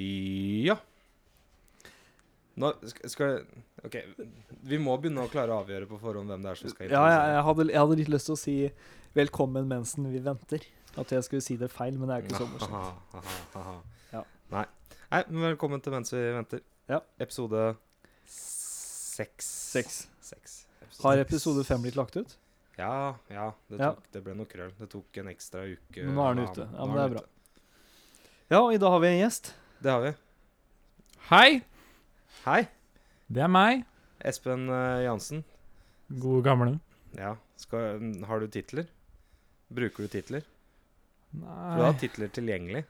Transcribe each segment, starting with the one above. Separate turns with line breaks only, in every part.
Ja. Nå sk- skal OK. Vi må begynne å klare å avgjøre på forhånd hvem det er som skal liksom.
Ja, jeg, jeg, hadde, jeg hadde litt lyst til å si 'velkommen mensen vi venter'. At jeg skulle si det feil, men det er jo ikke så morsomt. Ja.
Nei. Nei, men velkommen til Mens vi venter.
Ja.
Episode seks.
Seks.
Seks.
Har episode fem blitt lagt ut?
Ja, ja. Det,
Ja.
tok, det ble noe krøll. Det tok en ekstra uke.
Men nå er den
eller
ute.
annen-
Ja,
nå
men det er
den
bra.
ute.
Ja, og i dag har vi en gjest.
Det har vi.
Hei,
Hei.
det er meg.
Espen eh, Jansen.
Gode gamle.
Ja. Skal, har du titler? Bruker du titler? For du
Nei
har titler tilgjengelig.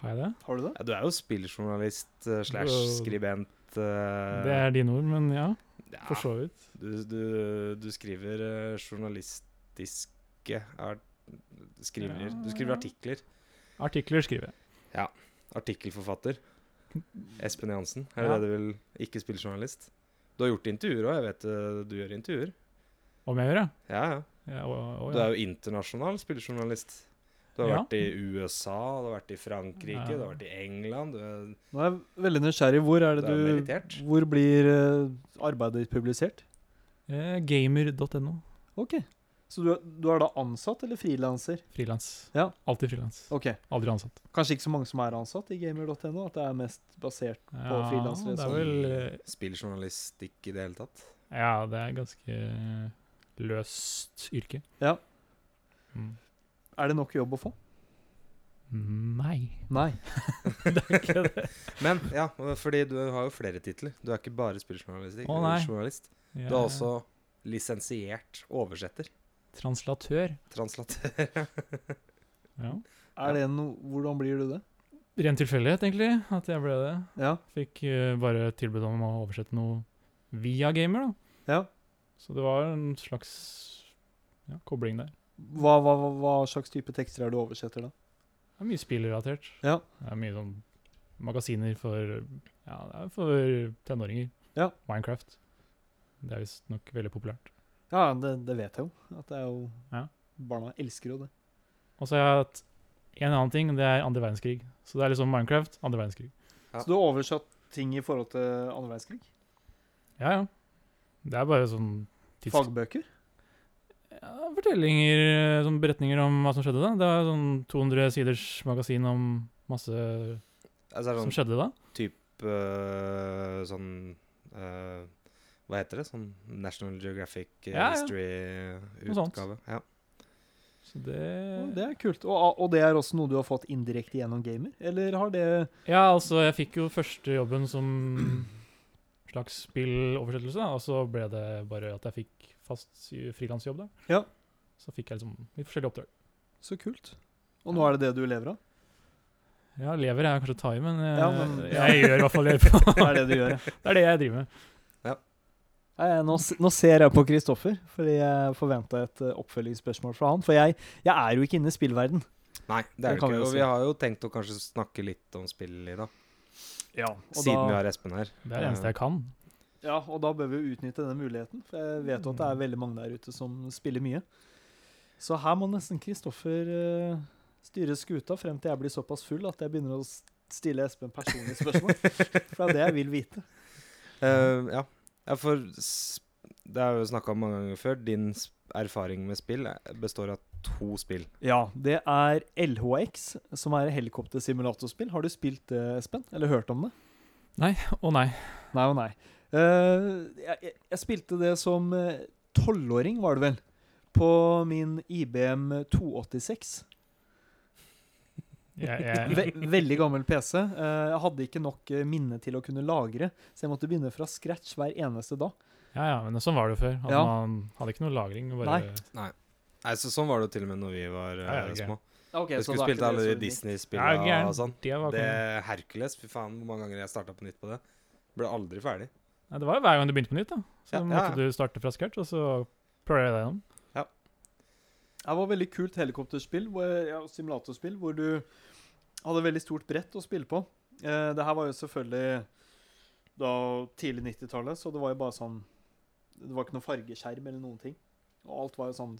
Har jeg det?
Har du det?
Ja, du er jo spilljournalist eh, slash
Jo.
skribent. eh,
Det er dine ord, men ja,
ja,
for så vidt.
du, du, du skriver eh, journalistiske art, skriver, Du skriver
Ja.
artikler.
Artikler skriver jeg.
Artikkelforfatter. Espen Jansen. Er
Ja.
det det du vil? Ikke spilljournalist. Du har gjort intervjuer òg. Jeg vet eh, du gjør intervjuer.
Om jeg gjør det?
Ja, ja.
Ja, å, å,
Du er
ja.
jo internasjonal spilljournalist. Du har
Ja.
vært i USA, du har vært i Frankrike,
Ja.
du har vært i England. Du er,
Nå er jeg veldig nysgjerrig. Hvor er det
du er
du
merittert.
Hvor blir eh, arbeidet ditt publisert?
Eh, Gamer.no.
OK. Så du, er- du er da ansatt eller frilanser?
Frilans.
Ja.
Alltid frilans.
OK.
Aldri ansatt.
Kanskje ikke så mange som er ansatt i gamer.no? At det er mest basert
Ja,
frilansere
det
som-
er vel eh,
Spilljournalistikk i det hele tatt.
Ja, det er ganske løst yrke.
Ja.
Mm.
Er det nok jobb å få?
Nei.
Nei.
Men ja, fordi du har jo flere titler. Du er ikke bare spilljournalistikk.
Å, nei.
journalist.
Jeg
Du er også lisensiert oversetter.
translatør.
Translatør.
Ja.
Er det noe Hvordan blir du det?
Ren tilfeldighet, egentlig, at jeg ble det.
Ja.
Fikk eh, bare tilbud om å oversette noe via gamer, da.
ja.
Så det var en slags ja, kobling der.
Hva, hva, hva, hva slags type tekster er det du oversetter, da?
Det er mye spillrelatert.
Ja.
Det er mye sånn magasiner for Ja, det er for tenåringer.
Ja.
Minecraft. Det er visstnok veldig populært.
Ja, det, det vet jeg jo. At det er jo
Ja.
Barna elsker jo det.
Og så har jeg hatt en annen ting, det er andre verdenskrig. Så det er liksom Minecraft, andre verdenskrig.
Ja.
Så du har oversatt ting i forhold til andre verdenskrig?
Ja, ja. Det er bare sånn tids...
Fagbøker?
Ja, fortellinger, sånn beretninger om hva som skjedde da. Det er sånn 200 siders magasin om masse
Altså, er det
som
sånn
skjedde da.
type øh, sånn øh, Hva heter det? Sånn National Geographic eh,
Ja, ja. Noe sånt.
History-utgave. Ja.
Så det
Ja, Det er kult. Og, og det er også noe du har fått indirekte gjennom gamer? Eller har det
Ja, altså, jeg fikk jo første jobben som slags spilloversettelse, da, og så ble det bare at jeg fikk fast i- frilansjobb der.
Ja.
Så fikk jeg liksom litt forskjellige oppdrag.
Så kult. Og nå er det det du lever av?
Ja, lever er kanskje å ta i, men, eh,
Ja, men-
jeg gjør i hvert fall det. på-
Det er det du gjør, ja.
det er det jeg driver med.
Nei, nå, s- nå ser jeg på Kristoffer, fordi jeg forventa et eh, oppfølgingsspørsmål fra han. For jeg, jeg er jo ikke inne i spillverden.
Nei, det er
Det
det
kan vi
ikke.
jo
Og
si.
vi har jo tenkt å kanskje snakke litt om spill i dag,
Ja, og
siden vi
da,
har Espen her.
Det er det eneste jeg kan.
ja, og da bør vi jo utnytte denne muligheten. For jeg vet jo at det er veldig mange der ute som spiller mye. Så her må nesten Kristoffer eh, styre skuta frem til jeg blir såpass full at jeg begynner å s- stille Espen personlige spørsmål. For det er det jeg vil vite.
Eh, ja. ja, for s- det er jo snakka om mange ganger før. Din s- erfaring med spill eh, består av to spill.
Ja, det er LHX, som er helikoptersimulatorspill. Har du spilt det, Espen? Eller hørt om det?
Å nei.
Nei og nei. Eh, jeg, jeg, jeg spilte det som eh, tolvåring, var det vel, på min IBM 286.
Jeg, jeg,
Ve veldig gammel PC. Eh, jeg hadde ikke nok eh, minne til å kunne lagre, så jeg måtte begynne fra scratch hver eneste dag.
ja, ja, men sånn var det jo før. At
Ja.
Man hadde ikke noe lagring. og Bare,
Nei, så Sånn var det jo til og med når vi var eh,
Ja, ja, ok.
små. Jeg skulle spilt alle de Disney-spillene
Ja, gæren.
og sånn.
Det var
Det
konge.
Hercules, fy faen hvor mange ganger jeg starta på nytt på det. Ble aldri ferdig.
Nei, det var jo hver gang du begynte på nytt, da. Så
Ja, ja,
måtte
ja.
du starte fra scratch, og så prøvde jeg deg gjennom.
Det var veldig kult helikopterspill, hvor, ja, simulatorspill, hvor du hadde veldig stort brett å spille på. Eh, det her var jo selvfølgelig da tidlig 90-tallet, så det var jo bare sånn Det var ikke noe fargeskjerm eller noen ting. Og alt var jo sånn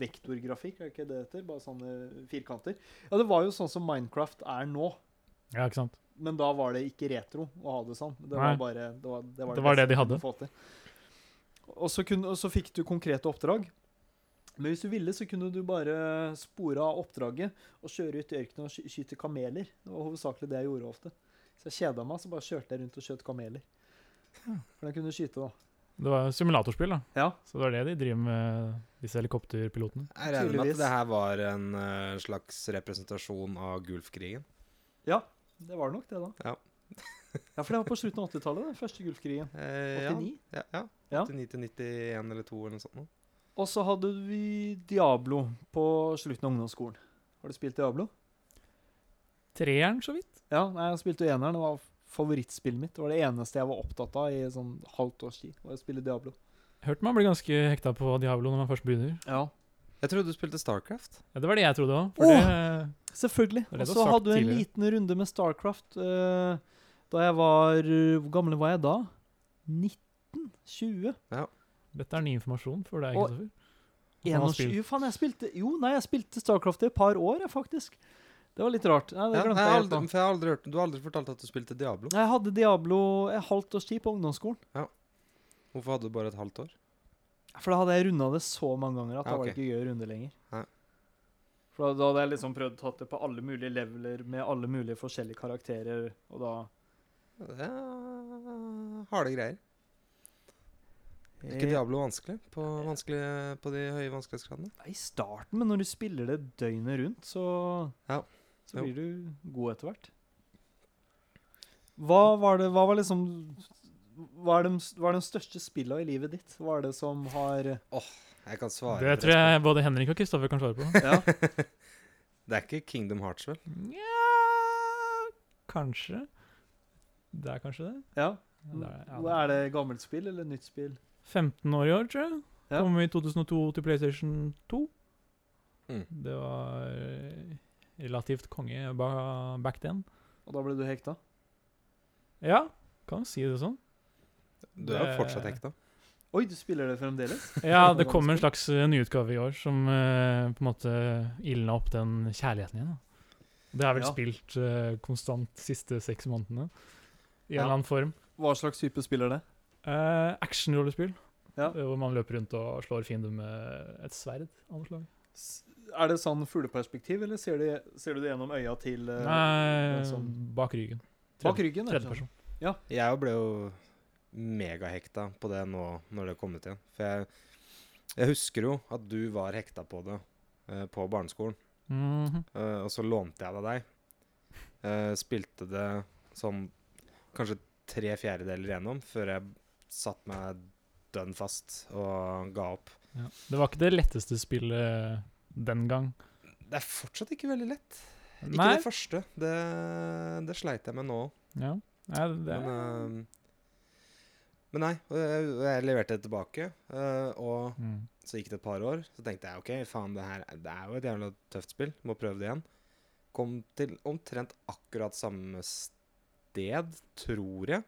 vektorgrafikk, er det ikke det det heter? Bare sånne firkanter. Ja, det var jo sånn som Minecraft er nå.
Ja, ikke sant?
Men da var det ikke retro å ha det sånn. Det
Nei.
var bare Det var det, var
Det var det de
beste du
hadde.
kunne få til. Og så, kunne, og så fikk du konkrete oppdrag. Men hvis du ville, så kunne du bare spore av oppdraget og kjøre ut i ørkenen og sky- skyte kameler. Det var hovedsakelig det jeg gjorde ofte. Så jeg kjeda meg, så bare kjørte jeg rundt og skjøt kameler. For jeg kunne skyte, da.
Det var simulatorspill, da.
Ja.
Så det var det de driver med, disse helikopterpilotene.
Jeg regner med
Tydeligvis.
at det her var en eh, slags representasjon av Gulfkrigen.
Det var nok det, da.
Ja.
ja, for det var på slutten av 80-tallet, den første Gulfkrigen.
Eh,
89.
Ja, ja,
Ja.
ja. 89 til 91 eller 2 eller noe sånt. nå.
Og så hadde vi Diablo på slutten av ungdomsskolen. Har du spilt Diablo?
Treeren, så vidt.
Ja, nei, jeg spilte jo eneren. Det var favorittspillet mitt. Det var det eneste jeg var opptatt av i sånn halvt års tid. Var å spille Diablo.
Hørte man blir ganske hekta på Diablo når man først begynner.
Ja,
Jeg trodde du spilte Starcraft.
Ja, det var det jeg trodde òg.
Åh!
For
Selvfølgelig.
Det er
Og
det du
så
har sagt
hadde du en
tidligere.
liten runde med Starcraft eh, da jeg var eh, Hvor gammel var jeg da? 19? 20?
det, dette er ny informasjon for deg,
Og-
Kristoffer. At man har
21?
spilt-
Faen, jeg spilte Jo, nei, jeg spilte Starcraft i et par år, jeg, faktisk. Det var litt rart. Nei, det
Ja, jeg
glemte
har
jeg helt
aldri,
nå.
for jeg har aldri hørt, du har aldri fortalt at du spilte Diablo.
Jeg hadde Diablo et halvt års tid på ungdomsskolen.
Hvorfor hadde du bare et halvt år?
For da hadde jeg runda det så mange ganger at da
Ja,
var det
ok.
ikke gøy å runde lenger.
Nei.
For da, da hadde jeg liksom prøvd å ta det på alle mulige leveler med alle mulige forskjellige karakterer, og da
Det er harde greier. Er
Eh.
ikke Diablo vanskelig på, vanskelig på de høye vanskelighetsgradene?
Eh, I starten, men når du spiller det døgnet rundt, så,
Ja.
så
Jo.
blir du god etter hvert. Hva var det Hva var liksom Hva er de, hva er de største spilla i livet ditt? Hva er det som har
Jeg kan svare.
Det
på
tror jeg både Henrik og Kristoffer kan svare på.
Ja,
spørsmålet. Det er ikke Kingdom Hearts, vel?
Nja Kanskje. Det er kanskje det.
ja.
Ja, det er, ja, det
Er det gammelt spill eller nytt spill?
15 år i år, tror jeg.
Ja.
Kom i 2002 til PlayStation 2.
Mm.
Det var eh, relativt konge ba back then.
Og da ble du hekta?
Ja, kan si det sånn.
Du er jo
Det-
fortsatt hekta.
Oi, du spiller det fremdeles?
Ja, det kom en slags eh, nyutgave i år som eh, på en måte ildna opp den kjærligheten igjen. Da. Det har jeg vel
Ja.
spilt eh, konstant de siste seks månedene. I en
Ja.
eller annen form.
Hva slags type spill er det?
Uh, Actionrollespill.
Ja.
eh, Hvor man løper rundt og slår fiender med et sverd. av noe slag.
S- Er det sånn fugleperspektiv, eller ser du, ser du det gjennom øya til eh, det
Nei,
er sånn-
bak ryggen.
Bak ryggen? er det sånn?
Tredjeperson.
Jeg jo ble jo megahekta på det nå når det kom ut igjen. For jeg, jeg husker jo at du var hekta på det eh, på barneskolen.
Mhm.
Eh, og så lånte jeg det av deg. Eh, spilte det sånn kanskje tre fjerdedeler gjennom før jeg satte meg dønn fast og ga opp.
ja. Det var ikke det letteste spillet den gang.
Det er fortsatt ikke veldig lett. Ikke
Nei.
det første. Det, det sleit jeg med nå.
Ja. Nei, det
Men,
er
eh, men nei, og jeg, og jeg leverte det tilbake. eh, og
mm.
så gikk det et par år. Så tenkte jeg OK, faen, det her det er jo et jævla tøft spill. Må prøve det igjen. Kom til omtrent akkurat samme sted, tror jeg.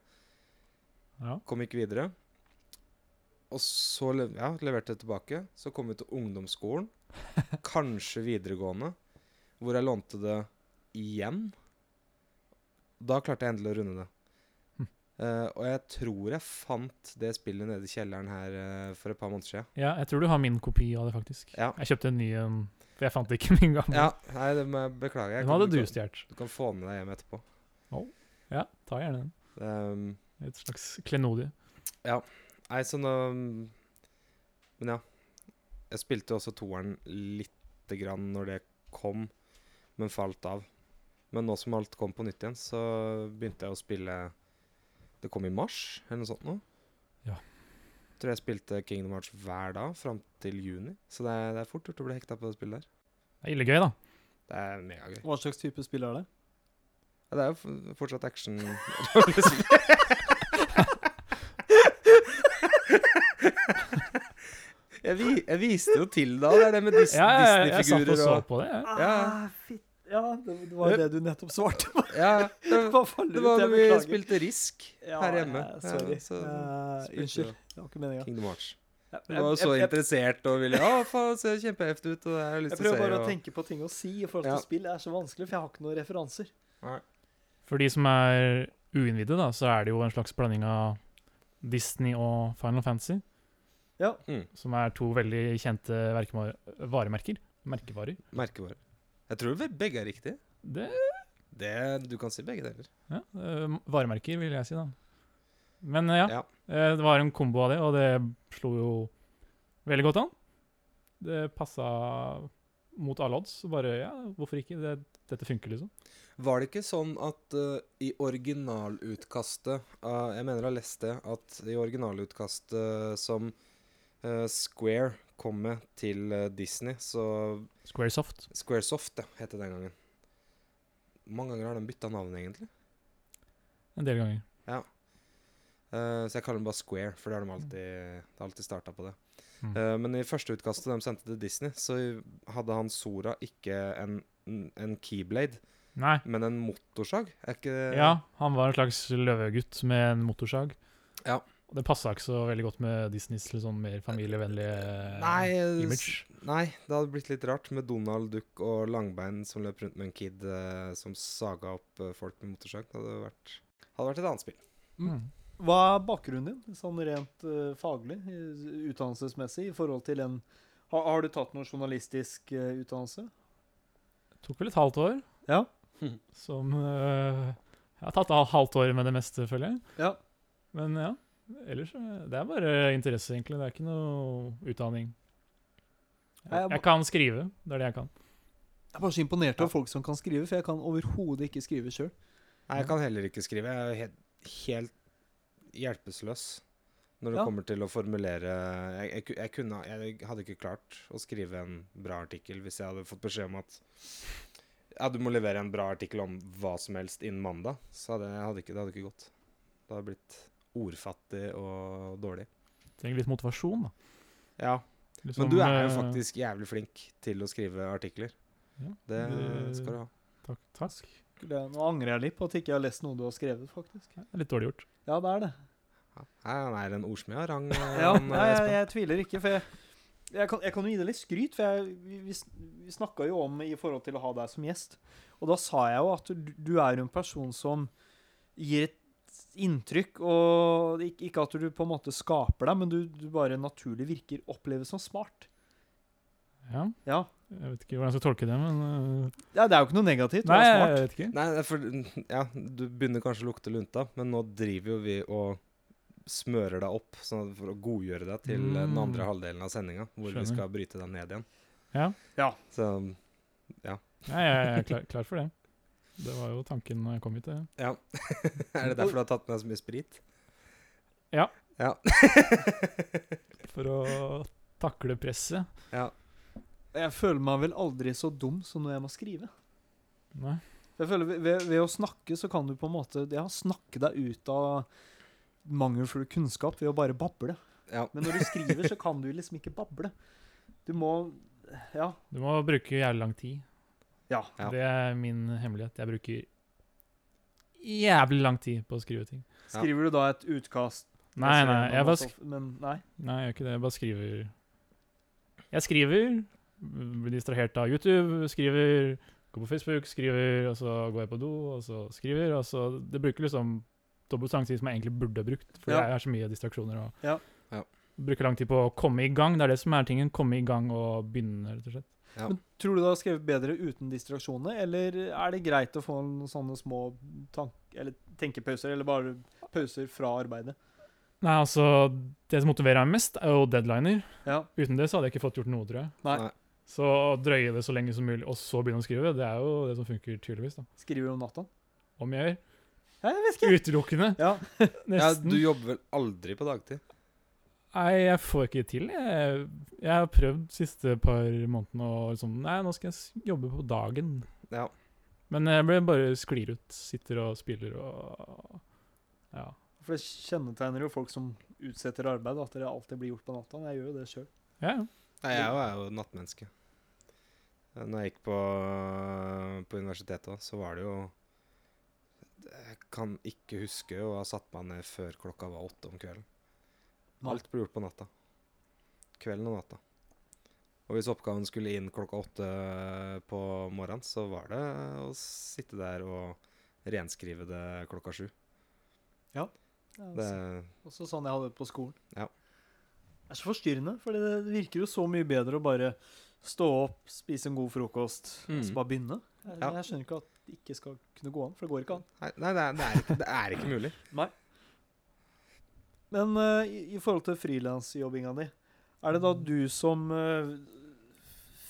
ja.
Kom ikke videre. Og så le- ja, leverte jeg tilbake. Så kom vi til ungdomsskolen. Kanskje videregående. Hvor jeg lånte det igjen. Da klarte jeg endelig å runde det.
Hm.
Eh, og jeg tror jeg fant det spillet nede i kjelleren her eh, for et par måneder siden.
ja, jeg tror du har min kopi av det, faktisk.
Ja.
Jeg kjøpte en ny en, for jeg fant ikke min gamle.
Ja, nei, det må jeg beklage. Jeg
Den
kan-
Hm. hadde du
kan-
stjålet.
Du kan få den med deg hjem etterpå.
Ja, ta gjerne den.
Um,
Et slags klenodie.
Nei, sånn um, Men ja. Jeg spilte jo også toeren lite grann når det kom, men falt av. Men nå som alt kom på nytt igjen, så begynte jeg å spille Det kom i mars, eller noe sånt nå.
Ja.
Tror jeg spilte Kingdom Hearts hver dag fram til juni. Så det er, det er fort gjort å bli hekta på det spillet der.
Det er ille gøy, da.
Det er megagøy.
Hva slags type spill er det?
Ja, det er jo f- fortsatt action. jeg, vi, jeg viste jo til da, det er det med dis
Ja, ja, ja, jeg satt og
Disney-figurer
så
og
på det. jeg.
Ja.
Ah, fitt. ja det, det var det du nettopp svarte på.
ja, det,
Hva faller
det
ut?
var
Jeg
da vi
beklager.
spilte Risk
Ja,
her hjemme.
ja, sorry.
Ja, så
Eh,
spilte vi
unnskyld. Det var ikke meninga.
Kingdom Hearts.
Jeg,
Du var jo så
jeg, jeg,
interessert og ville Ja, faen, det ser kjempeheftig ut, og jeg har lyst
jeg
til å
prøver
se
bare å
og
tenke på ting å si i forhold
Ja.
til spill. Det er så vanskelig, for jeg har ikke noen referanser.
Nei.
For de som er uinnvidde, da, så er det jo en slags blanding av Disney og Final Fantasy.
Ja.
Mm.
Som er to veldig kjente verkema- varemerker. Merkevarer.
Merkevare. Jeg tror vel begge er riktig.
Det,
Det, du kan si begge deler.
ja, eh, varemerker, vil jeg si, da. Men eh, ja,
Ja.
eh, det var en kombo av det, og det slo jo veldig godt an. Det passa mot alle odds. så Bare ja, hvorfor ikke? Det, dette funker, liksom.
Var det ikke sånn at eh, i originalutkastet av- Jeg mener jeg har lest det, at i originalutkastet som eh, Square kom med til eh, Disney, så
Squaresoft.
Squaresoft ja, het det den gangen. Mange ganger har de bytta navn, egentlig.
En del ganger.
Eh, så jeg kaller dem bare Square, for det har de alltid, det har alltid starta på det.
Mm.
Eh, men i førsteutkastet de sendte til Disney, så hadde han Sora ikke en, en keyblade,
Nei.
men en motorsag. Er ikke det
Ja, han var en slags løvegutt med en motorsag.
Ja.
Og det passa ikke så veldig godt med Disneys litt sånn mer familievennlige
Nei, eh,
image.
Nei, det hadde blitt litt rart med Donald Duck og Langbein som løp rundt med en kid eh, som saga opp eh, folk med motorsag. Det hadde vært, hadde vært et annet spill.
Mm.
Hva er bakgrunnen din, sånn rent eh, faglig, eh, utdannelsesmessig, i forhold til en Har, har du tatt noen journalistisk eh, utdannelse?
Tok vel et halvt år.
Ja.
Som øh, Jeg har tatt av halvt år med det meste, føler jeg.
Ja.
Men ja. Ellers øh, Det er bare interesse, egentlig. Det er ikke noe utdanning.
Nei, jeg
Jeg,
ba-
jeg kan skrive. Det er det jeg kan.
Jeg er bare så imponert over
Ja.
folk som kan skrive, for jeg kan overhodet ikke skrive sjøl.
Nei, jeg kan heller ikke skrive. Jeg er helt, helt hjelpeløs når det
Ja.
kommer
kommer
til å formulere jeg, jeg, ku- jeg, kunne, jeg hadde ikke klart å skrive en bra artikkel hvis jeg hadde fått beskjed om at ja, du må levere en bra artikkel om hva som helst innen mandag. Så hadde, jeg hadde ikke, det hadde ikke gått. Det hadde blitt ordfattig og dårlig.
Trenger litt motivasjon, da.
Ja,
Litt
Men
som,
du er jo
øh,
faktisk jævlig flink til å skrive artikler.
ja,
Det skal du ha.
Takk. takk.
Nå angrer jeg litt på at jeg ikke har lest noe du har skrevet, faktisk.
Det er Litt dårlig gjort.
Ja, det er det.
Ja, han er en ordsmed av rang.
Ja,
han, eh,
nei, jeg,
eh,
Espen.
jeg tviler ikke, for jeg, jeg, kan, jeg kan jo gi deg litt skryt. For jeg, vi, vi, s- vi snakka jo om i forhold til å ha deg som gjest, og da sa jeg jo at du, du er en person som gir et inntrykk, og ik- ikke at du på en måte skaper deg, men du, du bare naturlig virker oppleves som smart.
Ja.
Ja.
Jeg vet ikke hvordan jeg skal tolke det, men øh,
ja, det er jo ikke noe negativt. Du
Nei,
er
jeg
smart.
vet ikke.
Nei, det er for, ja, du begynner kanskje å lukte lunta, men nå driver jo vi og smører deg opp sånn at- for å godgjøre deg til eh, den andre halvdelen av sendinga, hvor
Skjønner.
vi skal bryte deg ned igjen.
Ja.
Ja.
Så
Nei, jeg er klar, klar for det. Det var jo tanken når jeg kom hit. Det.
ja. er det derfor du har tatt med deg så mye sprit?
Ja.
Ja.
For å takle presset.
Jeg føler meg vel aldri så dum som når jeg må skrive.
Nei.
Jeg føler ved, ved, ved å snakke så kan du på en måte ja, snakke deg ut av mangelfull kunnskap ved å bare bable.
ja.
Men når du skriver, så kan du liksom ikke bable. Du må Ja.
Du må bruke jævlig lang tid.
Ja.
Ja.
Det er min hemmelighet. Jeg bruker jævlig lang tid på å skrive ting.
Skriver du da et utkast
Nei, nei, jeg bare, sk
Men nei.
nei, jeg gjør ikke det. Jeg bare skriver Jeg skriver, blir distrahert av YouTube, skriver, går på Facebook, skriver, og så går jeg på do, og så skriver, og så Det bruker liksom dobbelt så lang tid som jeg egentlig burde ha brukt, for
Ja.
jeg har så mye distraksjoner. og
Ja.
Ja.
Bruker lang tid på å komme i gang. Det er det som er tingen. Komme i gang og begynne, rett og slett.
ja.
Men tror du du har skrevet bedre uten distraksjoner, eller er det greit å få noen sånne små tank... Eller tenkepauser, eller bare pauser fra arbeidet?
Nei, altså, Det som motiverer meg mest, er jo deadliner.
Ja.
Uten det så hadde jeg ikke fått gjort noe, tror jeg.
Nei.
Nei.
Så å drøye det så lenge som mulig, og så begynne å skrive, det er jo det som funker tydeligvis. da.
Skriver du om natta?
Om jeg
Ja, jeg vet ikke.
gjør utelukkende.
Ja.
ja,
Nesten.
du jobber vel aldri på dagtid?
Nei, jeg får ikke til. Jeg, jeg har prøvd siste par månedene å liksom Nei, nå skal jeg s- jobbe på dagen.
Ja.
Men jeg ble bare sklir ut. Sitter og spiller og Ja.
For det kjennetegner jo folk som utsetter arbeid, at det alltid blir gjort på natta. Jeg gjør jo det sjøl.
Ja, ja.
Nei, jeg er jo- er jo nattmenneske. Eh, Når jeg gikk øh, på, på universitetet, også, så var det jo Jeg kan ikke huske å ha satt meg ned før klokka var åtte om kvelden.
Nei.
Alt ble gjort på natta. Kvelden og natta. Og hvis oppgaven øh, skulle inn klokka åtte på morgenen, så var det å sitte der og renskrive det klokka sju. Det,
Det er også sånn jeg hadde det på skolen.
Ja.
Det er så forstyrrende, for det virker jo så mye bedre å bare stå opp, spise en god frokost, og
Mm.
så bare begynne. Jeg,
Ja.
jeg skjønner ikke at det ikke skal kunne gå an, for det går ikke an.
nei, nei det, er, det, er ikke, det er ikke mulig.
Men eh, i, i forhold til frilansjobbinga di, er det da
Mm.
du som eh,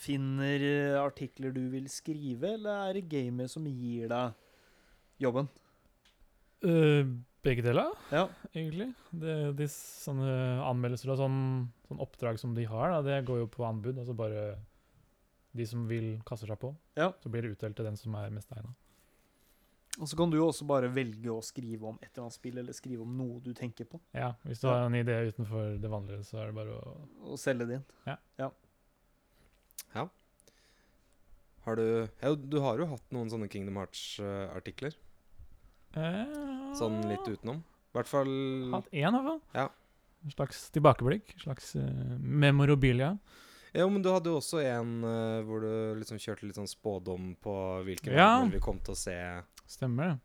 finner eh, artikler du vil skrive, eller er det gamet som gir deg jobben?
Eh, begge deler,
Ja.
egentlig. Det, de sånne anmeldelser og sånn, sånn oppdrag som de har, da, det går jo på anbud. Altså bare de som vil, kaster seg på.
Ja.
Så blir det utdelt til den som er mest egna.
Og så kan du jo også bare velge å skrive om et eller annet spill, eller skrive om noe du tenker på,
Ja, hvis du
Ja.
har en idé utenfor det vanlige, så er det bare å
og selge det inn.
Har du, ja, du har jo hatt noen sånne Kingdom øh, Hearts-artikler.
eh,
Sånn litt utenom. I hvert fall
Hatt én, i hvert fall.
Ja.
En slags tilbakeblikk. En slags eh, memorabilia.
Jo, men du hadde jo også en eh, hvor du liksom kjørte litt sånn spådom på hvilken
Ja.
verden vi kom til å se
Stemmer det.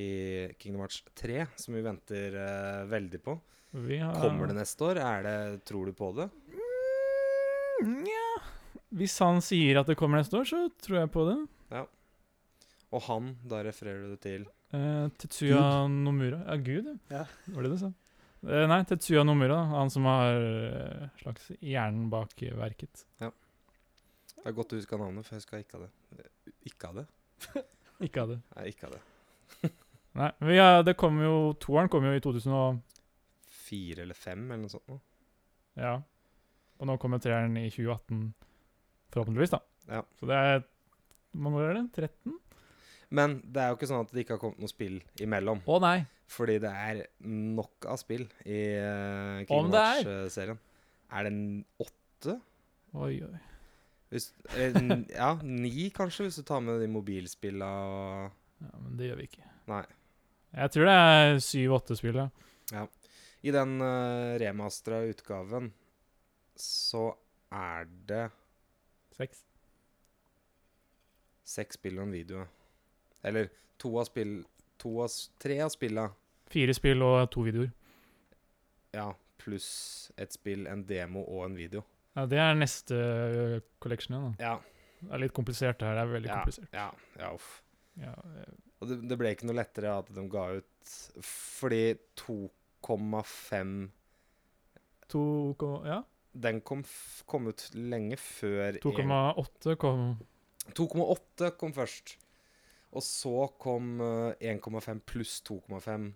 i Kingdom Hearts 3, som vi venter eh, veldig på.
Vi har,
Kommer det neste år? Er det, tror du på det?
Mm, Nja Hvis han sier at det kommer neste år, så tror jeg på det.
Og han, da refererer du til
Eh, Tetsuya Nomura Ja, Gud,
Ja.
Var det det du sa? Eh, nei, Tetsuya Nomura. da. Han som har eh, slags hjernen bak eh, verket.
Det er godt du husker navnet, for jeg husker ikke av det. Eh, Ikke av det?
Ikke av det.
Nei, ikke av det.
Nei, vi, har- det kom jo Toeren kom jo i 2000 og
Fire eller fem, eller noe sånt. nå.
Ja. Og nå kommer treeren i 2018, forhåpentligvis, da.
Ja.
Så det er Hvor mange år er det? 13?
Men det er jo ikke sånn at det ikke har kommet noe spill imellom.
Å nei!
Fordi det er nok av spill i eh,
Om
Kingdom
det er?
Hearts-serien. Er det en åtte?
Oi, oi.
Hvis, eller eh, n- ja, ni kanskje, hvis du tar med de mobilspilla og
Ja, men det gjør vi ikke.
Nei. Jeg
Jeg tror det er 7-8 spill, ja.
I den uh, remastra utgaven så er det
Seks.
seks spill og en video. Eller to av spill to av, s- Tre av spilla,
Fire spill og to videoer.
ja, pluss et spill, en demo og en video.
Ja, det er neste ø, collection igjen,
Ja.
da. Det er litt komplisert det her. Det er veldig
Ja,
komplisert.
ja, ja uff.
Ja, eh,
Og det, det ble ikke noe lettere at de ga ut Fordi 2,5
to, ko- ja.
Den kom, f kom ut lenge før
2,8 kom
2,8 kom først. Og så kom eh, 1,5 pluss 2,5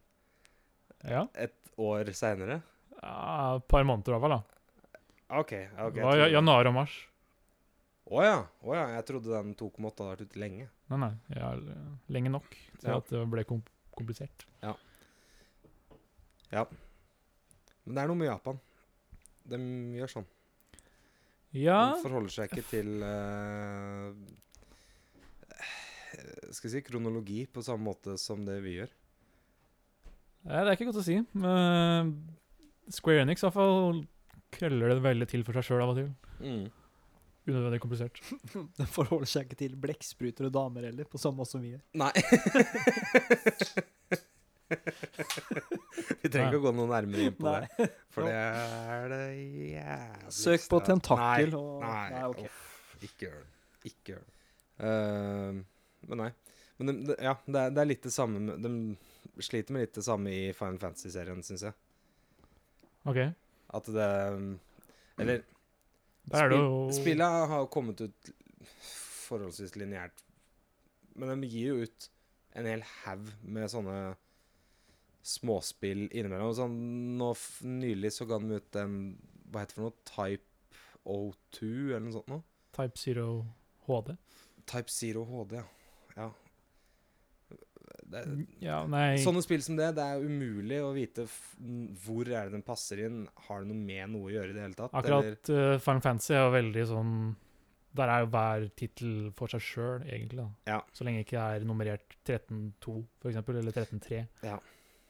Ja.
et år seinere.
Ja, Et par måneder, i hvert fall. da.
OK. ok,
Det
jeg
var ja-
trodde-
januar og mars.
Å ja. å ja. Jeg trodde den 2,8 hadde vært ute lenge.
Nei, nei. Ja, l- lenge nok til
Ja.
at det ble kom komplisert.
Men det er noe med Japan. De gjør sånn.
Ja.
De forholder seg ikke til eh, Skal jeg si kronologi på samme måte som det vi gjør.
Nei, det er ikke godt å si. Men Square Enix i hvert fall krøller det veldig til for seg sjøl av og til. Unødvendig komplisert.
Den forholder seg ikke til blekkspruter og damer heller, på samme måte som vi gjør.
Nei. vi trenger ikke å gå noe nærmere inn på
Nei.
det. For det er det jævligste
Søk på tentakel
Nei,
og
nei,
ok.
uff, ikke gjør det. Ikke gjør det. Eh, men nei. Men dem- det- ja, det er, det er litt det samme med De sliter med litt det samme i Final Fantasy-serien, syns jeg.
OK.
At det mm, Eller
Der er det
Spill-
jo
Spillet har jo kommet ut forholdsvis lineært. Men de gir jo ut en hel haug med sånne småspill innimellom. Sånn, nå f nylig så ga de ut en Hva heter det for noe? Type O2, eller noe sånt noe?
Type Zero HD.
Type Zero HD, ja. ja. Det,
Ja, nei
sånne spill som det, det er umulig å vite f n- hvor er det den passer inn. Har det noe med noe å gjøre i det hele tatt? eller-
Akkurat uh, Final Fantasy er jo veldig sånn Der er jo hver tittel for seg sjøl, egentlig. da.
Ja.
Så lenge ikke det er nummerert 13-2, for eksempel, eller 13-3.
Ja.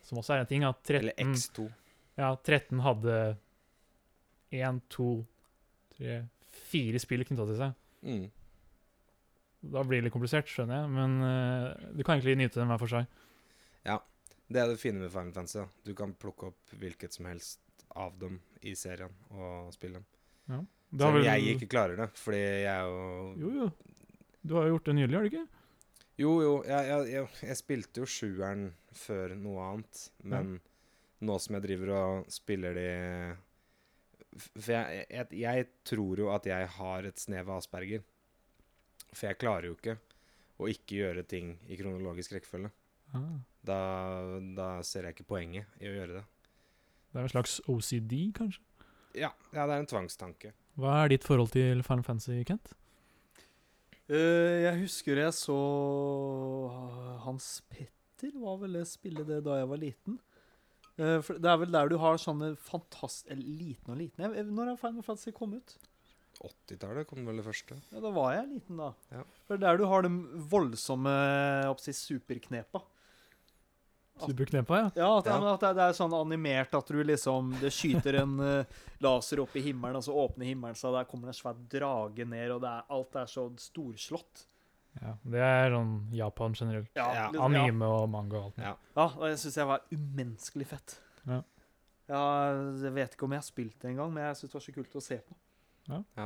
Som også er en ting at 13,
eller X2.
ja, 13 hadde 1, 2, 3, 4 spill knytta til seg.
Mm.
Da blir det litt komplisert, skjønner jeg, men eh, du kan egentlig nyte dem hver for seg.
Det er det fine med Final Fantasy. da. Du kan plukke opp hvilket som helst av dem i serien og spille dem.
Da
Selv om
vil-
jeg ikke klarer det, fordi jeg er jo
Jo, jo. Du har jo gjort det nylig, har du ikke?
Jo, jo, jeg, jeg, jeg, jeg spilte jo sjueren før noe annet, men nå som jeg driver og spiller de f- For jeg, jeg, jeg tror jo at jeg har et snev av asperger. For jeg klarer jo ikke å ikke gjøre ting i kronologisk rekkefølge.
Ah,
Da, da ser jeg ikke poenget i å gjøre det.
det er en slags OCD, kanskje?
Ja, ja det er en tvangstanke.
Hva er ditt forhold til Final Fantasy, Kent?
Eh, jeg husker jeg så ah, Hans Petter var vel det spillet det da jeg var liten. Eh, for det er vel der du har sånne fantast... Eller liten og liten jeg, jeg- Når er Final Fantasy kom ut?
80-tallet kom vel det første.
Ja, Da var jeg liten, da.
Ja.
For det er der du har de voldsomme jeg håper å si, superknepa.
Ah.
Superknepa, ja.
Ja, at,
Ja.
men at det, det er sånn animert at du liksom Det skyter en eh, laser opp i himmelen, og så åpner himmelen seg, og der kommer det en svær drage ned, og det er, alt er så storslått.
ja. Det er sånn Japan generelt.
Ja,
liksom, ja.
Anime og manga og alt.
Ja.
Ja, og jeg syns jeg var umenneskelig fett.
Ja.
Ja, jeg vet ikke om jeg har spilt det engang, men jeg syns det var så kult å se på.
Ja.
Ja.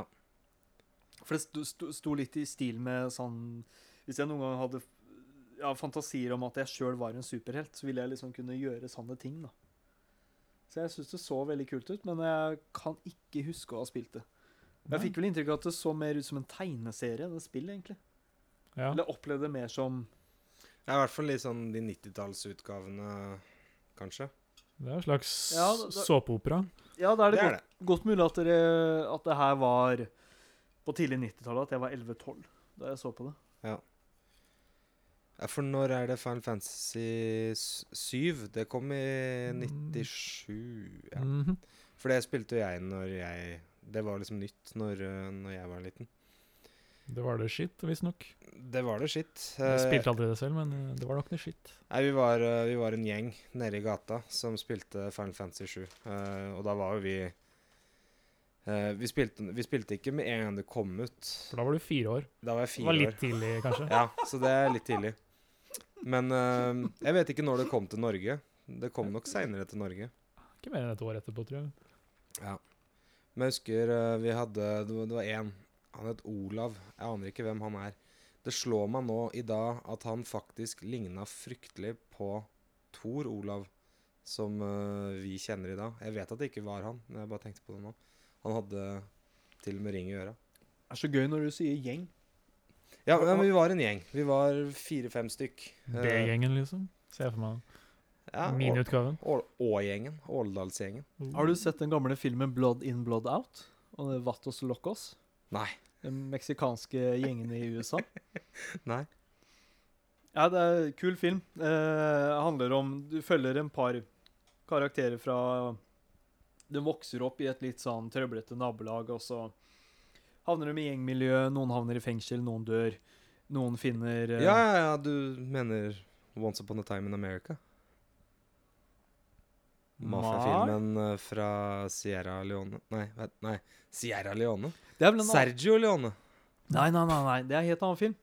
For det sto, sto, sto litt i stil med sånn Hvis jeg noen gang hadde ja, fantasier om at jeg sjøl var en superhelt, så ville jeg liksom kunne gjøre sånne ting, da. Så jeg syns det så veldig kult ut, men jeg kan ikke huske å ha spilt det. Jeg fikk vel inntrykk av at det så mer ut som en tegneserie enn et spill, egentlig.
Ja.
Eller opplevde det mer som
Det er i hvert fall litt sånn de 90-tallsutgavene, kanskje.
Det er en slags
Ja, da- da-
såpeopera.
Ja, da er det,
Det
godt
er
Godt mulig at, dere, at det her var på tidlig 90-tallet, at jeg var 11-12 da jeg så på det.
Ja, For når er det Final Fantasy 7? Det kom i
Mm.
97. Ja.
Mhm.
For det spilte jo jeg når jeg Det var liksom nytt når, eh, når jeg var liten.
Det var det skitt, visstnok.
Det var det skitt.
Jeg
Eh,
spilte aldri det selv, men eh, det var nok det skitt.
Nei, vi var, eh, vi var en gjeng nede i gata som spilte Final Fantasy 7. eh, og da var jo vi eh, vi, spilte, vi spilte ikke med en gang det kom ut.
For da var du fire år.
Da var jeg
Det
fire
var
år.
litt tidlig, kanskje.
Ja, så det er litt tidlig. Men eh, jeg vet ikke når det kom til Norge. Det kom nok seinere til Norge.
Ikke mer enn et år etterpå, tror jeg.
Ja. Men jeg husker eh, vi hadde Det var- det var én. Han het Olav. Jeg aner ikke hvem han er. Det slår meg nå i dag at han faktisk ligna fryktelig på Tor Olav, som eh, vi kjenner i dag. Jeg vet at det ikke var han, men jeg bare tenkte på det nå. Han hadde til og med ring i øra.
Det er så gøy når du sier gjeng.
Ja, men vi var en gjeng. Vi var fire-fem stykk. Eh,
B-gjengen, liksom. Ser jeg for meg.
ja, Å-
Miniutgaven.
Å- Å-gjengen. Åledalsgjengen.
Har du sett den gamle filmen Blood in, Blood out? Og det er Vatos Locos?
Nei.
Den meksikanske gjengen i USA?
Nei.
Ja, det er en kul film. Eh, handler om Du følger en par karakterer fra De vokser opp i et litt sånn trøblete nabolag, og så havner de i gjengmiljø. Noen havner i fengsel, noen dør. Noen finner eh,
Ja, ja, ja, du mener Once Upon a Time in America? Mafiafilmen eh, fra Sierra Leone Nei, vet- nei. Sierra Leone?
Det er vel en annen-
Sergio Leone.
Nei, nei, nei, nei. Det er en helt annen film.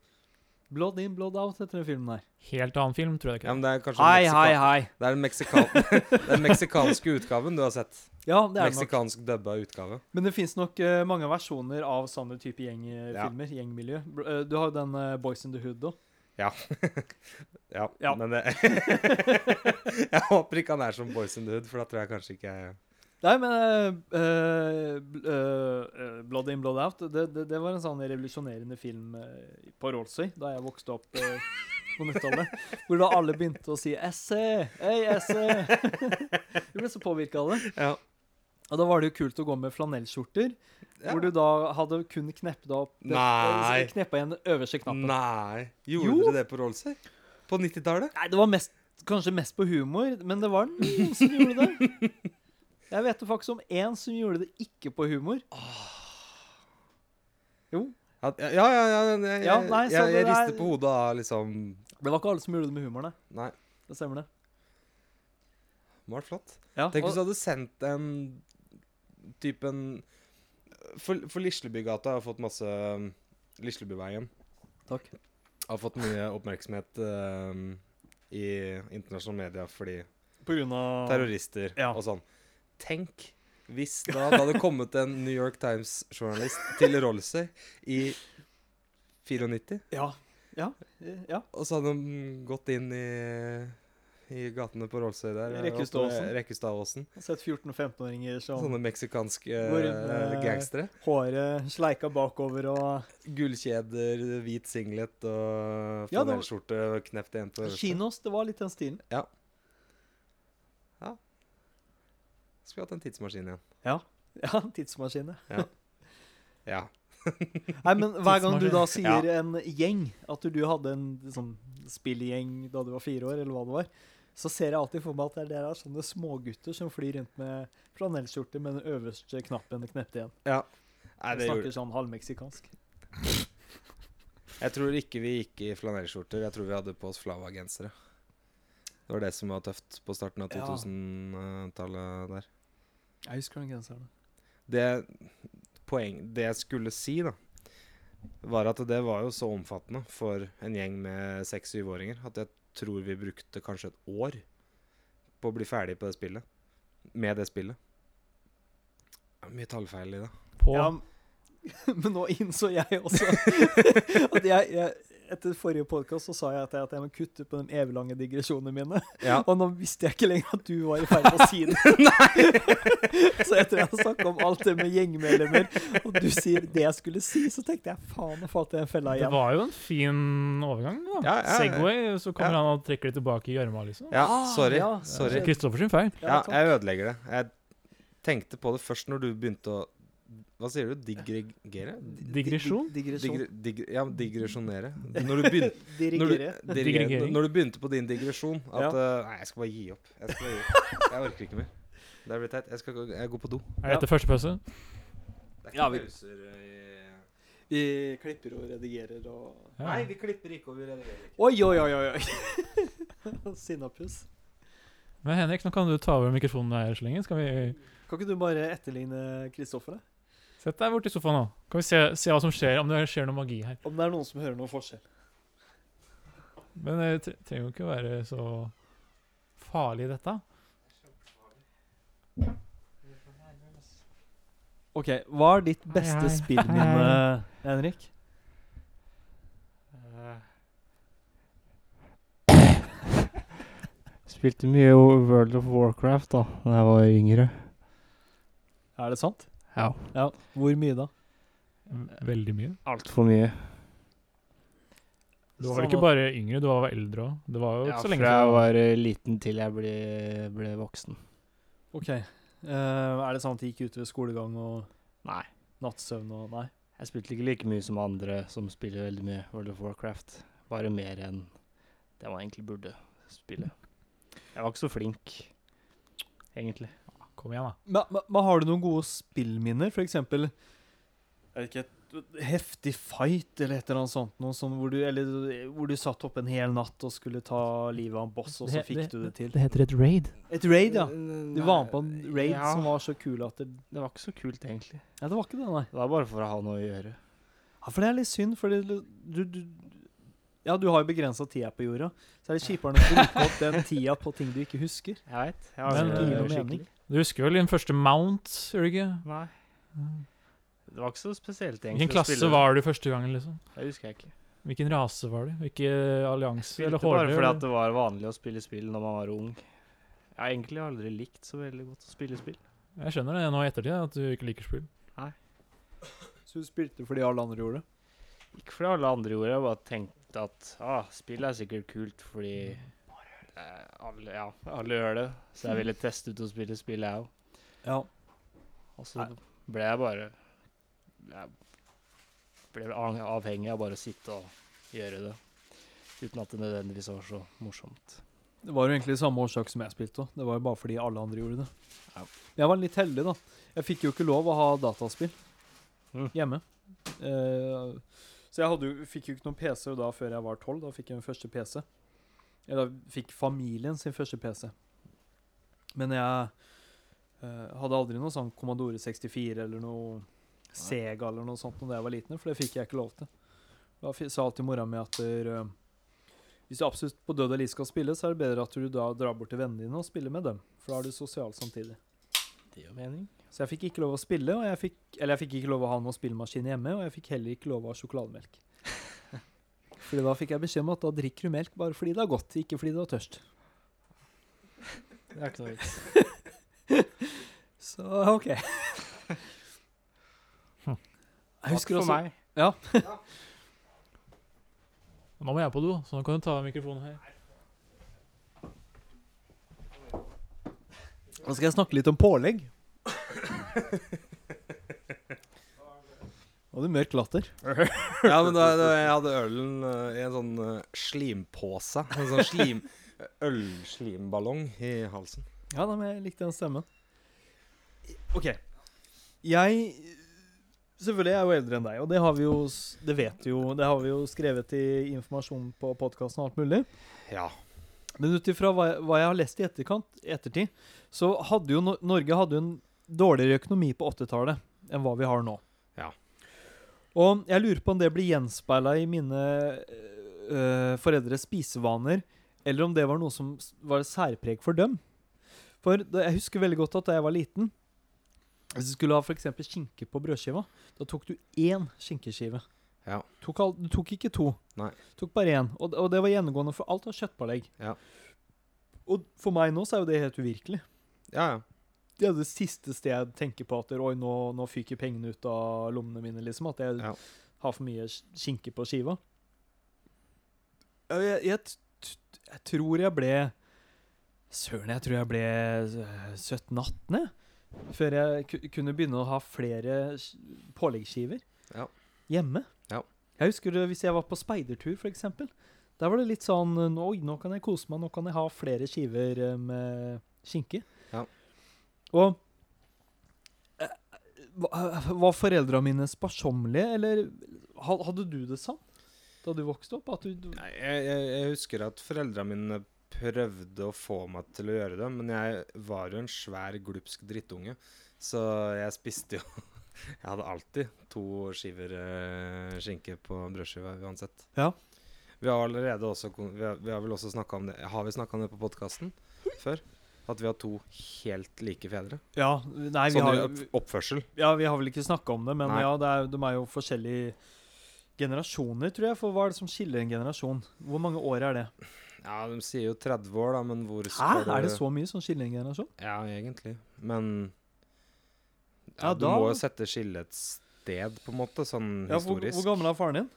Blood in, blood out heter den filmen her.
Helt annen film, tror jeg
Ja,
ikke.
men det er kanskje
Hei,
den
hei,
meksika-
hei.
Det er den, meksika- det er den meksikanske utgaven du har sett.
Ja, det er det nok.
Meksikansk dubba utgave.
Men det fins nok eh, mange versjoner av sånne type
Ja.
gjengfilmer. Gjengmiljø. Bl- eh, du har jo den eh, Boys in the Hood òg.
Ja,
Ja.
men det Jeg håper ikke han er som Boys in the Hood, for da tror jeg kanskje ikke jeg
Nei, men eh, eh, bl- eh, eh, Blood in, Blood out, det, det, det var en sånn revolusjonerende film eh, på Rålsøy da jeg vokste opp. eh, på 90-tallet, Hvor da alle begynte å si 'Esse! Hei, Esse!' Vi ble så påvirka av det.
Ja.
Og da var det jo kult å gå med flanellskjorter,
Ja.
hvor du da hadde kun kneppet opp det-
Nei.
Kneppa igjen den øverste knappen.
Nei. Gjorde
Jo.
dere det på Rollsøy? På 90-tallet?
Nei, det var mest, kanskje mest på humor, men det var noen som gjorde det. Jeg vet jo faktisk om én som gjorde det ikke på humor.
Ja, ja, ja. ja, jeg- jeg,
Ja, nei, så
jeg, jeg
det er-
rister på hodet av liksom
Det var ikke alle som gjorde det med humor, nei.
Nei.
Det stemmer, det.
Det var flott.
Ja,
Tenk hvis
og,
du hadde sendt en type en For, for Lislebygata har fått masse um, Lislebyveien
Takk.
Har fått mye oppmerksomhet eh, i internasjonale media fordi
På grunn av
terrorister
Ja.
og sånn. Tenk hvis da det hadde kommet en New York Times-journalist til Rolsøy i 94,
Ja. Ja. eh, ja.
og så hadde han gått inn i, i gatene på Rolsøy der. eh,
I Rekkestadåsen.
oppe ved Rekkestadåsen.
Jeg har sett 14- og 15-åringer som
Sånne meksikanske
Hvor, eh,
eh, gangstere.
håret sleika bakover og
Gullkjeder, hvit singlet og
Ja, det var-
flanellskjorte knept igjen på øverste.
Kinos, det var litt den stilen.
Skulle hatt en tidsmaskin igjen.
Ja, tidsmaskine.
Ja.
Nei, men hver gang du da sier
Ja.
en gjeng, at du hadde en sånn spillgjeng da du var fire år, eller hva det var, så ser jeg alltid for meg at det der er sånne smågutter som flyr rundt med flanellskjorte med den øverste knappen knept igjen.
Nei,
Og
det gjorde
snakker sånn halvmeksikansk.
Jeg tror ikke vi gikk i flanellskjorter. Jeg tror vi hadde på oss Flava-gensere. Det var det som var tøft på starten av
Ja.
2000-tallet der.
Ice Crown-genserne.
Det, poeng, det jeg skulle si, da, var at det var jo så omfattende for en gjeng med seks-syvåringer at jeg tror vi brukte kanskje et år på å bli ferdig på det spillet. Med det spillet. Det er Mye tallfeil i det.
På
Ja, men nå innså jeg også at jeg, jeg Etter forrige podkast så sa jeg at jeg, at jeg må kutte på de evig lange digresjonene mine.
Ja.
Og nå visste jeg ikke lenger at du var i ferd med å si det. så etter jeg har snakka om alt det med gjengmedlemmer, og du sier det jeg skulle si, så tenkte jeg faen, nå falt jeg i en fella
Det
igjen.
var jo en fin overgang, da.
Ja, ja, ja.
Segway, så kommer
Ja.
han og trekker det tilbake i gjørma, liksom.
ja,
Ah,
sorry.
ja.
sorry.
Kristoffer sin feil.
Ja,
takk.
jeg ødelegger det. Jeg tenkte på det først når du begynte å Hva sier du? Digregere?
Digresjon?
Dig- Digresjon.
Digre, digre, ja, digresjonere. Når du begynte, når du,
Dirigere.
dirigere,
Digrigering.
når du begynte på din digresjon at
Ja.
eh, Nei, jeg skal bare gi opp. Jeg, skal bare gi opp. jeg orker ikke mer. Det blir teit. Jeg, skal, gå- jeg går på do.
Er dette første pause?
Det er
Ja, vi-
pauser eh, i
Vi klipper og redigerer og
Ja.
Nei, vi klipper ikke, og vi redigerer ikke.
Oi, oi, oi, oi. oi. Sinnapus.
Men Henrik, nå kan du ta over mikrofonen her så lenge. Skal vi
Kan ikke du bare etterligne Kristoffer? da?
Sett deg borti sofaen nå. Kan vi se, se hva som skjer, om det skjer noe magi her.
Om det er noen som hører noen forskjell.
Men det tre- trenger jo ikke være så farlig, dette.
OK, hva er ditt
beste
beste spillminne,
spillminne,
Henrik?
Eh. Spilte mye o- World of Warcraft da da jeg var yngre.
Er det sant?
Ja.
Ja. Hvor mye da?
Eh, Veldig mye.
Altfor mye.
Du var vel ikke bare yngre, du var vel eldre òg. Det var jo ikke så lenge
fra jeg
siden.
var eh, liten til jeg ble, ble voksen.
OK. Eh, er det sant de gikk ut ved skolegang og
Nei.
nattsøvn og Nei.
Jeg spilte ikke like mye som andre som spiller veldig mye World of Warcraft. Bare mer enn det man egentlig burde spille. Jeg var ikke så flink, egentlig.
Kom igjen, da.
Men, men, men har du noen gode spillminner? For eksempel jeg vet ikke, et heftig fight eller et eller annet sånt noe sånn hvor du, eller, hvor du satt opp en hel natt og skulle ta livet av en boss, og så
Det-
fikk
det-
du det til.
Det heter et raid.
Et raid, ja. Du
Du
var med på en raid
ja.
som var så kul at det
Det var ikke så kult, egentlig.
Ja, det var ikke det, nei.
Det var bare for å ha noe å gjøre.
Ja, for det er litt synd, for det, du, du Ja, du har jo begrensa tida på jorda. Så er det kjipere å bruke opp den tida på ting du ikke husker.
Jeg veit. Jeg
Men-
angrer
Det gir jo
mening.
skikkelig.
Du husker vel din første mount, gjør du ikke?
Nei. Det var ikke så spesielt, egentlig.
Hvilken
å
klasse
spille.
var du første gangen, liksom?
Det husker jeg ikke.
Hvilken rase var du? Hvilken allianse
Spilte
eller
bare
hårde?
fordi at
eller-
det var vanlig å spille spill når man var ung. Jeg har egentlig aldri likt så veldig godt å spille spill.
Jeg skjønner det nå i ettertid, at du ikke liker spill.
Så du spilte fordi alle andre gjorde det?
Ikke fordi alle andre gjorde det, jeg bare tenkte at ah, spill er sikkert kult fordi eh, alle, ja, alle gjør det. Så
Mm.
jeg ville teste ut å spille spill, jeg òg.
Ja.
Og så ble jeg bare Jeg ble av- avhengig av bare å sitte og gjøre det. Uten at det nødvendigvis var så morsomt.
Det var jo egentlig samme årsak som jeg spilte òg. Det var jo bare fordi alle andre gjorde det.
Ja.
Jeg var litt heldig, da. Jeg fikk jo ikke lov å ha dataspill
Mm.
hjemme. Eh, så jeg hadde jo, fikk jo ikke noen PC da før jeg var tolv. Da fikk jeg min første PC. Eller fikk familien sin første PC. Men jeg eh, hadde aldri noe sånn Commodore 64 eller noe Sega eller noe sånt da jeg var liten, for det fikk jeg ikke lov til. Da fi- sa alltid mora mi at der, eh, hvis du absolutt på død og liv skal spille, så er det bedre at du da drar bort til vennene dine og spiller med dem. For da er du sosial samtidig.
Det gjør mening.
Så jeg fikk ikke lov å spille, og jeg fikk, eller jeg fikk ikke lov å ha noen spillemaskin hjemme, og jeg fikk heller ikke lov å ha sjokolademelk. Fordi da fikk jeg beskjed om at da drikker du melk bare fordi det er godt, ikke fordi du er tørst.
Det er ikke noe vits.
Så OK. Jeg
Takk for meg.
Nå må jeg på do, så nå kan du ta mikrofonen her.
Nå skal jeg snakke litt om pålegg. Og det er mørk latter.
Ja, men da, da jeg hadde ølen eh, i en sånn eh, slimpåse. En sånn slim, ølslimballong i halsen.
Ja, da, men jeg likte den stemmen. OK. Jeg Selvfølgelig er jeg jo eldre enn deg, og det har vi jo s- Det vet vi jo. Det har vi jo skrevet i informasjon på podkasten og alt mulig.
Ja.
Men ut ifra hva, jeg- hva jeg har lest i etterkant, ettertid, så hadde jo Nor- Norge hadde jo en dårligere økonomi på 80-tallet enn hva vi har nå.
Ja.
Og jeg lurer på om det blir gjenspeila i mine øh, foreldres spisevaner, eller om det var noe som s- var særpreg for dem. For da, jeg husker veldig godt at da jeg var liten Hvis du skulle ha f.eks. skinke på brødskiva, da tok du én skinkeskive.
Ja.
Tok all, du tok ikke to.
Nei.
Tok bare én. Og, og det var gjennomgående for alt av kjøttpålegg. Og for meg nå så er jo det helt uvirkelig.
Ja, ja.
Det er det siste sted jeg tenker på at Oi, nå, nå fyker pengene ut av lommene mine, liksom. At jeg
Ja.
har for mye sk- skinke på skiva. Ja, Jeg, jeg, t- t- jeg tror jeg ble Søren, jeg tror jeg ble 17-18, jeg. Før jeg ku- kunne begynne å ha flere sk- påleggsskiver
Ja.
hjemme.
Ja.
Jeg husker det hvis jeg var på speidertur, f.eks. Der var det litt sånn Oi, nå kan jeg kose meg. Nå kan jeg ha flere skiver eh, med skinke.
Ja.
Og eh, va- var foreldra mine sparsommelige, eller ha- hadde du det sånn da du vokste opp? At du, du
Nei, Jeg, jeg, jeg husker at foreldra mine prøvde å få meg til å gjøre det, men jeg var jo en svær glupsk drittunge, så jeg spiste jo Jeg hadde alltid to skiver eh, skinke på brødskiva uansett.
Ja.
Vi har allerede også kon- Vi har, vi har vel også snakka om det Har vi snakka om det på podkasten før? At vi har to helt like fedre?
Ja, nei, vi
Sånn i
har,
opp- oppførsel?
ja, vi har vel ikke snakka om det, men
Nei.
ja, det er, de er jo forskjellige generasjoner, tror jeg. For hva er det som skiller en generasjon? Hvor mange år er det?
Ja, de sier jo 30 år, da, men hvor
Hæ?
skal
Er det
du-
så mye som skiller en generasjon?
Ja, egentlig. Men ja,
Ja,
Du
da-
må jo sette skillet et sted, på en måte, sånn
Ja, hvor,
historisk.
hvor gammel er faren din?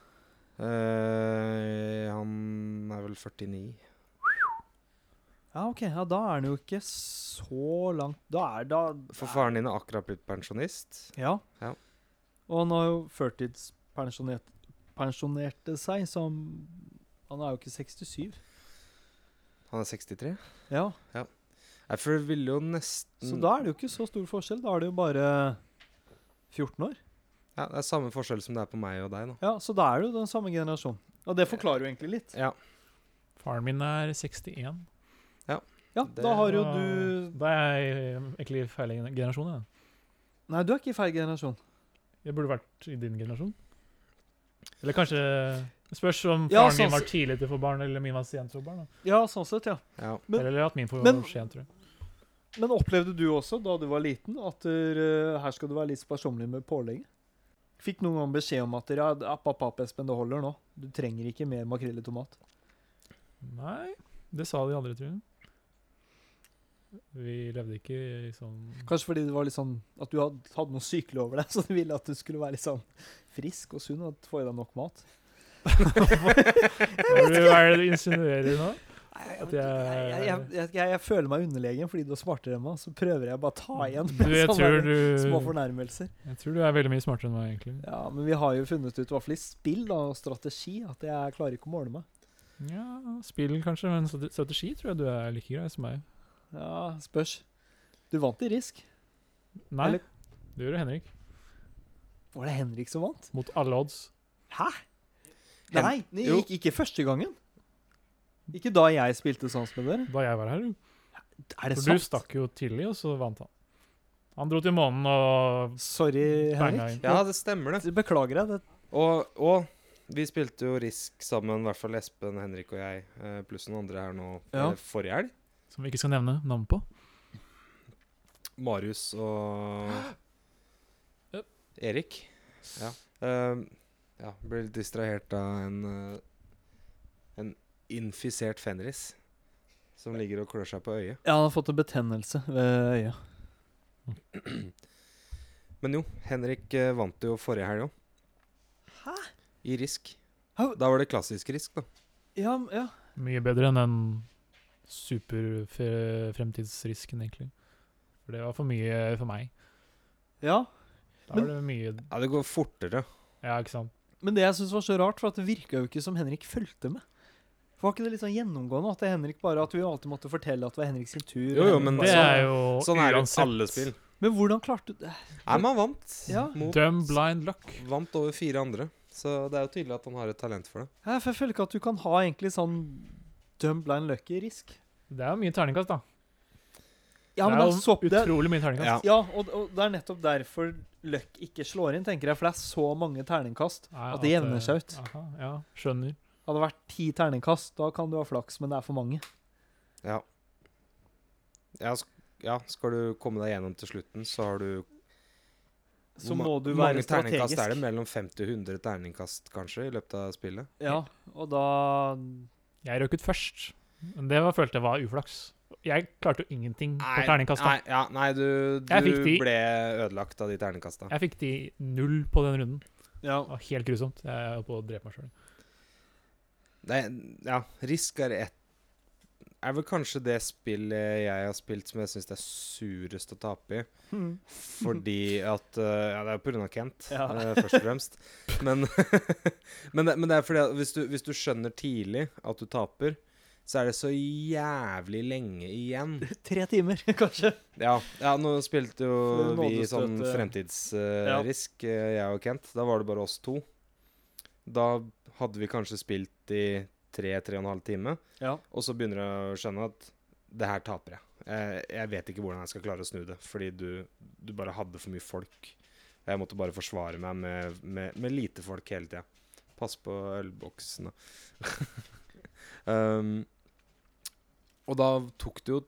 Eh, han er vel 49.
Ja, OK. Ja, da er han jo ikke så langt Da er da
For faren din er akkurat blitt pensjonist.
Ja.
Ja.
Og han har jo førtidspensjonerte seg som Han er jo ikke 67.
Han er 63.
Ja,
Nei, for det ville jo nesten
Så da er det jo ikke så stor forskjell. Da er det jo bare 14 år.
ja, Det er samme forskjell som det er på meg og deg, da.
Ja, Så da er det jo den samme generasjonen. Og det forklarer jo egentlig litt.
Ja.
Faren min er 61.
Ja,
Det
Da har jo
Da-
du
Da er jeg eh, egentlig i feil gener- generasjon. Jeg.
Nei, du er ikke i feil generasjon.
jeg burde vært i din generasjon. Eller kanskje det Spørs om faren
Ja, sånn
min var
s-
tidlig til å få barn, eller min var sent til å få barn. Da.
Ja, sånn sett, ja.
Ja.
Men-
eller at min får
men-
sent, tror jeg.
Men opplevde du også, da du var liten, at eh, her skal du være litt sparsommelig med pålegget? Fikk noen gang beskjed om at ja, app, app, app, Espen, det holder nå. Du trenger ikke mer makrell i tomat.
Nei, det sa de andre, tror jeg. Vi levde ikke i sånn
Kanskje fordi det var litt sånn at du hadde, hadde noe sykelig over deg, så du ville at du skulle være litt sånn frisk og sunn og få i deg nok mat.
Hva er det- hva er det du insinuerer nå?
Jeg,
At jeg-
jeg, jeg, jeg, jeg føler meg underlegen fordi du er smartere enn meg, så prøver jeg bare å ta igjen
Du,
med
jeg, tror
sånne små
du,
fornærmelser.
jeg tror du er veldig mye smartere enn meg, egentlig.
Eh, Ja, men vi har jo funnet ut, i hvert fall i spill da, og strategi, at jeg klarer ikke å måle meg.
Ja, spill kanskje, men strate- strategi tror jeg du er like grei som meg.
Ja, spørs. Du vant i risk.
Nei,
Eller-
det gjorde Henrik.
Var det Henrik som vant?
Mot alle odds.
Hen-
Nei, det
Jo.
gikk ikke første gangen. Ikke da jeg spilte sånn som dere.
Da jeg var her, jo.
Er det
For du
sant?
stakk jo tidlig, og så vant han. Han dro til månen og
Sorry,
banga
Henrik.
inn.
ja, det stemmer, det.
Beklager jeg. Det.
Og, og Vi spilte jo Risk sammen, i hvert fall Espen, Henrik og jeg, eh, pluss noen andre her nå
Ja.
eh, forrige helg.
Som vi ikke skal nevne navn på.
Marius og
Yep.
Erik. Ja. Um, ja, ble litt distrahert av en eh, En infisert fenris som ligger og klør seg på øyet.
Ja, han har fått en betennelse ved øyet.
Men jo, Henrik eh, vant jo forrige helg òg. I Risk.
Hæ?
Da var det klassisk Risk, da.
Ja, m- ja.
Mye bedre enn den superfremtidsrisken, egentlig. For det var for mye for meg.
ja.
Da var det mye
Ja, det går fortere.
Ja, ikke sant.
Men det jeg syns var så rart, for at det virka jo ikke som Henrik fulgte med. For Var ikke det litt sånn gjennomgående at det er Henrik bare at vi alltid måtte fortelle at det var Henrik sin tur? og
Jo, jo,
Henrik
men
bare-
Det er jo
Sånn er det
uansett
i alle spill.
Men hvordan klarte du det?
Nei, men han vant.
Ja.
Mot,
Dumb blind luck.
vant over fire andre. Så det er jo tydelig at han har et talent for det.
Ja, for Jeg føler ikke at du kan ha egentlig sånn dum blind lucky risk.
Det er jo mye terningkast, da.
Ja, men
det
det
er
er
jo
så det,
utrolig mye terningkast.
Ja.
Ja, og, og det er nettopp derfor Luck ikke slår inn, tenker jeg. For det er så mange terningkast.
Nei,
At det jevner seg ut.
Aha, ja, skjønner.
Hadde det vært ti terningkast, da kan du ha flaks, men det er for mange.
Ja. Ja, sk ja, skal du komme deg gjennom til slutten, så har du
Så
Hvor ma-
må du
hvor
være
mange terningkast er
strategisk.
det? Mellom 50 og 100 terningkast, kanskje, i løpet av spillet?
Ja, og da
Jeg røk ut først. Men det var, følte jeg var uflaks. Jeg klarte jo ingenting på terningkast.
nei,
da.
ja, nei du,
Jeg fikk
du
de.
ble ødelagt av de terningkasta.
Jeg fikk de null på den runden.
Ja.
Det var helt grusomt. Jeg holdt på å drepe meg sjøl.
Nei, ja, Risk er ett Er vel kanskje det spillet jeg har spilt som jeg syns det er surest å tape i.
Mm.
Fordi at eh, Ja, det er pga. Kent,
Ja.
eh, først og fremst. Men, men, det, men det er fordi at hvis du, hvis du skjønner tidlig at du taper, så er det så jævlig lenge igjen.
Tre timer, kanskje.
Ja, ja nå spilte jo
For
vi
nådestøt,
sånn
eh, ja.
fremtidsrisk, eh, jeg og Kent. Da var det bare oss to. Da hadde vi kanskje spilt i tre-tre og en halv time,
Ja.
og så begynner jeg å skjønne at det her taper jeg. Eh, Jeg vet ikke hvordan jeg skal klare å snu det, fordi du, du bare hadde for mye folk. Jeg måtte bare forsvare meg med, med, med lite folk hele tida. Pass på ølboksene. um, og da tok det jo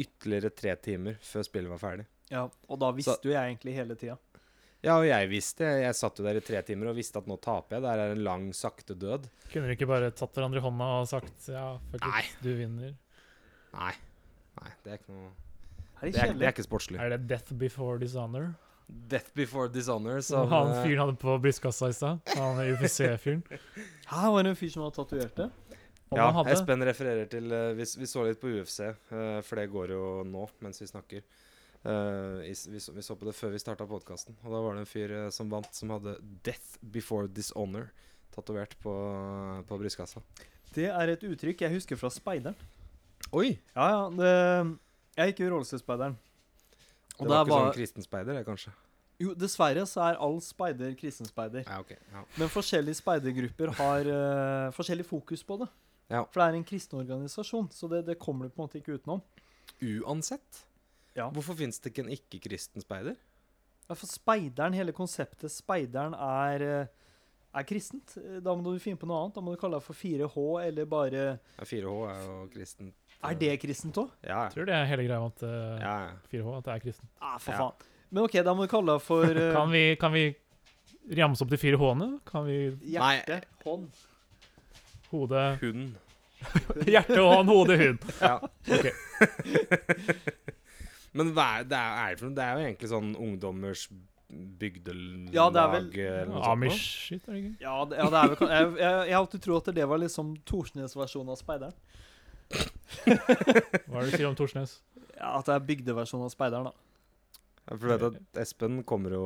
ytterligere tre timer før spillet var ferdig.
ja. Og da visste
Så-
jo jeg egentlig hele tida.
Ja, og jeg visste Jeg satt jo der i tre timer og visste at nå taper jeg. Det her er en lang, sakte død.
Kunne dere ikke bare tatt hverandre i hånda og sagt ja, fuck
Nei.
it, du vinner?
Nei. Nei, det er ikke noe
Er det
Det er, det
kjedelig?
er ikke sportslig.
Er det death before dishonor?
Death before dishonor,
Som
som
han
eh,
fyren hadde på brystkassa i stad? Han UFC-fyren?
Hæ, var det en fyr som hadde tatovert det?
Om
Ja,
han hadde
Espen refererer til eh, vi, s- vi så litt på UFC, eh, for det går jo nå mens vi snakker. Eh, i s- vi, så, vi så på det før vi starta podkasten, og da var det en fyr eh, som vant, som hadde 'Death Before Dishonor' tatovert på, eh, på brystkassa.
Det er et uttrykk jeg husker fra speideren.
Oi!
Ja, ja. Det, jeg gikk jo i rollestøtspeideren.
Det var ikke sånn kristen speider, det, kanskje?
Jo, dessverre så er all speider kristen speider.
Ja, ok. Ja.
Men forskjellige speidergrupper har eh, forskjellig fokus på det.
Ja.
For det er en kristen organisasjon, så det, det kommer du på en måte ikke utenom.
Uansett?
Ja.
Hvorfor fins det ikke en ikke-kristen speider?
Ja, for speideren, hele konseptet speideren er, eh, er kristent. Eh, Da må du finne på noe annet. Da må du kalle det for 4H, eller bare
Ja, 4H er jo kristent.
Er det kristent òg?
Ja,
Jeg tror det er hele greia med at
ja.
eh,
ja. ja.
4H at det er kristen.
Ah, for
Ja.
faen. Men OK, da må du kalle det for eh,
Kan vi, kan vi ramse opp de fire H-ene? Kan vi
hjerte, hånd
hode
Hund.
Hjerte, hånd, hode, hud.
Ja.
Ok.
Men hva er det, er, er det, for, noe? det er jo egentlig sånn ungdommers bygdelag
Ja, det er vel-
eller noe sånt noe.
Amish-shit, er det ikke?
Ja, det, ja, det er vel Jeg, jeg, jeg har alltid trodd at det var liksom Thorsnes versjon av speideren.
Hva er det du sier om Torsnes?
Ja, At det er bygdeversjonen av speideren, da.
Ja, For du vet at Espen kommer jo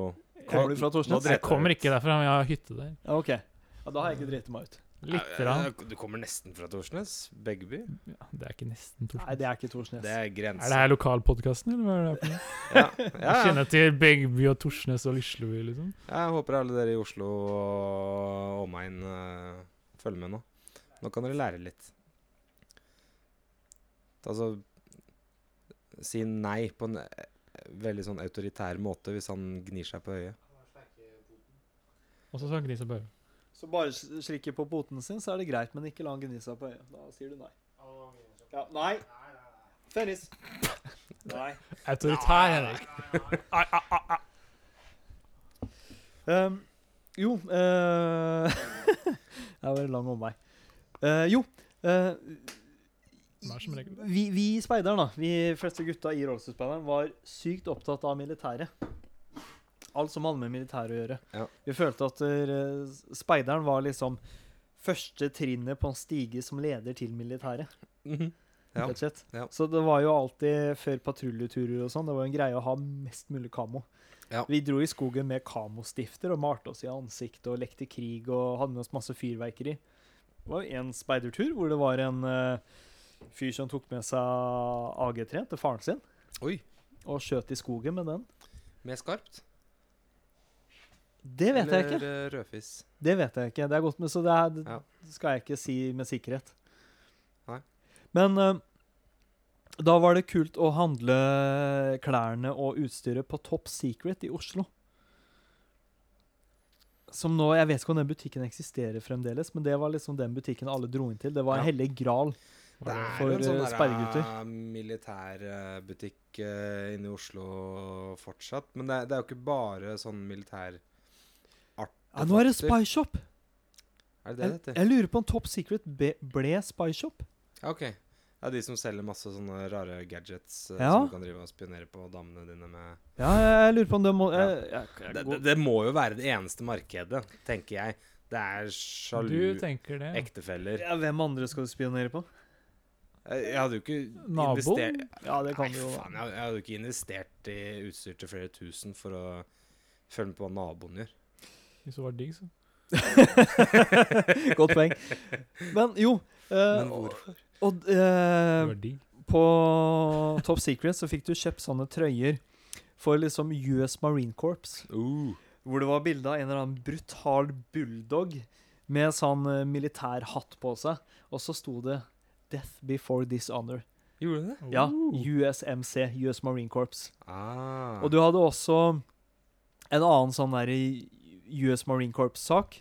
Kommer du fra Thorsnes?
dreper
Jeg kommer ikke derfra, men jeg har hytte der.
Ja, OK. Ja, da har jeg ikke driti meg ut.
Litt.
Ja,
Rann.
Du kommer nesten fra Torsnes? Begby?
Ja, det er ikke nesten
Nei,
Torsnes.
det er ikke Thorsnes.
Det er
Er det
grensen.
her lokalpodkasten, eller hva er det? her for noe?
Ja, ja,
Jeg
ja.
kjenner til Begby og Torsnes og Lisleby, liksom.
Jeg håper alle dere i Oslo og omegn eh, følger med nå. Nå kan dere lære litt. Altså Si nei på en eh, veldig sånn autoritær måte hvis han gnir seg på øyet.
Og så sank de seg bare.
Så bare s- slikker på poten sin, så er det greit, men ikke la han gni seg på øyet. Da sier du nei. Ja, nei. Fenris. Nei.
Autoritær, Henrik.
Ehm, jo eh, Det var en lang omvei. Eh, jo eh,
Vær som regel.
vi, vi i speideren, da, vi fleste gutta i Rollstudspeideren, var sykt opptatt av militæret. Alt som hadde med militæret å gjøre.
Ja.
Vi følte at eh, speideren var liksom første trinnet på en stige som leder til militæret.
Mhm. Ja.
rett og slett.
ja.
Så det var jo alltid før patruljeturer og sånn, det var jo en greie å ha mest mulig kamo.
Ja.
Vi dro i skogen med kamostifter og malte oss i ansiktet og lekte krig og hadde med oss masse fyrverkeri. Det var jo en speidertur hvor det var en eh, fyr som tok med seg AG3 til faren sin
Oi.
og skjøt i skogen med den.
Med skarpt?
Det vet jeg ikke.
Eller eh, rødfis?
Det vet jeg ikke. Det er godt med, så det, er, det
Ja.
skal jeg ikke si med sikkerhet.
Nei.
Men eh, da var det kult å handle klærne og utstyret på Top Secret i Oslo. Som nå, Jeg vet ikke om den butikken eksisterer fremdeles, men det var liksom den butikken alle dro inn til. Det var en
Ja.
hellig gral.
Det
Var
er
for,
jo en sånn
eh,
der,
sperregutter?
eh, militærbutikk eh, inne i Oslo fortsatt. Men det er, det er jo ikke bare sånn militær
Ja, nå er
Artefakter.
det Spy Shop!
Er det det
Jeg,
det heter?
jeg lurer på om Top Secret be, ble Spy Shop.
Ja, OK. Det er de som selger masse sånne rare gadgets eh,
Ja.
som du kan drive og spionere på damene dine med.
Ja, jeg, jeg lurer på om det må
Ja.
jeg, jeg, jeg,
Det, det, det må jo være det eneste markedet, tenker jeg. Det er
Du
sjalu
tenker det.
ektefeller. Eh,
ja, Hvem andre skal du spionere på?
Jeg jeg hadde jo ikke investert
Naboen?
Ja, det kan
Nei,
du jo.
faen, jeg, jeg hadde jo ikke investert i utstyr til flere tusen for å følge med på hva naboen gjør.
Hvis det var digg, så.
Godt poeng. Men jo eh,
Men hvorfor?
Og, og
Det
eh,
var digg.
på Top Secret så fikk du kjøpt sånne trøyer for liksom US Marine Corps.
Uh.
Hvor det var bilde av en eller annen brutal bulldog med sånn eh, militær hatt på seg. Og så sto det 'Death Before Dishonor'.
Gjorde det?
Ja,
Oh.
USMC, US Marine Corps.
Ah.
Og du hadde også en annen sånn der i US Marine Corps-sak,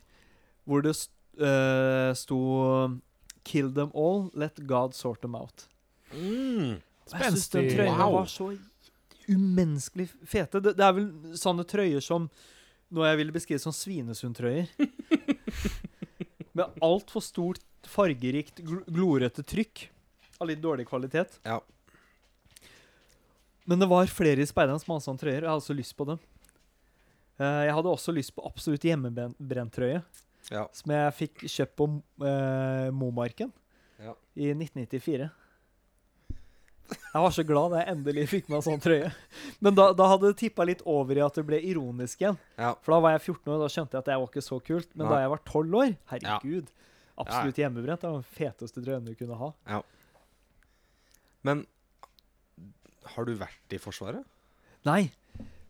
hvor det st eh, sto Kill them all, let God sort them out.
mm.
Og Jeg syns den
Spenstig.
trøya
Wow.
var så umenneskelig fete. Det, det er vel sånne trøyer som noe jeg ville beskrive som Svinesund-trøyer. Med altfor stort, fargerikt, gl glorete trykk av litt dårlig kvalitet.
Ja.
Men det var flere i speideren som hadde sånne trøyer, og jeg hadde så lyst på dem. Eh, Jeg hadde også lyst på absolutt hjemmebrentrøye,
Ja.
som jeg fikk kjøpt på eh, Momarken
Ja.
i 1994. Jeg var så glad da jeg endelig fikk meg en sånn trøye. Men da, da hadde det tippa litt over i at det ble ironisk igjen.
Ja.
For da var jeg 14 år, da skjønte jeg at det var ikke så kult. Men
Nei.
da jeg var 12 år, herregud, absolutt hjemmebrent. Det var den feteste trøyen du kunne ha.
Men har du vært i Forsvaret?
Nei.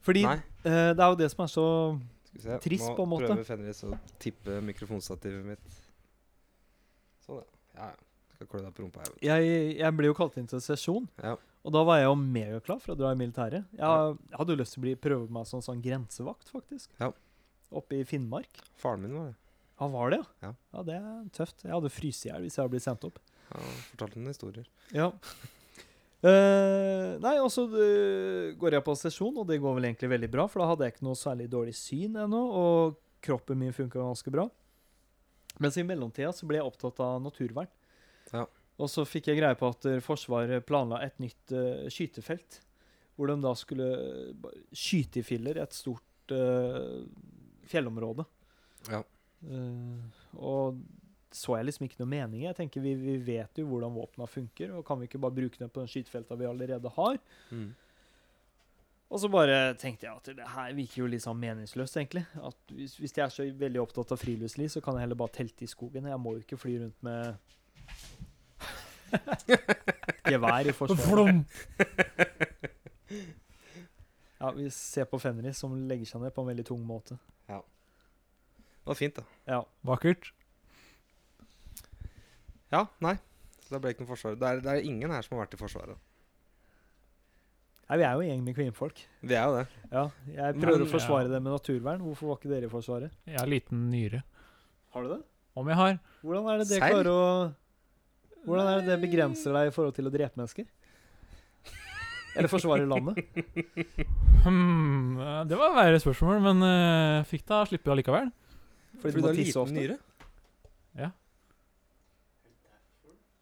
Fordi
Nei.
eh, det er jo det som er så
Skal vi se.
trist
Nå
på en måte.
prøver Fenris å tippe mikrofonstativet mitt. Sånn, ja. ja. ja. Skal klø deg på rumpa. Jeg.
Jeg, jeg ble jo kalt inn til sesjon,
Ja.
og da var jeg jo megaklar for å dra i militæret. Jeg, jeg hadde jo lyst til å bli, prøve meg som sånn grensevakt, faktisk.
Ja.
Oppe i Finnmark.
Faren min var det.
Han var det,
Ja.
Ja, det er tøft. Jeg hadde fryst i hjel hvis jeg hadde blitt sendt opp.
Han fortalte noen historier.
Ja. Eh, nei, og så eh, går jeg på sesjon, og det går vel egentlig veldig bra, for da hadde jeg ikke noe særlig dårlig syn ennå, og kroppen min funka ganske bra. Mens i mellomtida så ble jeg opptatt av naturvern.
Ja.
Og så fikk jeg greie på at eh, Forsvaret planla et nytt eh, skytefelt, hvor de da skulle eh, ba- skyte i filler et stort eh, fjellområde.
Ja.
Eh, og så jeg liksom ikke noe mening i. Jeg tenker vi, vi vet jo hvordan våpna funker, og kan vi ikke bare bruke dem på den skytefelta vi allerede har?
Mm.
Og så bare tenkte jeg at det her virker jo litt sånn meningsløst, egentlig. At hvis, hvis jeg er så veldig opptatt av friluftsliv, så kan jeg heller bare telte i skogen. Jeg må jo ikke fly rundt med gevær i forsvaret.
Flom!
Ja, vi ser på Fenris som legger seg ned på en veldig tung måte.
Det var fint, da.
Ja.
Vakkert.
Ja, nei. Så det ble ikke noe forsvar. Det er, det er ingen her som har vært i Forsvaret.
Nei, vi er jo en gjeng med kvinnfolk.
Vi er jo det.
Ja, jeg prøver
Men-
å forsvare det med naturvern. Hvorfor var ikke dere i Forsvaret?
Jeg har liten nyre.
Har du det?
Om jeg har.
Hvordan er det det
Serr?
klarer å Hvordan er det det begrenser deg i forhold til å drepe mennesker? Eller forsvare landet?
Hmm, eh, det var verre spørsmål, men eh, fikk da slippe allikevel.
Fordi
Fordi
du
du
må
har
tisse
liten
ofte?
nyre?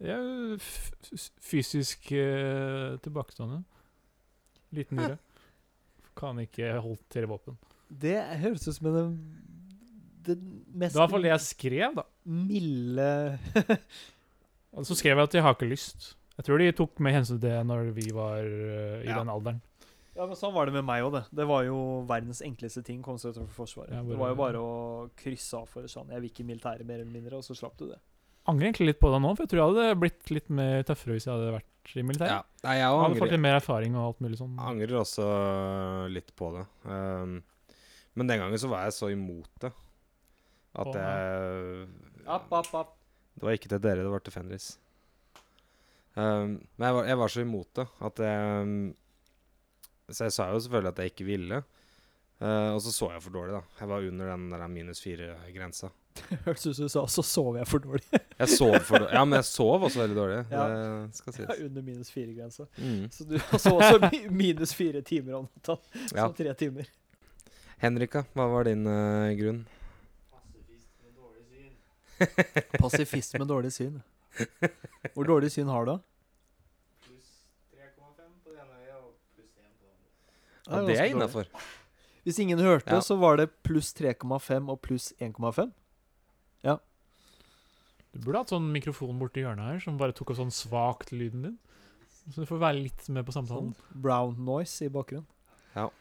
Jeg er jo f- f- fysisk eh, tilbakestående. Liten nyre. Kan ikke holdt til våpen.
Det høres ut som en Det
Det
mest
var i hvert fall det jeg skrev, da.
milde
Og så skrev jeg at jeg har ikke lyst. Jeg tror de tok med hensyn til det når vi var eh, i
Ja.
den alderen.
Ja, men Sånn var det med meg òg, det. Det var jo verdens enkleste ting. Kom seg utenfor Forsvaret.
Ja,
det
bare-
var jo bare å krysse av for sånn Jeg vil ikke i militæret, mer eller mindre, og så slapp du det.
Angrer egentlig litt på det nå, for jeg tror jeg hadde blitt litt mer tøffere hvis jeg hadde vært i
Ja.
militæret.
Nei, jeg
Jeg
òg
hadde fått
angrer,
litt mer erfaring og alt mulig sånn.
angrer også litt på det. Ehm, men den gangen så var jeg så imot det at
Å,
jeg
App, app, app.
Det var ikke til dere, det var til Fenris. Ehm, men jeg var, jeg var så imot det at jeg ehm, Så jeg sa jo selvfølgelig at jeg ikke ville. Eh, og så så jeg for dårlig, da. Jeg var under den der minus fire-grensa.
Hørtes ut som du sa 'så sov jeg for dårlig'.
Jeg sov for dårlig. Ja, men jeg sov også veldig dårlig.
Ja.
Det skal sies.
Under minus fire-grensa.
Mm.
Så du så også mi- minus fire timer om natta. Så
Ja.
tre timer.
Henrika, hva var din eh, grunn?
Pasifist med dårlig syn. Hvor dårlig syn har du, da?
Ja, det er innafor.
Hvis ingen hørte,
Ja.
så var det pluss 3,5 og pluss 1,5.
Du burde hatt sånn mikrofon borti hjørnet her som bare tok opp sånn svakt lyden din. Så du får være litt med på
Sånn
samtalen.
brown noise i bakgrunnen.
Sånn.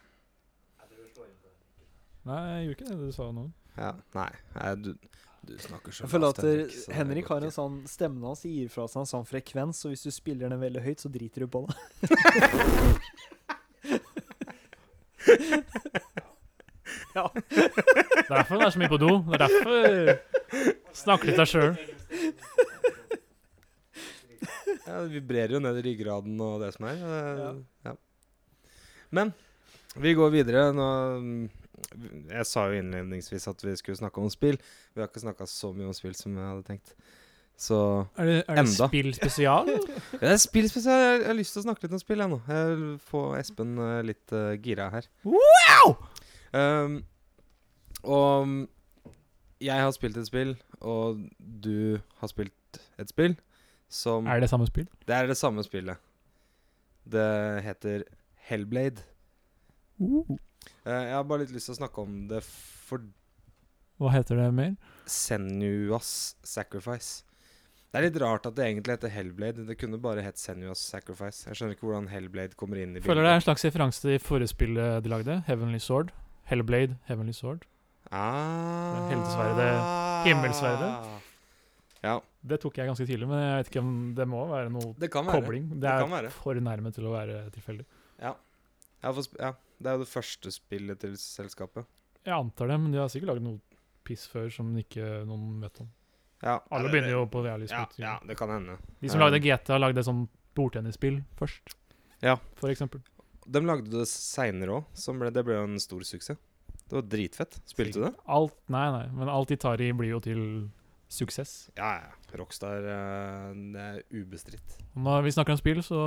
Nei, jeg gjorde ikke det du sa nå.
Ja. Nei, nei du, du snakker så
Jeg føler at
lavt, Henrik, så
eh,
det
Henrik
går
har
ikke.
en sånn Stemmen hans gir fra seg en sånn frekvens, så hvis du spiller den veldig høyt, så driter du på det.
Det er derfor han er så mye på do. Det er derfor Snakk litt deg sjøl.
Ja, det vibrerer jo ned i ryggraden og det som er. eh, Ja. Men vi går videre. Nå, mm, jeg sa jo innledningsvis at vi skulle snakke om spill. Vi har ikke snakka så mye om spill som jeg hadde tenkt. Så
Er det, er det
Enda.
spill spesial?
Ja, Det er spill spesielt. Jeg, jeg har lyst til å snakke litt om spill, jeg nå. Jeg vil få Espen eh, litt eh, gira her.
Wow!
Um, og mm, jeg har spilt et spill, og du har spilt et spill som
Er det samme spill?
Det er det samme spillet. Det heter Hellblade.
Uh.
Eh, jeg har bare litt lyst til å snakke om det for
Hva heter det mer?
Senuas Sacrifice. Det er litt rart at det egentlig heter Hellblade. Det kunne bare hett Senuas Sacrifice. Jeg skjønner ikke hvordan Hellblade kommer inn i bildet.
Føler det er en slags referanse til forrige spillet de lagde, Heavenly Sword. Hellblade, Heavenly Sword.
ah.
Heltesverdet, himmelsverdet.
Ja,
Det tok jeg ganske tidlig, men jeg vet ikke om det må være noe
det kan være.
kobling. Det
Det
er
kan være.
for nærme til å være tilfeldig.
Ja, for, sp- ja, det er jo det første spillet til selskapet.
Jeg antar det, men de har sikkert lagd noe piss før som ikke noen vet om.
Ja, ja,
Alle
det-
begynner jo på reality
ja,
spot.
ja, det kan hende.
De som
Um,
lagde GTA, lagde et sånt bordtennisspill først.
Ja.
For eksempel.
De lagde det seinere òg, som ble, det ble jo en stor suksess. Det var dritfett. Spilte du det?
Alt, nei, nei, men alt de tar i, blir jo til suksess.
Ja, ja. ja. Rockstar eh, det er ubestridt.
Og når vi snakker om spill, så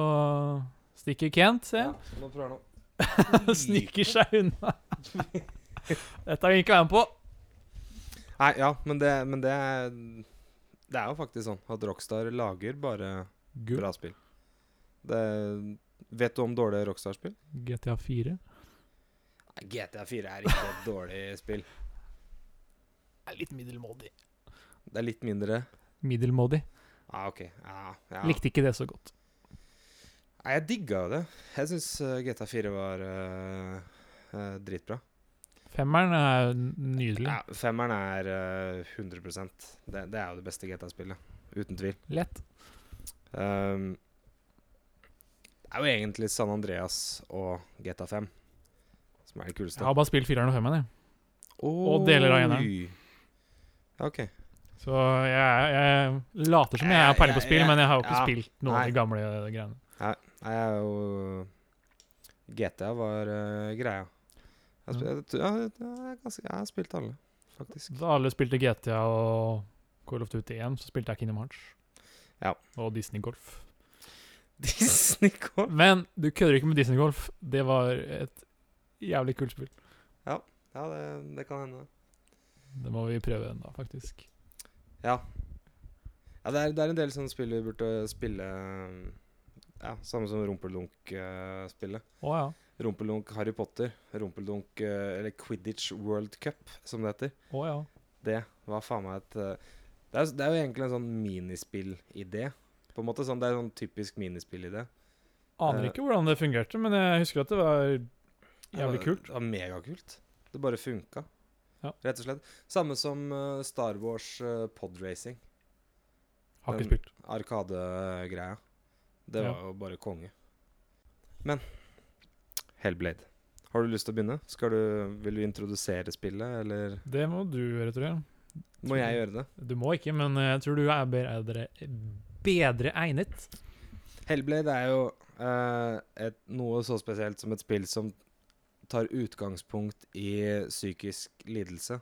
stikker Kent, ser jeg.
Nå prøver jeg nå.
Sniker seg unna. Dette vil jeg ikke være med på.
Nei, ja, men det, men det er Det er jo faktisk sånn at Rockstar lager bare
Gull.
bra spill. Det, vet du om dårlige Rockstar-spill?
GTA 4.
Nei, GTA 4 er ikke et dårlig spill.
Er litt middelmådig.
Det er litt mindre
Middelmådig.
Ja, ah, OK. Ja, ja.
Likte ikke det så godt.
Nei, jeg digga jo det. Jeg syns GTA 4 var eh, eh, dritbra.
Femmeren er n- nydelig.
Ja, femmeren er eh, 100 det, det er jo det beste GTA-spillet. Uten tvil.
Lett.
Ehm, det er jo egentlig San Andreas og GTA5 som er det kuleste.
Jeg har bare spilt fireren og femmeren, jeg.
Oi.
deler av eneren.
Ja, OK.
Så jeg, er- jeg later som jeg har peiling på
Jeg- jeg-
spill, men jeg har jo ikke
ja.
spilt noen av de gamle greiene.
Nei, jeg er jo GTA var eh, greia. Jeg, har sp- jeg, tror- jeg, jeg, er ganske, jeg har spilt alle. faktisk.
Da alle spilte GTA og Call of Duty 1, så spilte jeg Kingdom Hearts.
Ja.
Og Disney Golf.
Disney Golf.
Men du kødder ikke med Disney Golf. Det var et jævlig kult spill.
Ja, det, det kan hende.
Det må vi prøve ennå, faktisk.
Ja, det er, det er en del sånne spill vi burde spille um, Ja, samme som Rumpeldunk-spillet.
Å ja.
Rumpeldunk Harry Potter. Rumpeldunk eh, Eller Quidditch World Cup, som det heter.
Å ja.
Det var faen meg et eh, det er, det er jo egentlig en sånn minispill-idé. På en måte sånn, Det er en sånn typisk minispill-idé.
Aner
Eh.
ikke hvordan det fungerte, men jeg husker at det var
Det var-
jævlig kult.
Det var megakult. Det bare funka,
Ja.
rett og slett. Samme som eh, Star Wars eh, podracing.
Har
den-
ikke spilt.
Arkadegreia. Det
Ja.
var jo bare konge. Men Hellblade. Har du lyst til å begynne? Skal du, vil du introdusere spillet, eller
Det må du gjøre, tror jeg.
må jeg gjøre det?
Du må ikke, men jeg tror du er bedre, bedre egnet.
Hellblade er jo eh, et, noe så spesielt som et spill som tar utgangspunkt i psykisk lidelse.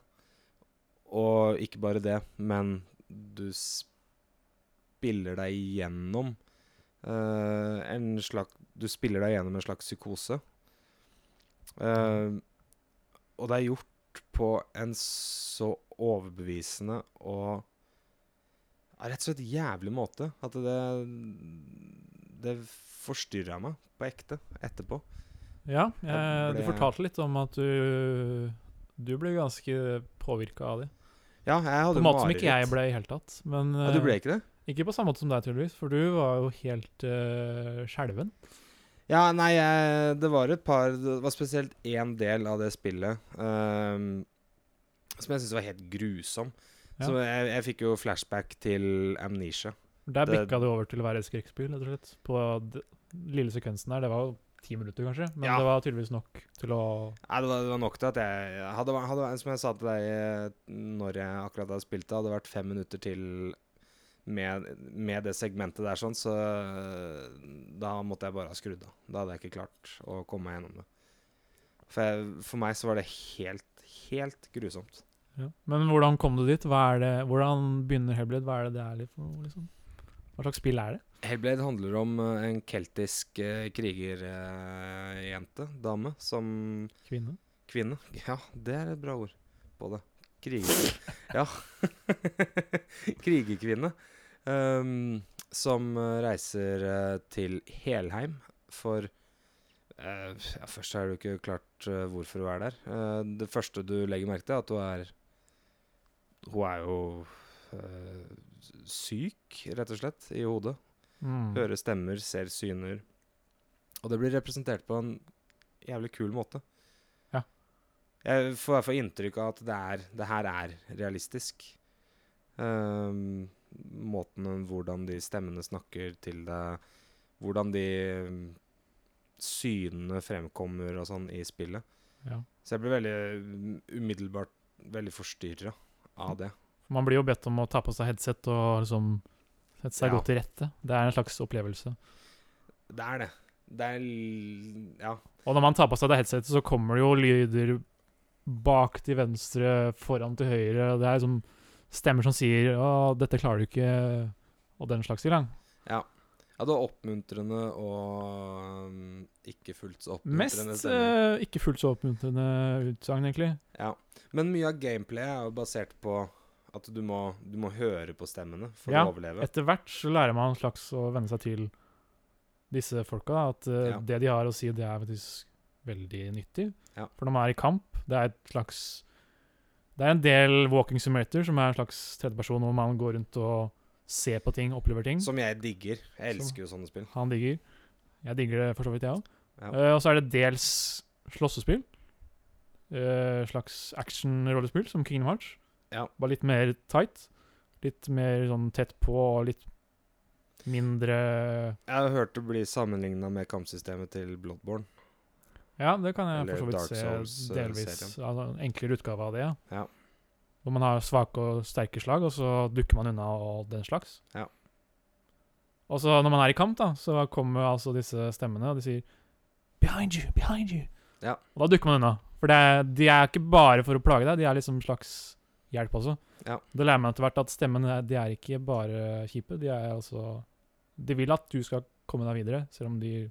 Og ikke bare det, men du spiller deg gjennom eh, en slags Du spiller deg gjennom en slags psykose. Eh, og det er gjort på en så overbevisende og ja, rett og slett jævlig måte. At det Det forstyrra meg på ekte etterpå.
Ja,
Jeg
jeg, du
ble-
fortalte litt om at du Du ble ganske påvirka av det.
Ja, jeg hadde
På en måte som ikke jeg ble i hele tatt. Men
Ja, du
eh,
ble ikke det?
ikke på samme måte som deg, tydeligvis, for du var jo helt uh, skjelven.
Ja, nei, jeg, det var et par Det var spesielt én del av det spillet ehm, som jeg syntes var helt grusom.
Ja.
Så jeg, jeg fikk jo flashback til Amnesia.
Der
Det-
bikka det over til å være et skrekkspill, rett og slett. På den lille sekvensen der. Det var jo ti minutter, kanskje, men
Ja.
det var tydeligvis nok til å
Nei, det var, det var nok til at jeg hadde, hadde, Som jeg sa til deg eh, når jeg akkurat hadde spilt det, hadde det vært fem minutter til med, med det segmentet der, sånn, så eh, da måtte jeg bare ha skrudd av. Da hadde jeg ikke klart å komme meg gjennom det. For, jeg, for meg så var det helt, helt grusomt.
ja. Men hvordan kom du dit? Hva er det, hvordan begynner Hellblade? Hva er det det er litt for noe, liksom? Hva slags spill er det?
Hellblade handler om eh, en keltisk eh, krigerjente, dame, som
Kvinne?
Kvinne. Ja, det er et bra ord på det. Kriger... Ja. Krigerkvinne. ehm, som eh, reiser eh, til Helheim for eh, ja, Først har du ikke klart eh, hvorfor hun er der. Eh, det første du legger merke til, er at hun er Hun er jo eh, syk, rett og slett, i hodet.
Mm.
Hører stemmer, ser syner. Og det blir representert på en jævlig kul måte.
Ja.
Jeg får i hvert fall inntrykk av at det, er, det her er realistisk. Ehm, måten hvordan de stemmene snakker til deg, hvordan de mm, synene fremkommer og sånn i spillet.
Ja.
Så jeg ble veldig mm, umiddelbart veldig forstyrra
Mm.
av det.
For Man blir jo bedt om å ta på seg headset og liksom sette seg
Ja.
godt til rette. Det er en slags opplevelse.
Det er det. Det er l- Ja.
Og når man tar på seg det headsetet, så kommer det jo lyder bak til venstre, foran til høyre. og Det er liksom stemmer som sier 'Å, dette klarer du ikke', og den slags ting.
Ja, det var oppmuntrende og um, ikke fullt så oppmuntrende.
Mest
stemning.
eh, ikke fullt så oppmuntrende utsagn, egentlig.
Ja. Men mye av gameplayet er jo basert på at du må, du må høre på stemmene for
Ja,
å overleve.
Etter hvert så lærer man slags å venne seg til disse folka. da, At eh,
Ja.
det de har å si, det er faktisk veldig nyttig.
Ja.
For når man er i kamp, det er et slags Det er en del walking simulator som er en slags tredjeperson hvor man går rundt og ser på ting, opplever ting.
Som jeg digger. Jeg
Som-
elsker jo sånne spill.
Han digger. Jeg digger det for så vidt, jeg òg.
Ja.
og så er det dels slåssespill. Eh, slags action-rollespill som Kingdom Hearts.
Ja.
Bare litt mer tight. Litt mer sånn tett på og litt mindre
Jeg har hørt det bli sammenligna med kampsystemet til Bloodborne.
Ja, det kan jeg
Eller
for så vidt
Dark
se
Souls, eh,
delvis.
serien.
Altså, en enklere utgave av det.
Ja.
Hvor man har svake og sterke slag, og så dukker man unna og den slags.
Ja.
Og så når man er i kamp, da, så kommer altså disse stemmene, og de sier 'Behind you! Behind you!'
Ja.
Og da dukker man unna. For det er, de er ikke bare for å plage deg, de er liksom slags hjelp også.
Ja.
Da lærer man etter hvert at stemmen er, de er ikke bare kjipe. De er altså De vil at du skal komme deg videre, selv om de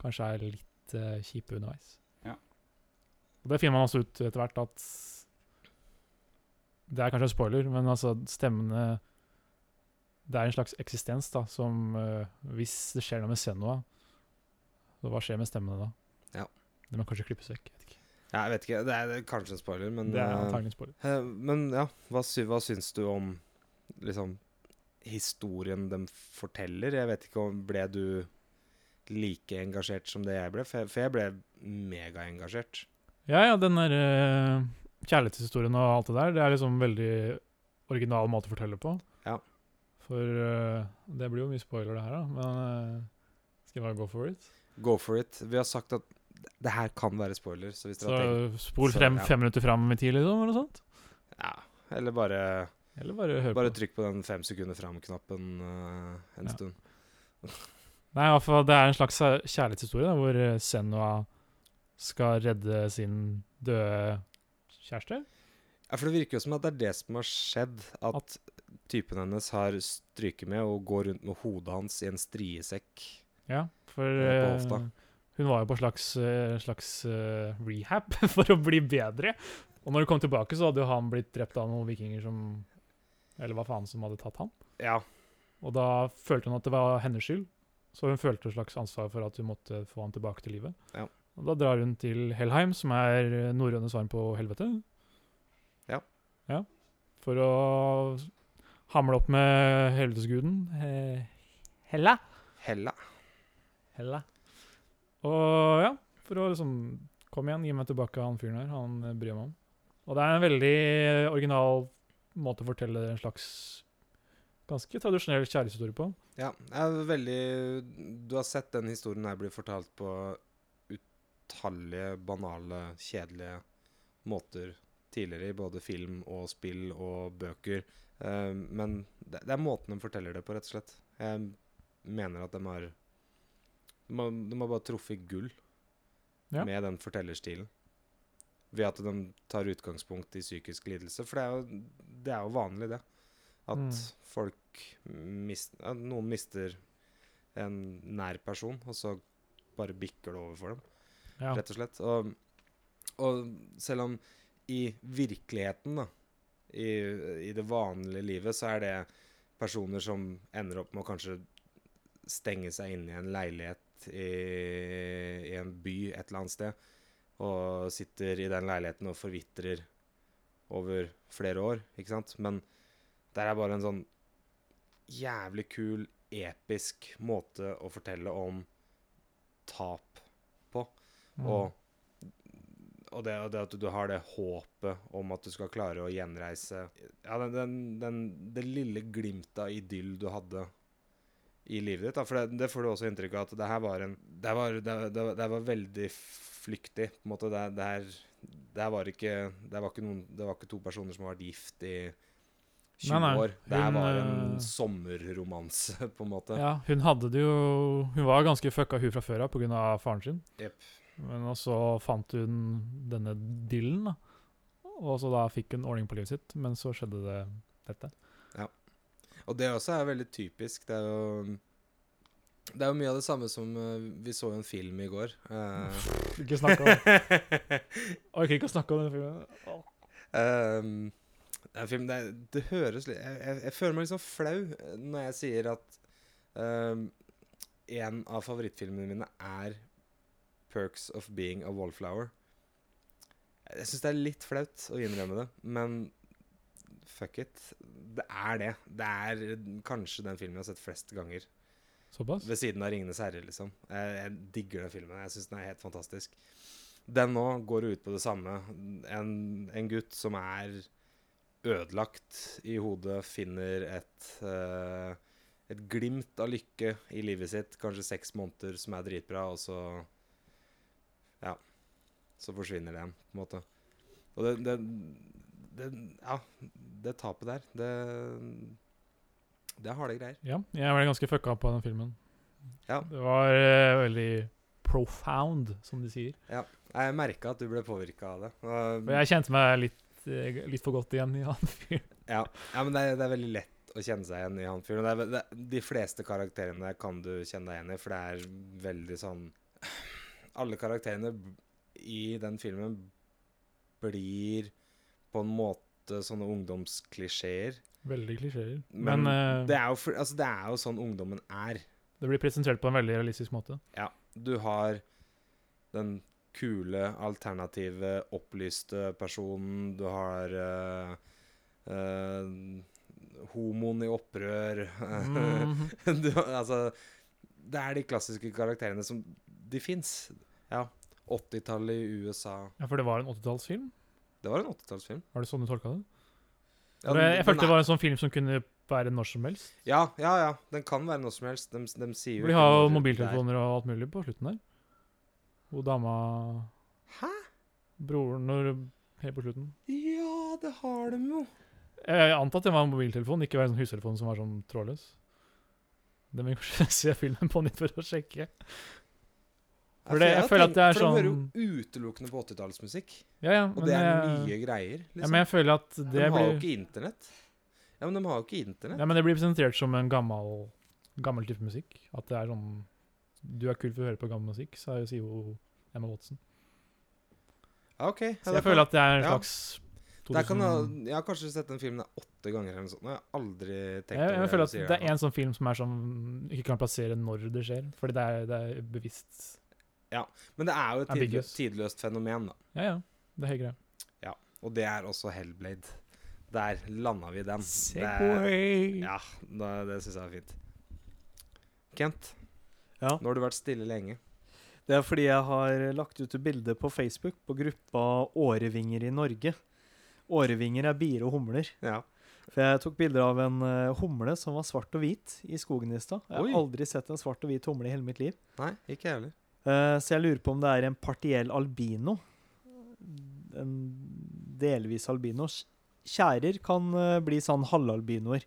kanskje er litt eh, kjipe underveis.
Ja.
Og det finner man også ut etter hvert at Det er kanskje en spoiler, men altså stemmene Det er en slags eksistens, da, som eh, Hvis det skjer noe med Senua, så hva skjer med stemmene da?
Ja.
Det må kanskje klippes vekk. Jeg vet
Ja,
ikke.
jeg vet ikke. Det er, det er kanskje en spoiler, men
Det er
eh,
antagelig en spoiler.
eh, Men ja, hva, sy hva syns du om liksom historien de forteller? Jeg vet ikke om Ble du like engasjert som det jeg ble? For jeg, for jeg ble megaengasjert.
Ja, ja, den der eh, kjærlighetshistorien og alt det der, det er liksom veldig original måte å fortelle på.
Ja.
For eh, det blir jo mye spoiler, det her, da. Men eh, skal jeg bare go for it?
Go for it. Vi har sagt at det- det her kan være spoiler, så hvis dere
Så
har tenkt
spol
så,
frem
ja.
fem minutter fram i tid, liksom, eller noe sånt?
Ja. Eller bare,
Eller bare hør
bare
på.
trykk på den fem sekunder fram-knappen eh, en
Ja.
stund.
Nei, i hvert fall, det er en slags eh, kjærlighetshistorie da, hvor eh, Senua skal redde sin døde kjæreste.
Ja, For det virker jo som at det er det som har skjedd. At, typen hennes har stryket med og går rundt med hodet hans i en striesekk.
Ja, for
Eh, på
eh,
hofta.
hun var jo på slags, eh, slags eh, rehab for å bli bedre. Og når hun kom tilbake, så hadde jo han blitt drept av noen vikinger som Eller hva faen som hadde tatt han.
Ja.
Og da følte hun at det var hennes skyld, så hun følte et slags ansvar for at hun måtte få han tilbake til livet.
Ja.
Og da drar hun til Helheim, som er eh, norrøne svaren på helvete.
Ja.
Ja. For å hamle opp med helvetesguden eh, Hella.
Hella.
Hella. Og ja, for å liksom Kom igjen, gi meg tilbake han fyren her. Han eh, bryr jeg meg om. Og det er en veldig eh, original måte å fortelle en slags ganske tradisjonell kjærlighetshistorie på.
Ja, det er veldig Du har sett den historien her bli fortalt på utallige banale, kjedelige måter tidligere, i både film og spill og bøker. Eh, men det, det er måten de forteller det på, rett og slett. Jeg mener at de har De har, de har bare truffet gull
Ja.
med den fortellerstilen. Ved at de tar utgangspunkt i psykisk lidelse. For det er jo, det er jo vanlig, det. At
Mm.
folk mis, at Noen mister en nær person, og så bare bikker det over for dem
Ja.
rett og slett. Og, og selv om i virkeligheten, da, i, i det vanlige livet, så er det personer som ender opp med å kanskje stenge seg inne i en leilighet i, i en by et eller annet sted, og sitter i den leiligheten og forvitrer over flere år, ikke sant? Men der er bare en sånn jævlig kul, episk måte å fortelle om tap
Mm.
og, og, det, og det at du har det håpet om at du skal klare å gjenreise Ja, den, den, den, det lille glimtet av idyll du hadde i livet ditt. Da. For det, det får du også inntrykk av at det her var en Det her var, det, det, det her var veldig flyktig, på en måte. Det, det her det her var ikke Det her var ikke, noen, det var ikke to personer som har vært gift i 20
Nei, nei.
år. Det her
Hun,
var en
eh,
sommerromanse, på en måte.
ja, hun hadde det jo Hun var ganske fucka hun fra før av pga. faren sin.
Jepp.
Men så fant hun denne Dylan, da. Og så da fikk hun ordning på livet sitt, men så skjedde det dette.
Og det også er veldig typisk. Det er jo det er jo mye av det samme som eh, Vi så jo en film i går. eh,
Ikke snakke om Orker ikke å snakke om den filmen.
ehm, det er en film det, er- det høres litt jeg, jeg, jeg føler meg litt sånn flau eh, når jeg sier at ehm, en av favorittfilmene mine er 'Perks of Being a Wallflower'. Jeg syns det er litt flaut å innrømme det, men fuck it. Det er det. Det er kanskje den filmen jeg har sett flest ganger.
Såpass?
Ved siden av 'Ringenes herre', liksom. Jeg, jeg digger den filmen. Jeg syns den er helt fantastisk. Den nå går jo ut på det samme. En, en gutt som er ødelagt i hodet, finner et eh, et glimt av lykke i livet sitt, kanskje seks måneder, som er dritbra, og så Ja. Så forsvinner det igjen, på en måte. Og det, det, det Ja, det tapet der, det Det er harde greier.
Ja, jeg ble ganske fucka på den filmen.
Ja.
Det var eh, veldig profound, som de sier.
Jeg merka at du ble påvirka av det. Og,
Og jeg kjente meg litt eh, litt for godt igjen i han fyren.
Ja, ja men det er, det er veldig lett å kjenne seg igjen i han fyren. og Det er, ve- det, de fleste karakterene der kan du kjenne deg igjen i, for det er veldig sånn Alle karakterene b- i den filmen blir på en måte sånne ungdomsklisjeer.
Veldig klisjeer.
Men
Men, eh,
Det, er jo for- altså, det er jo sånn ungdommen er.
det blir presentert på en veldig realistisk måte.
Du har den kule, alternative, opplyste personen. Du har eh, eh, homoen i opprør.
Mhm.
du, altså, det er de klassiske karakterene som De fins. Ja. 80-tallet i USA.
Ja, for det var en 80-tallsfilm?
Det var en 80-tallsfilm.
Var det sånn du tolka det?
Ja,
For jeg, jeg
den
følte det
er-
var en sånn film som kunne være når som helst.
ja, ja, ja. Den kan være noe som helst. De, de sier jo
For de
ikke
har jo
noe rundt der.
mobiltelefoner og alt mulig på slutten der. Hvor dama
Hæ?
Broren når Helt på slutten.
Ja, det har de jo.
Jeg, jeg antar at det var en mobiltelefon, ikke var en sånn hustelefon som var sånn trådløs. Det må jeg kanskje se filmen på nytt for å sjekke. For det- jeg
har
føler at
tenkt-
det er
Altså, For de hører
sånn-
jo utelukkende på 80-tallsmusikk.
Ja, ja,
Og
men,
det er
jeg-
nye greier. Liksom.
ja, men jeg føler at
de har
det
jo
blir
ikke internett. Ja, men de har jo ikke internett.
Ja, men det blir presentert som en gammel, gammel type musikk. At det er sånn Du er kul for å høre på gammel musikk, sa jo- sier jo Emma Watson.
Ja, OK. Ja,
Så
da
jeg
kan-
føler at det er en
ja.
slags
Der kan
2000
jeg, jeg har kanskje sett den filmen åtte ganger eller noe sånt. og Jeg har aldri tenkt
jeg, jeg føler at
du sier
det er
her nå.
en sånn film som er sånn ikke kan plassere når det skjer, fordi det er, det er bevisst.
Men det er jo et
er
tidlø
biggest.
tidløst fenomen, da.
Ja, ja. Det er helt greit.
Og det er også Hellblade. Der landa vi den. Mm. Det,
Segway!
ja, det, det syns jeg er fint. Kent,
Ja.
nå har du vært stille lenge.
Det er fordi jeg har lagt ut et bilde på Facebook på gruppa Årevinger i Norge. Årevinger er bier og humler.
Ja.
For jeg tok bilder av en eh, humle som var svart og hvit i skogen i stad. Jeg
Oi.
har aldri sett en svart og hvit humle i hele mitt liv.
Nei, ikke jeg heller.
Eh, så jeg lurer på om det er en partiell albino. En delvis albino. Tjærer kan eh, bli sånn halvalbinoer.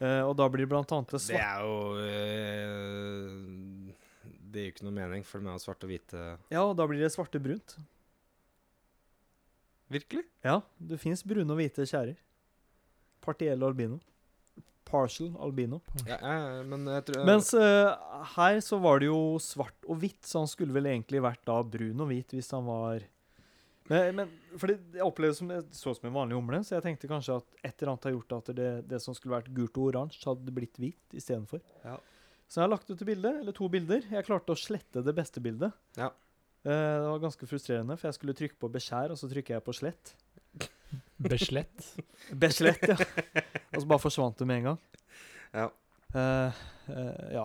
Eh, og da blir det blant annet det
Det
svarte
er jo øh, Det gir jo ikke noe mening, for de er jo svarte og hvite.
Ja, og da blir det svarte brunt.
Virkelig?
Ja, det fins brune og hvite tjærer. Partiell albino. Partial albino.
Ja, ja, ja, men jeg tror
Mens eh, her så var det jo svart og hvitt, så han skulle vel egentlig vært da brun og hvit hvis han var Men, men for det, jeg opplevde det som det så ut som en vanlig humle, så jeg tenkte kanskje at et eller annet har gjort at det, det som skulle vært gult og oransje, hadde blitt hvit istedenfor.
Ja.
Så jeg har lagt ut et bilde, eller to bilder. Jeg klarte å slette det beste bildet.
Ja.
Eh, det var ganske frustrerende, for jeg skulle trykke på beskjær, og så trykker jeg på slett.
Beslett.
Beslett, ja. Og så bare forsvant det med en gang.
Ja.
Eh, eh, ja.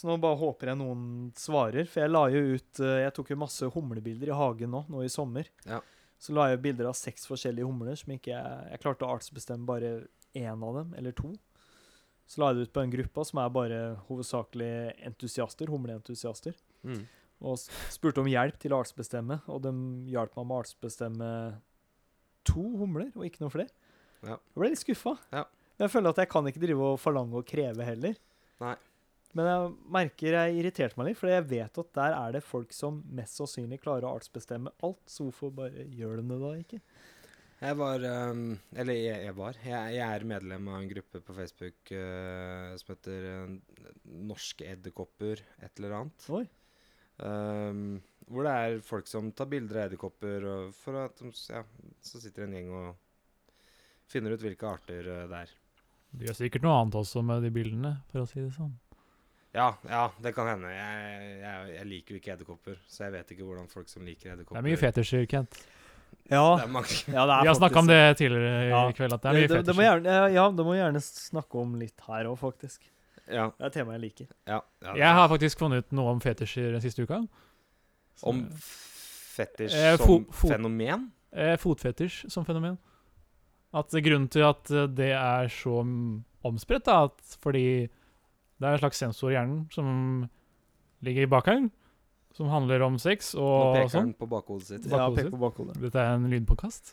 Så nå bare håper jeg noen svarer, for jeg la jo ut eh, Jeg tok jo masse humlebilder i hagen nå, nå i sommer.
Ja.
Så la jeg bilder av seks forskjellige humler som ikke jeg, jeg klarte å artsbestemme bare én av dem, eller to. Så la jeg det ut på en gruppa som er bare hovedsakelig entusiaster, humleentusiaster
Mm.
og s- spurte om hjelp til å artsbestemme, og de hjalp meg med å artsbestemme to humler, og ikke noe flere.
Ja.
Jeg ble litt skuffa.
Ja.
Men jeg føler at jeg kan ikke drive og forlange og kreve heller.
Nei.
Men jeg merker jeg irriterte meg litt, for jeg vet at der er det folk som mest sannsynlig klarer å artsbestemme alt, så hvorfor bare gjør de det da ikke?
Jeg var ehm, Eller jeg, jeg var. Jeg, jeg er medlem av en gruppe på Facebook eh, som heter eh, Norske edderkopper et eller annet.
Oi.
Ehm, hvor det er folk som tar bilder av edderkopper, og for at de, s- ja, så sitter en gjeng og finner ut hvilke arter eh, det er.
Du gjør sikkert noe annet også med de bildene, for å si det sånn.
Ja, ja, det kan hende. Jeg, jeg, jeg liker jo ikke edderkopper, så jeg vet ikke hvordan folk som liker
Det
edderkopper
er mye fetisjer, Kent.
Det
Ja,
er mange.
ja det er
Vi har snakka om det tidligere i
Ja.
kveld, at det
Det,
er
det,
mye
det, må
fetisjer.
gjerne, ja, det må gjerne snakke om litt her òg, faktisk.
Ja,
Det er et tema jeg liker.
ja, ja.
Jeg har faktisk funnet ut noe om fetisjer den siste uka. Så-
Om f- fetisj
Eh,
som
fo- fot-
fenomen?
Eh, fotfetisj som fenomen. At eh, grunnen til at eh, det er så mm, omspredt, da, at fordi det er en slags sensor i hjernen som ligger bak her, som handler om sex
Nå
og
peker
sånn.
han på bakhodet sitt.
Ja,
Bakhodet
pek
sitt.
på bakhodet.
Dette er en lydpodkast.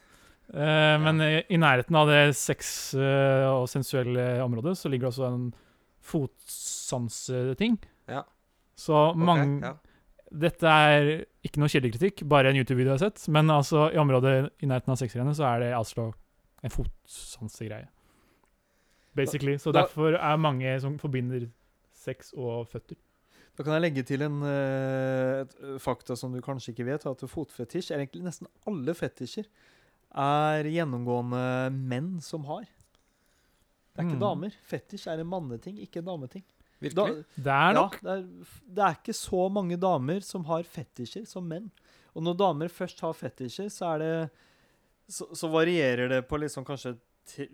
Eh, Men eh, i nærheten av det sex- eh, og sensuelle området, så ligger det også en fotsanseting.
Ja.
Så mange
Ok, ja.
Dette er ikke noe kildekritikk, bare en YouTube-video jeg har sett. Men altså, i området i nærheten av sekserne så er det altså en fotsansegreie. Basically. Så
Da-
derfor er mange som forbinder sex og føtter.
Da kan jeg legge til en eh, et eh, fakta som du kanskje ikke vet, at fotfetisj er egentlig nesten alle fetisjer er gjennomgående menn som har. Det er ikke
Mm.
damer. Fetisj er en manneting, ikke en dameting. Da,
Virkelig?
Det er nok
Ja, det, er, det er ikke så mange damer som har fetisjer som menn. Og når damer først har fetisjer, så er det Så, så varierer det på liksom kanskje ti-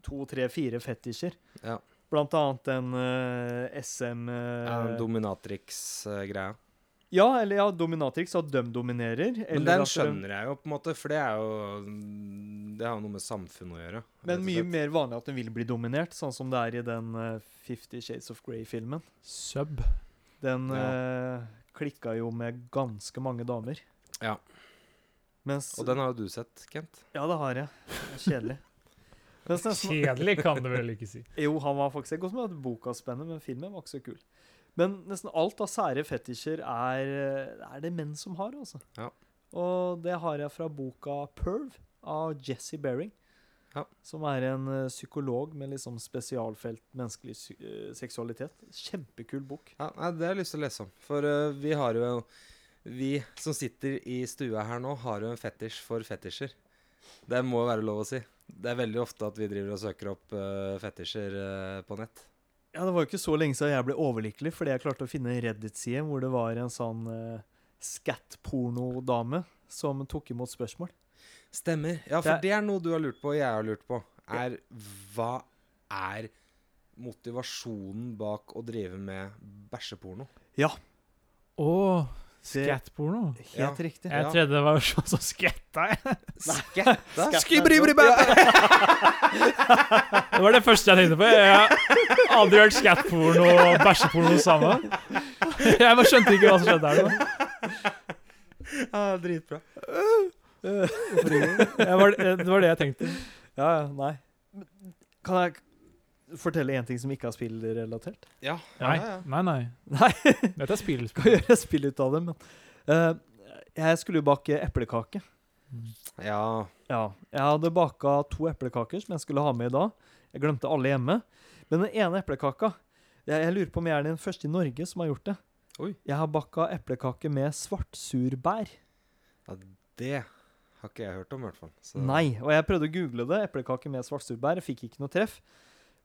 to, tre, fire fetisjer.
Ja.
Blant annet den eh, SM eh,
Eh, Dominatrix-greia.
Ja, eller ja, dominatrix, at de dominerer.
Men
eller
den
at eh, de-
skjønner jeg jo, på en måte, for det er jo mm, Det har jo noe med samfunnet å gjøre. rett
Men
og
mye
slett.
mer vanlig at den vil bli dominert, sånn som det er i den eh, Fifty Shades of Grey-filmen.
sub.
Den eh, klikka jo med ganske mange damer.
Ja.
Mens
Og den har jo du sett, Kent.
Ja, det har jeg. Det er Kjedelig. Mens nesten,
Kjedelig kan det vel ikke si.
jo, han var faktisk Jeg går som at boka er spennende, men filmen var ikke så kul. Men nesten alt av sære fetisjer er, eh, er det menn som har, altså.
Ja.
Og det har jeg fra boka Perv av Jesse Bering.
Ja.
Som er en eh, psykolog med liksom spesialfelt menneskelig sy eh, seksualitet. Kjempekul bok.
Ja, nei, Det har jeg lyst til å lese om. For eh, vi har jo Vi som sitter i stua her nå, har jo en fetisj for fetisjer. Det må være lov å si. Det er veldig ofte at vi driver og søker opp eh, fetisjer eh, på nett.
Ja, Det var jo ikke så lenge siden jeg ble overlykkelig fordi jeg klarte å finne en Reddit-side hvor det var en sånn uh, scat-porno-dame som tok imot spørsmål.
Stemmer. Ja,
Det
for
er-
det er noe du har lurt på, og jeg har lurt på. Er Hva er motivasjonen bak å drive med bæsjeporno?
Å,
Det-
skatporno.
Helt
Ja.
riktig.
Jeg
Ja.
trodde det var sånn som skatta jeg.
Skatta?
Skibribribæ!
Det var det første jeg tenkte på. Jeg har aldri hørt skatporno og bæsjeporno sammen. Jeg bare skjønte ikke hva som skjedde her nå.
Ja, dritbra.
Jeg var, eh, det var det jeg tenkte.
Ja, ja, nei. Men Kan jeg k- fortelle en ting som ikke er spillrelatert?
Ja,
Nei,
ja, ja.
nei. nei.
Nei, jeg
Dette er spill.
kan gjøre spill ut av det, men eh, Jeg skulle jo bake eplekake.
Mm.
ja.
Ja, jeg hadde baka to eplekaker som jeg skulle ha med i dag. Jeg glemte alle hjemme. Men den ene eplekaka jeg, jeg lurer på om jeg er den første i Norge som har gjort det.
Oi.
Jeg har baka eplekake med svartsurbær.
ja, det har ikke jeg hørt om, i hvert fall. Så-
Nei, og jeg prøvde å google det. Eplekake med svartsurbær. Fikk ikke noe treff.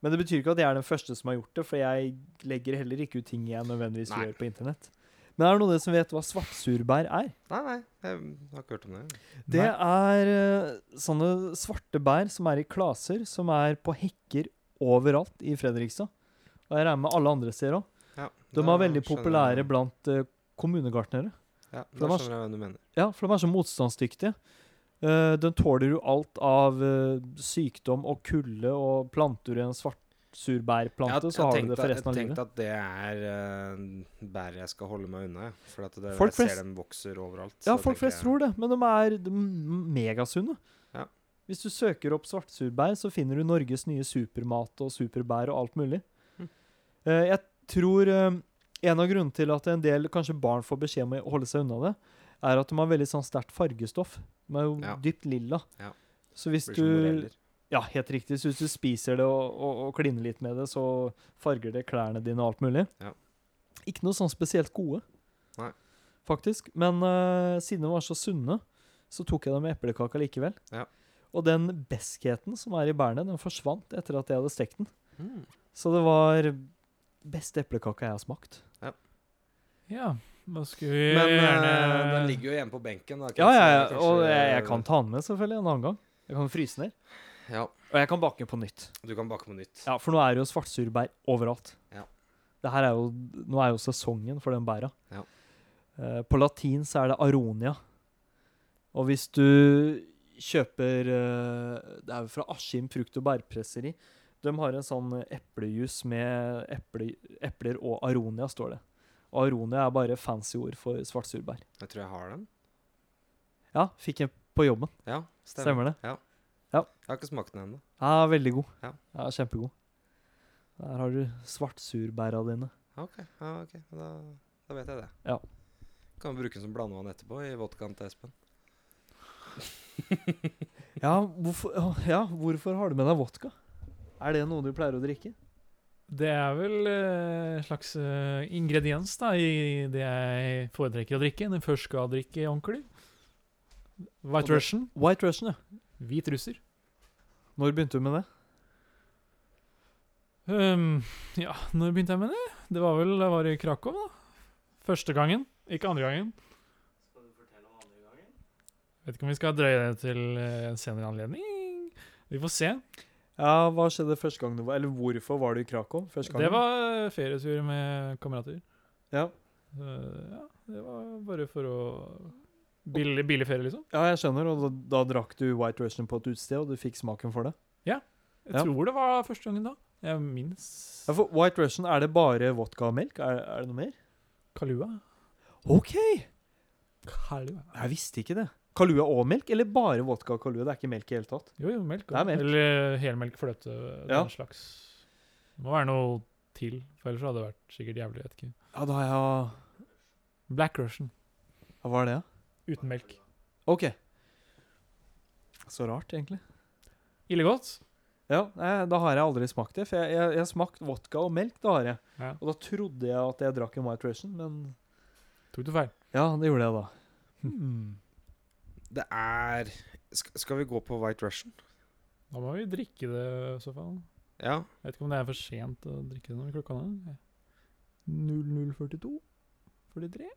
Men det betyr ikke at jeg er den første som har gjort det, for jeg legger heller ikke ut ting jeg nødvendigvis
Nei.
gjør på internett. Men er det noen av dere som vet hva svartsurbær er?
Nei, nei, jeg har ikke hørt om det.
Det er eh, sånne svarte bær som er i klaser, som er på hekker overalt i Fredrikstad. Og jeg regner med alle andre steder òg.
Ja,
De
da
er veldig
skjønner
populære
jeg-
blant eh, kommunegartnere.
Ja,
de
da
har-
skjønner jeg hvem du mener.
Ja, for de er så motstandsdyktige. Eh, den tåler jo alt av eh, sykdom og kulde, og planter du en svartsurbærplante, så har du det for resten av
Jeg
livet.
tenkte at det er uh, bæret jeg skal holde meg unna. jeg. For at det,
Folk
jeg
flest-
ser dem vokser overalt.
Ja,
så
folk
tenker
flest
jeg-
tror det, men de er de er megasunne.
Ja.
Hvis du søker opp svartsurbær, så finner du Norges nye supermat og superbær og alt mulig.
Mm.
Eh, jeg tror eh, en av grunnene til at en del kanskje barn får beskjed om å holde seg unna det, er at de har veldig sånn sterkt fargestoff. De er jo
Ja.
dypt lilla.
Ja.
Så hvis
Blir som
du
moreller.
Ja, helt riktig. Så hvis du spiser det og, og, og kliner litt med det, så farger det klærne dine og alt mulig.
Ja.
Ikke noe sånn spesielt gode,
Nei.
faktisk. Men eh, siden de var så sunne, så tok jeg dem med eplekaka likevel.
Ja.
Og den beskheten som er i bærene, den forsvant etter at jeg hadde stekt den.
Mm.
Så det var beste eplekaka jeg har smakt.
Ja, da skulle vi
Men eh,
gjerne
den ligger jo hjemme på benken. Da,
Ja,
Kent, så
ja, ja.
det er
Og
kanskje-
jeg, jeg kan ta den med selvfølgelig en annen gang. Jeg kan fryse ned.
Ja,
Og jeg kan bake på nytt.
du kan bake på nytt.
Ja, for nå er det jo svartsurbær overalt.
Ja.
Det her er jo, nå er jo sesongen for den bæra.
Ja.
Eh, på latin så er det aronia. Og hvis du kjøper eh, Det er jo fra Askim frukt- og bærpresseri. De har en sånn eplejus med eple, epler og aronia, står det. Og aronia er bare fancy ord for svartsurbær.
Jeg tror jeg har den.
Ja, fikk en på jobben.
Ja, stemmer.
Stemmer det?
Ja.
Ja.
Jeg har ikke smakt den ennå.
Ja, veldig god.
Ja.
ja kjempegod. Der har du svartsurbæra dine.
Ja, Ok, ja, ok. Da, da vet jeg det.
Ja.
Kan bruke den som blandevann etterpå i vodkaen til Espen.
Ja hvorfor, ja, hvorfor har du med deg vodka? Er det noe du pleier å drikke?
Det er vel eh, en slags eh, ingrediens da, i det jeg foretrekker å drikke når jeg først skal drikke ordentlig.
Og
White
det-
Russian.
White Russian, ja.
Hvit russer.
Når begynte du med det?
Ehm, ja, når begynte jeg med det? Det var vel jeg var i Krakow, da. Første gangen, ikke andre gangen. Vet ikke om vi skal drøye det til eh, en senere anledning. Vi får se.
Ja, Hva skjedde første gang du var Eller hvorfor var du i Krakow? første gangen?
Det var eh, ferietur med kamerater.
ja.
Eh, ja, det var bare for å Billig, billig ferie, liksom.
ja, jeg skjønner. Og da, da drakk du White Russian på et utested, og du fikk smaken for det?
Jeg
Ja.
tror det var første gangen da. Jeg minnes
Ja, for White Russian, er det bare vodka og melk? Er, er det noe mer?
Kalua.
OK!
Kalua.
Jeg visste ikke det. Kalua og melk, eller bare vodka og kalua? Det er ikke melk i det hele tatt.
Jo, jo, melk.
Det er
også.
melk.
Eller eh, helmelk, fløte,
Ja.
den slags. Det må være noe til, for ellers hadde det vært sikkert jævlig. jeg vet ikke.
Ja, da har jeg
Black Russian.
ja, Hva er det, da?
Uten melk.
OK. Så rart, egentlig.
Ille godt.
Ja, nei, da har jeg aldri smakt det. For jeg, jeg, jeg har smakt vodka og melk, da har jeg.
Ja.
Og da trodde jeg at jeg drakk en White Russian, men
Tok du feil?
Ja, det gjorde jeg da. Hmm.
Det er Sk Skal vi gå på White Russian?
Da må vi drikke det i så fall.
Ja.
Jeg vet ikke om det er for sent å drikke det når klokka er 00.42? 43?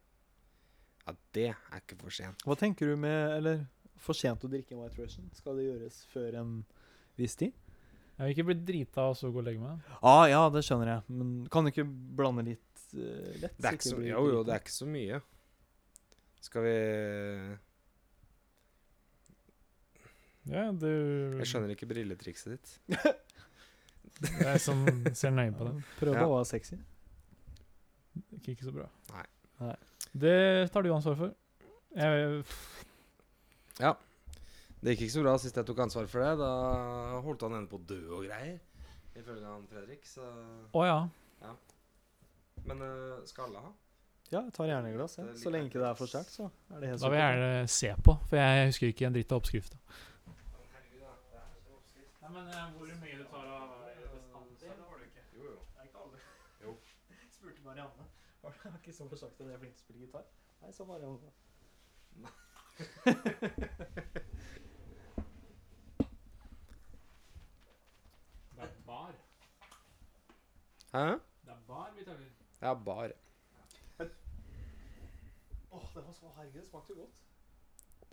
ja, det er ikke for sent.
Hva tenker du med Eller for sent å drikke en White Russian? Skal det gjøres før en viss tid?
Jeg vil ikke bli drita og så gå og legge meg.
Ah, ja, det skjønner jeg. Men kan du ikke blande litt eh, lett?
Det er ikke så, jo, jo, det er ikke så mye. Skal vi
Ja, du
Mm.
Jeg skjønner ikke brilletrikset ditt.
Jeg som ser nøye på det.
Prøv
Ja.
å være sexy.
Gikk ikke så bra.
Nei.
Nei.
Det tar du ansvar for. Jeg,
Det gikk ikke så bra sist jeg tok ansvar for det. Da holdt han ene på å dø og greier. Ifølge han Fredrik, så
å ja.
Men eh, skal alle ha?
Ja, jeg tar gjerne et glass. jeg.
Det er
Så
litt
lenge ikke det er for
enkelt.
sterkt, så er det helt
Da vil jeg
supert.
gjerne se på, for jeg husker ikke en dritt av oppskrifta. eh,
Jo, jo. Jo.
Spurte Marianne. Har Kristoffer sagt at jeg er flink til å spille gitar? Nei, sa Marianne.
Det er bar.
Hæ?
Det er bar vi tar
Ja, bar.
Åh, det var så herregud, det smakte jo godt.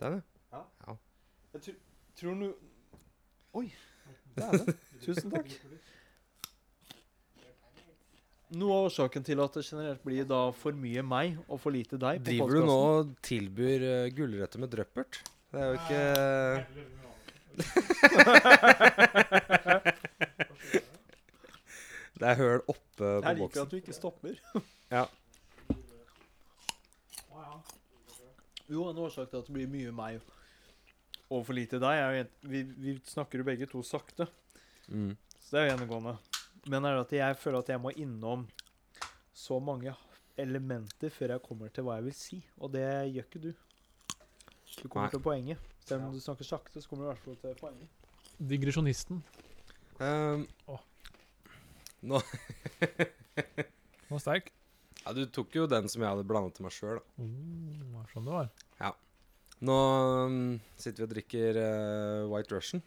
Det er det.
Jeg tror, tror du Oi. Dæven. Tusen takk. Noe av årsaken til at det generelt blir da for mye meg og for lite deg på
Driver du nå
podcasten.
og tilbyr eh, gulrøtter med drøppert? Det er jo ikke Det er høl oppe på
Jeg liker
boksen.
at du ikke stopper.
Ja.
Jo, en årsak til at det blir mye meg og for lite deg er jo en- vi, vi snakker jo begge to sakte,
Mm.
så det er jo gjennomgående. Men er det at jeg føler at jeg må innom så mange elementer før jeg kommer til hva jeg vil si, og det gjør ikke du. Du kommer
Nei.
til poenget. Selv om
Ja.
du snakker sakte, så kommer du i hvert fall til poenget.
Digresjonisten.
Ehm,
Den var sterk.
ja, du tok jo den som jeg hadde blandet til meg sjøl, da.
Oh, var sånn det var.
Nå mm, sitter vi og drikker eh, White Russian.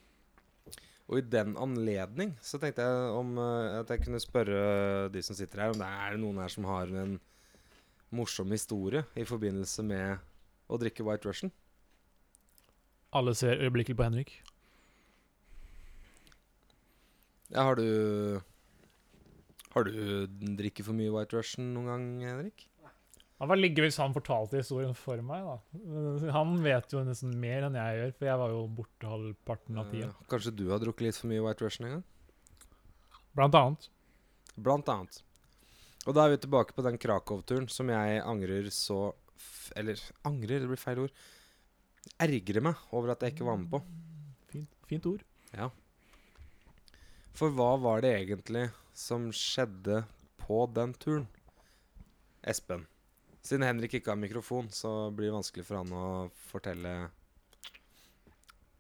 Og i den anledning så tenkte jeg om eh, at jeg kunne spørre de som sitter her, om det er noen her som har en morsom historie i forbindelse med å drikke White Russian.
Alle ser øyeblikkelig på Henrik.
Ja, har du Har du drikket for mye White Russian noen gang, Henrik?
Han var ligge hvis han fortalte historien for meg, da. Han vet jo nesten mer enn jeg gjør, for jeg var jo borte halvparten av tida.
Eh, kanskje du har drukket litt for mye White Russian en gang?
Blant annet.
Blant annet. Og da er vi tilbake på den Krakow-turen som jeg angrer så f Eller angrer, det blir feil ord. Ergrer meg over at jeg ikke var med på.
Fint, fint ord.
For hva var det egentlig som skjedde på den turen? Espen, Siden Henrik ikke har mikrofon, så blir det vanskelig for han å fortelle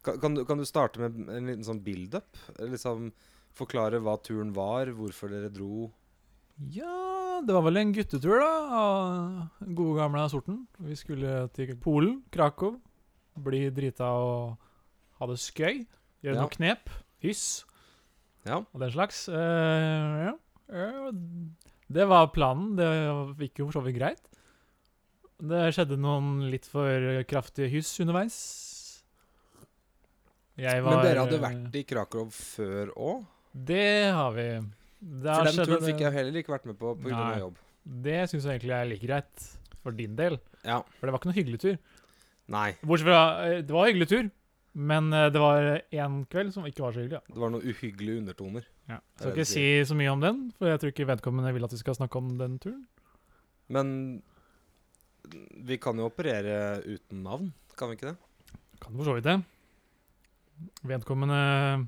Kan, kan, du, kan du starte med en liten sånn build-up? Liksom forklare hva turen var, hvorfor dere dro?
Ja, det var vel en guttetur, da, av den gode gamle sorten. Vi skulle til Polen, Krakow, bli drita og ha det skøy. Gjøre
Ja.
noen knep, hyss
Ja.
og den slags. Eh, ja. Eh, det var planen. Det gikk jo for så vidt greit. Det skjedde noen litt for kraftige hyss underveis. Jeg var
Men dere hadde
eh,
vært i Krakow før òg?
Det har vi. Da
For den
skjedde
turen
det-
fikk jeg heller ikke vært med på pga.
Nei.
jobb.
Det syns jeg egentlig er like greit for din del.
Ja.
For det var ikke noe hyggelig tur.
Nei,
Bortsett fra eh, Det var en hyggelig tur, men eh, det var én kveld som ikke var så hyggelig. Ja.
det var noen uhyggelige undertoner.
Jeg skal ikke si så mye om den, for jeg tror ikke vedkommende vil at vi skal snakke om den turen.
Men vi kan jo operere uten navn, kan vi ikke det?
Kan for så vidt det. Vedkommende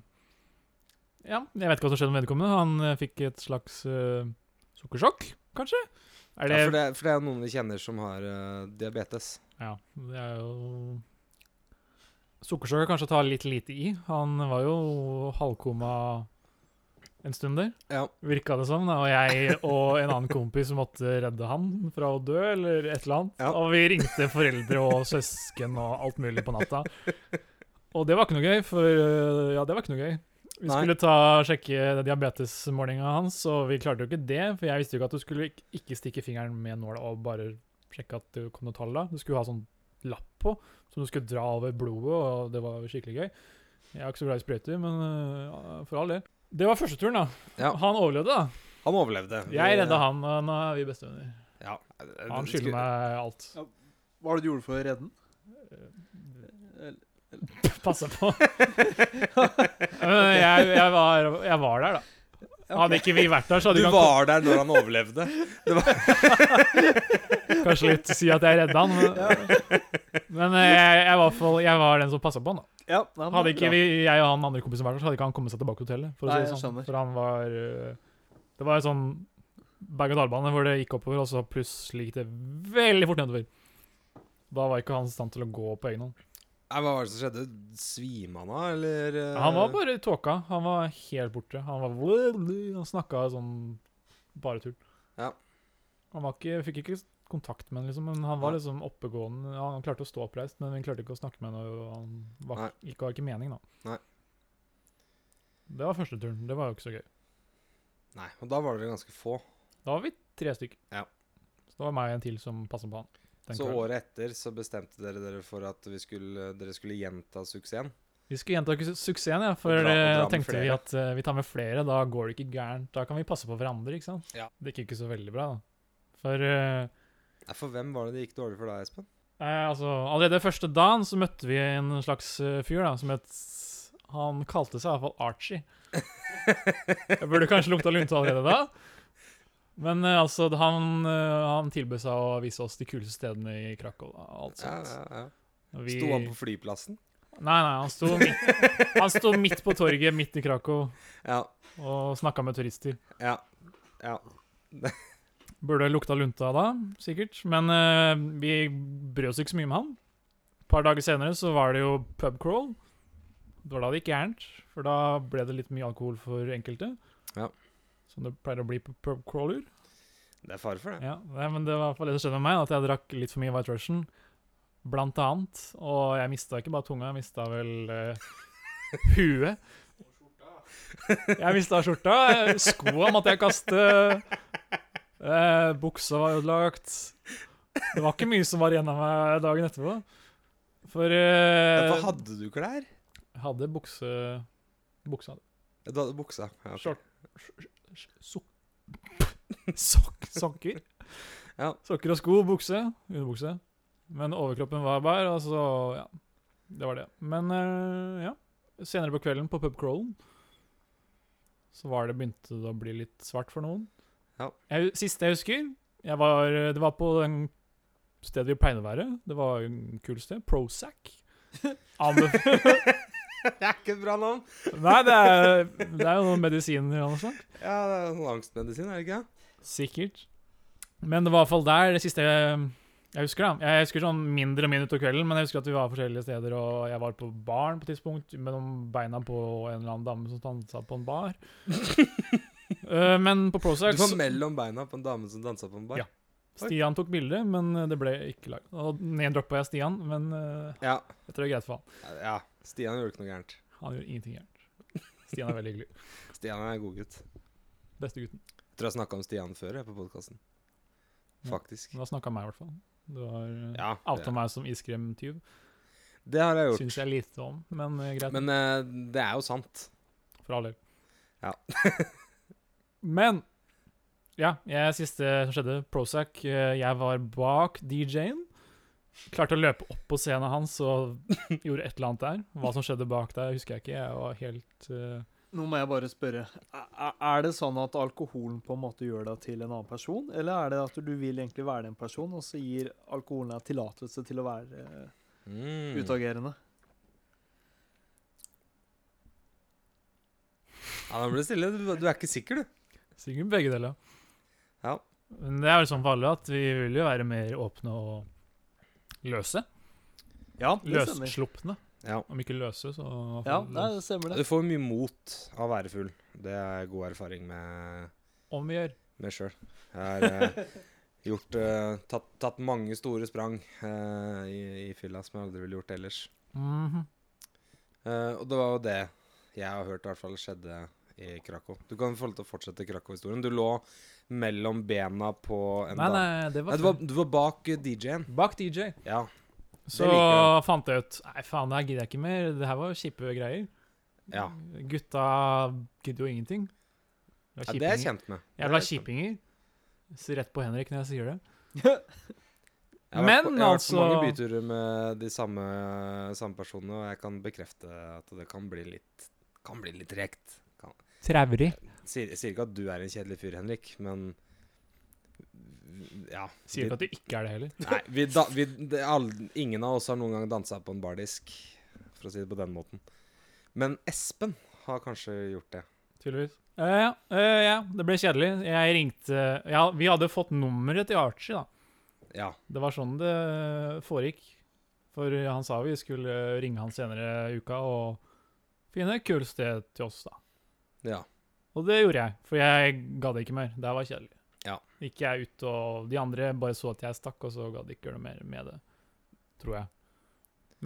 Ja, jeg vet ikke hva som skjedde med vedkommende. Han eh, fikk et slags eh, sukkersjokk, kanskje? Er det
Ja, for det? For det er jo noen vi kjenner som har eh, diabetes.
Ja, det er jo Sukkersjokk kanskje ta litt lite i. Han var jo halvkoma en stund der,
Ja.
virka det som. Da. Og jeg og en annen kompis måtte redde han fra å dø, eller et eller annet.
Ja.
Og vi ringte foreldre og søsken og alt mulig på natta. Og det var ikke noe gøy, for øh, Ja, det var ikke noe gøy. Vi
Nei.
skulle ta, sjekke diabetesmålinga hans, og vi klarte jo ikke det. For jeg visste jo ikke at du skulle ikk- ikke stikke fingeren med nåla og bare sjekke at det kom noe tall da. Du skulle ha sånn lapp på, som du skulle dra over blodet, og det var skikkelig gøy. Jeg er ikke så glad i sprøyter, men øh, for all del. Det var første turen, da.
Ja.
Han overlevde, da.
Han overlevde.
Jeg redda han, og nå er vi bestevenner.
Ja.
Han skylder meg alt.
Hva var det du gjorde for å redde den?
Passa på. Men jeg, jeg, var, jeg var der, da. Hadde ikke vi vært der, så
Du
hadde vi kan-
var der når han overlevde.
kanskje litt si at jeg redda han. Men, men eh, jeg, jeg, var i hvert fall- jeg var den som passa på han. da.
Ja, nei, men
Hadde ikke
bra.
vi, jeg og han andre kompisen vært der, så hadde ikke han kommet seg tilbake til hotellet. For, å
Nei,
si det
jeg
sånn.
skjønner.
for han var øh, Det var en sånn berg-og-dal-bane hvor det gikk oppover, og så plutselig gikk det veldig fort nedover. Da var ikke han i stand til å gå på egen hånd.
Nei, hva var det som skjedde? Svima han av, eller eh,
Han var bare i tåka. Han var helt borte. Han var Han snakka sånn bare tull.
Ja.
Han var ikke, fikk ikke kontakt med henne, liksom, men han var
Nei.
liksom oppegående. Ja, han klarte å stå oppreist, men vi klarte ikke å snakke med henne. og Han var, ikke, var ikke mening, da.
Nei.
Det var første turen. Det var jo ikke så gøy.
Nei, og da var dere ganske få.
Da var vi tre stykker.
Ja.
Så det var meg og en til som passa på han. den
Så
kvelden.
året etter så bestemte dere dere for at vi skulle, dere skulle gjenta suksessen.
Vi skulle gjenta su- suksessen, ja, for
Og dra-
da
og dra med
tenkte vi
flere.
at eh, vi tar med flere, da går det ikke gærent. Da kan vi passe på hverandre, ikke sant?
Ja.
Det gikk jo ikke så veldig bra, da. For eh,
Nei, for hvem var det det gikk dårlig for da, Espen?
eh, altså, allerede første dagen så møtte vi en slags eh, fyr da, som het Han kalte seg i hvert fall Archie. Jeg burde kanskje lukta lunte allerede da. Men eh, altså, han, eh, han tilbød seg å vise oss de kuleste stedene i Krakow. da, og Alt
Ja,
sånt.
ja, ja.
Og vi-
Sto han på flyplassen?
Nei, nei, han sto, midt, han sto midt på torget midt i Krakow.
Ja.
og snakka med turister.
Ja. ja.
Burde lukta lunta da, sikkert. Men eh, vi brød oss ikke så mye med han. Et par dager senere så var det jo pub crawl. Det var da det gikk gærent, for da ble det litt mye alkohol for enkelte.
Ja.
Som det pleier å bli på pub crawler.
Det er fare for det.
Ja, nei, men det var i hvert fall det som skjedde med meg, at jeg drakk litt for mye White Russian. Blant annet. Og jeg mista ikke bare tunga, jeg mista vel eh, huet. Jeg mista skjorta. Skoa måtte jeg kaste. Eh, buksa var ødelagt. Det var ikke mye som var igjen av meg dagen etterpå. For
Ja,
eh,
for hadde du klær?
jeg hadde bukse... Buksa
Ja, Du hadde buksa. Ja, ok.
Short. Sok... Sok sokker.
Ja.
Sokker og sko, bukse, underbukse. Men overkroppen var bar, og så Ja, det var det. Men eh, ja. Senere på kvelden, på pubcrawlen, så var det begynte det å bli litt svart for noen.
Ja.
Jeg, siste jeg husker jeg var, Det var på den stedet vi pleide å være. Det var en kul sted. Prozac. Anbef
Det er ikke et bra navn.
Nei, det er, det er jo noen medisiner og noe sånt.
Ja, det er sånn angstmedisin, er det ikke?
Sikkert. Men det var i hvert fall der det siste jeg, jeg husker. da. Jeg husker sånn mindre og mindre utover kvelden, men jeg husker at vi var forskjellige steder, og jeg var på baren på et tidspunkt mellom beina på en eller annen dame som dansa på en bar. Eh, men på
Du
Prozac
var mellom beina på en dame som dansa på en bar?
Ja. Stian tok bilde, men eh, det ble ikke laget. Og neddroppa jeg Stian, men eh,
Ja.
jeg tror det er greit for han.
ja. Stian gjorde ikke noe gærent.
Han gjør ingenting gærent. Stian er veldig hyggelig.
Stian er en god gutt.
Beste gutten.
Jeg tror jeg snakka om Stian før jeg på podkasten.
Ja.
Faktisk.
Du har snakka om meg, i hvert fall. Du har eh,
Ja,
outa
det,
meg som iskremtyv.
det har jeg
Syns
gjort.
jeg lite om, men eh, greit.
Men eh, det er jo sant.
For all del.
Ja.
Men Ja, jeg, siste som skjedde, Prozac. eh, Jeg var bak DJ-en. Klarte å løpe opp på scenen hans og gjorde et eller annet der. Hva som skjedde bak der, husker jeg ikke. Jeg var helt eh,
Nå må jeg bare spørre. Er- Er det sånn at alkoholen på en måte gjør deg til en annen person, eller er det at du vil egentlig være den personen, og så gir alkoholen deg tillatelse til å være eh,
Mm.
utagerende?
Ja, nå ble det stille. Du, du er ikke sikker, du.
Sikkert begge deler.
Ja.
Men det er vel sånn for alle at vi vil jo være mer åpne og løse.
Ja, det stemmer.
Løsslupne.
Ja.
Om ikke løse, så
Ja, nei, det stemmer det.
Du får mye mot av å være full. Det er god erfaring med
Om vi gjør.
med sjøl. Jeg har eh, gjort eh, tatt, tatt mange store sprang eh, i, i fylla som jeg aldri ville gjort ellers.
Mhm.
Eh, og det var jo det jeg har hørt i hvert fall skjedde i Krakow. Du kan få lov til å fortsette Krakow-historien. Du lå mellom bena på en
Nei,
dame.
nei, det var
Nei, du var, du var bak eh, DJ-en.
Bak DJ.
Ja.
Så
liker jeg.
fant jeg ut Nei, faen, det her gidder jeg ikke mer. Det her var jo kjipe greier.
ja.
Gutta gidder jo ingenting. Jeg
ja det er jeg kjent med.
Jævla kjipinger. Så rett på Henrik når jeg sier det.
Jeg har vært på, jeg
Men
har vært på mange
altså-
byturer med de samme, samme personene, og jeg kan bekrefte at det kan bli litt, kan bli litt tregt.
Traurig.
sier, jeg sier ikke at du er en kjedelig fyr, Henrik, men Ja.
Sier ikke
vi,
at du ikke er det heller.
Nei, vi da, vi, det, er aldri- ingen av oss har noen gang dansa på en bardisk, for å si det på den måten. Men Espen har kanskje gjort det.
Tydeligvis. Eh, ja, eh, ja, det ble kjedelig. Jeg ringte Ja, vi hadde fått nummeret til Archie, da.
Ja.
Det var sånn det foregikk. For han sa vi skulle ringe han senere i uka og finne et kult sted til oss, da.
ja.
Og det gjorde jeg, for jeg gadd ikke mer. Det her var kjedelig.
Ja.
Gikk jeg ut, og de andre bare så at jeg stakk, og så gadd ikke gjøre noe mer med det. Tror jeg.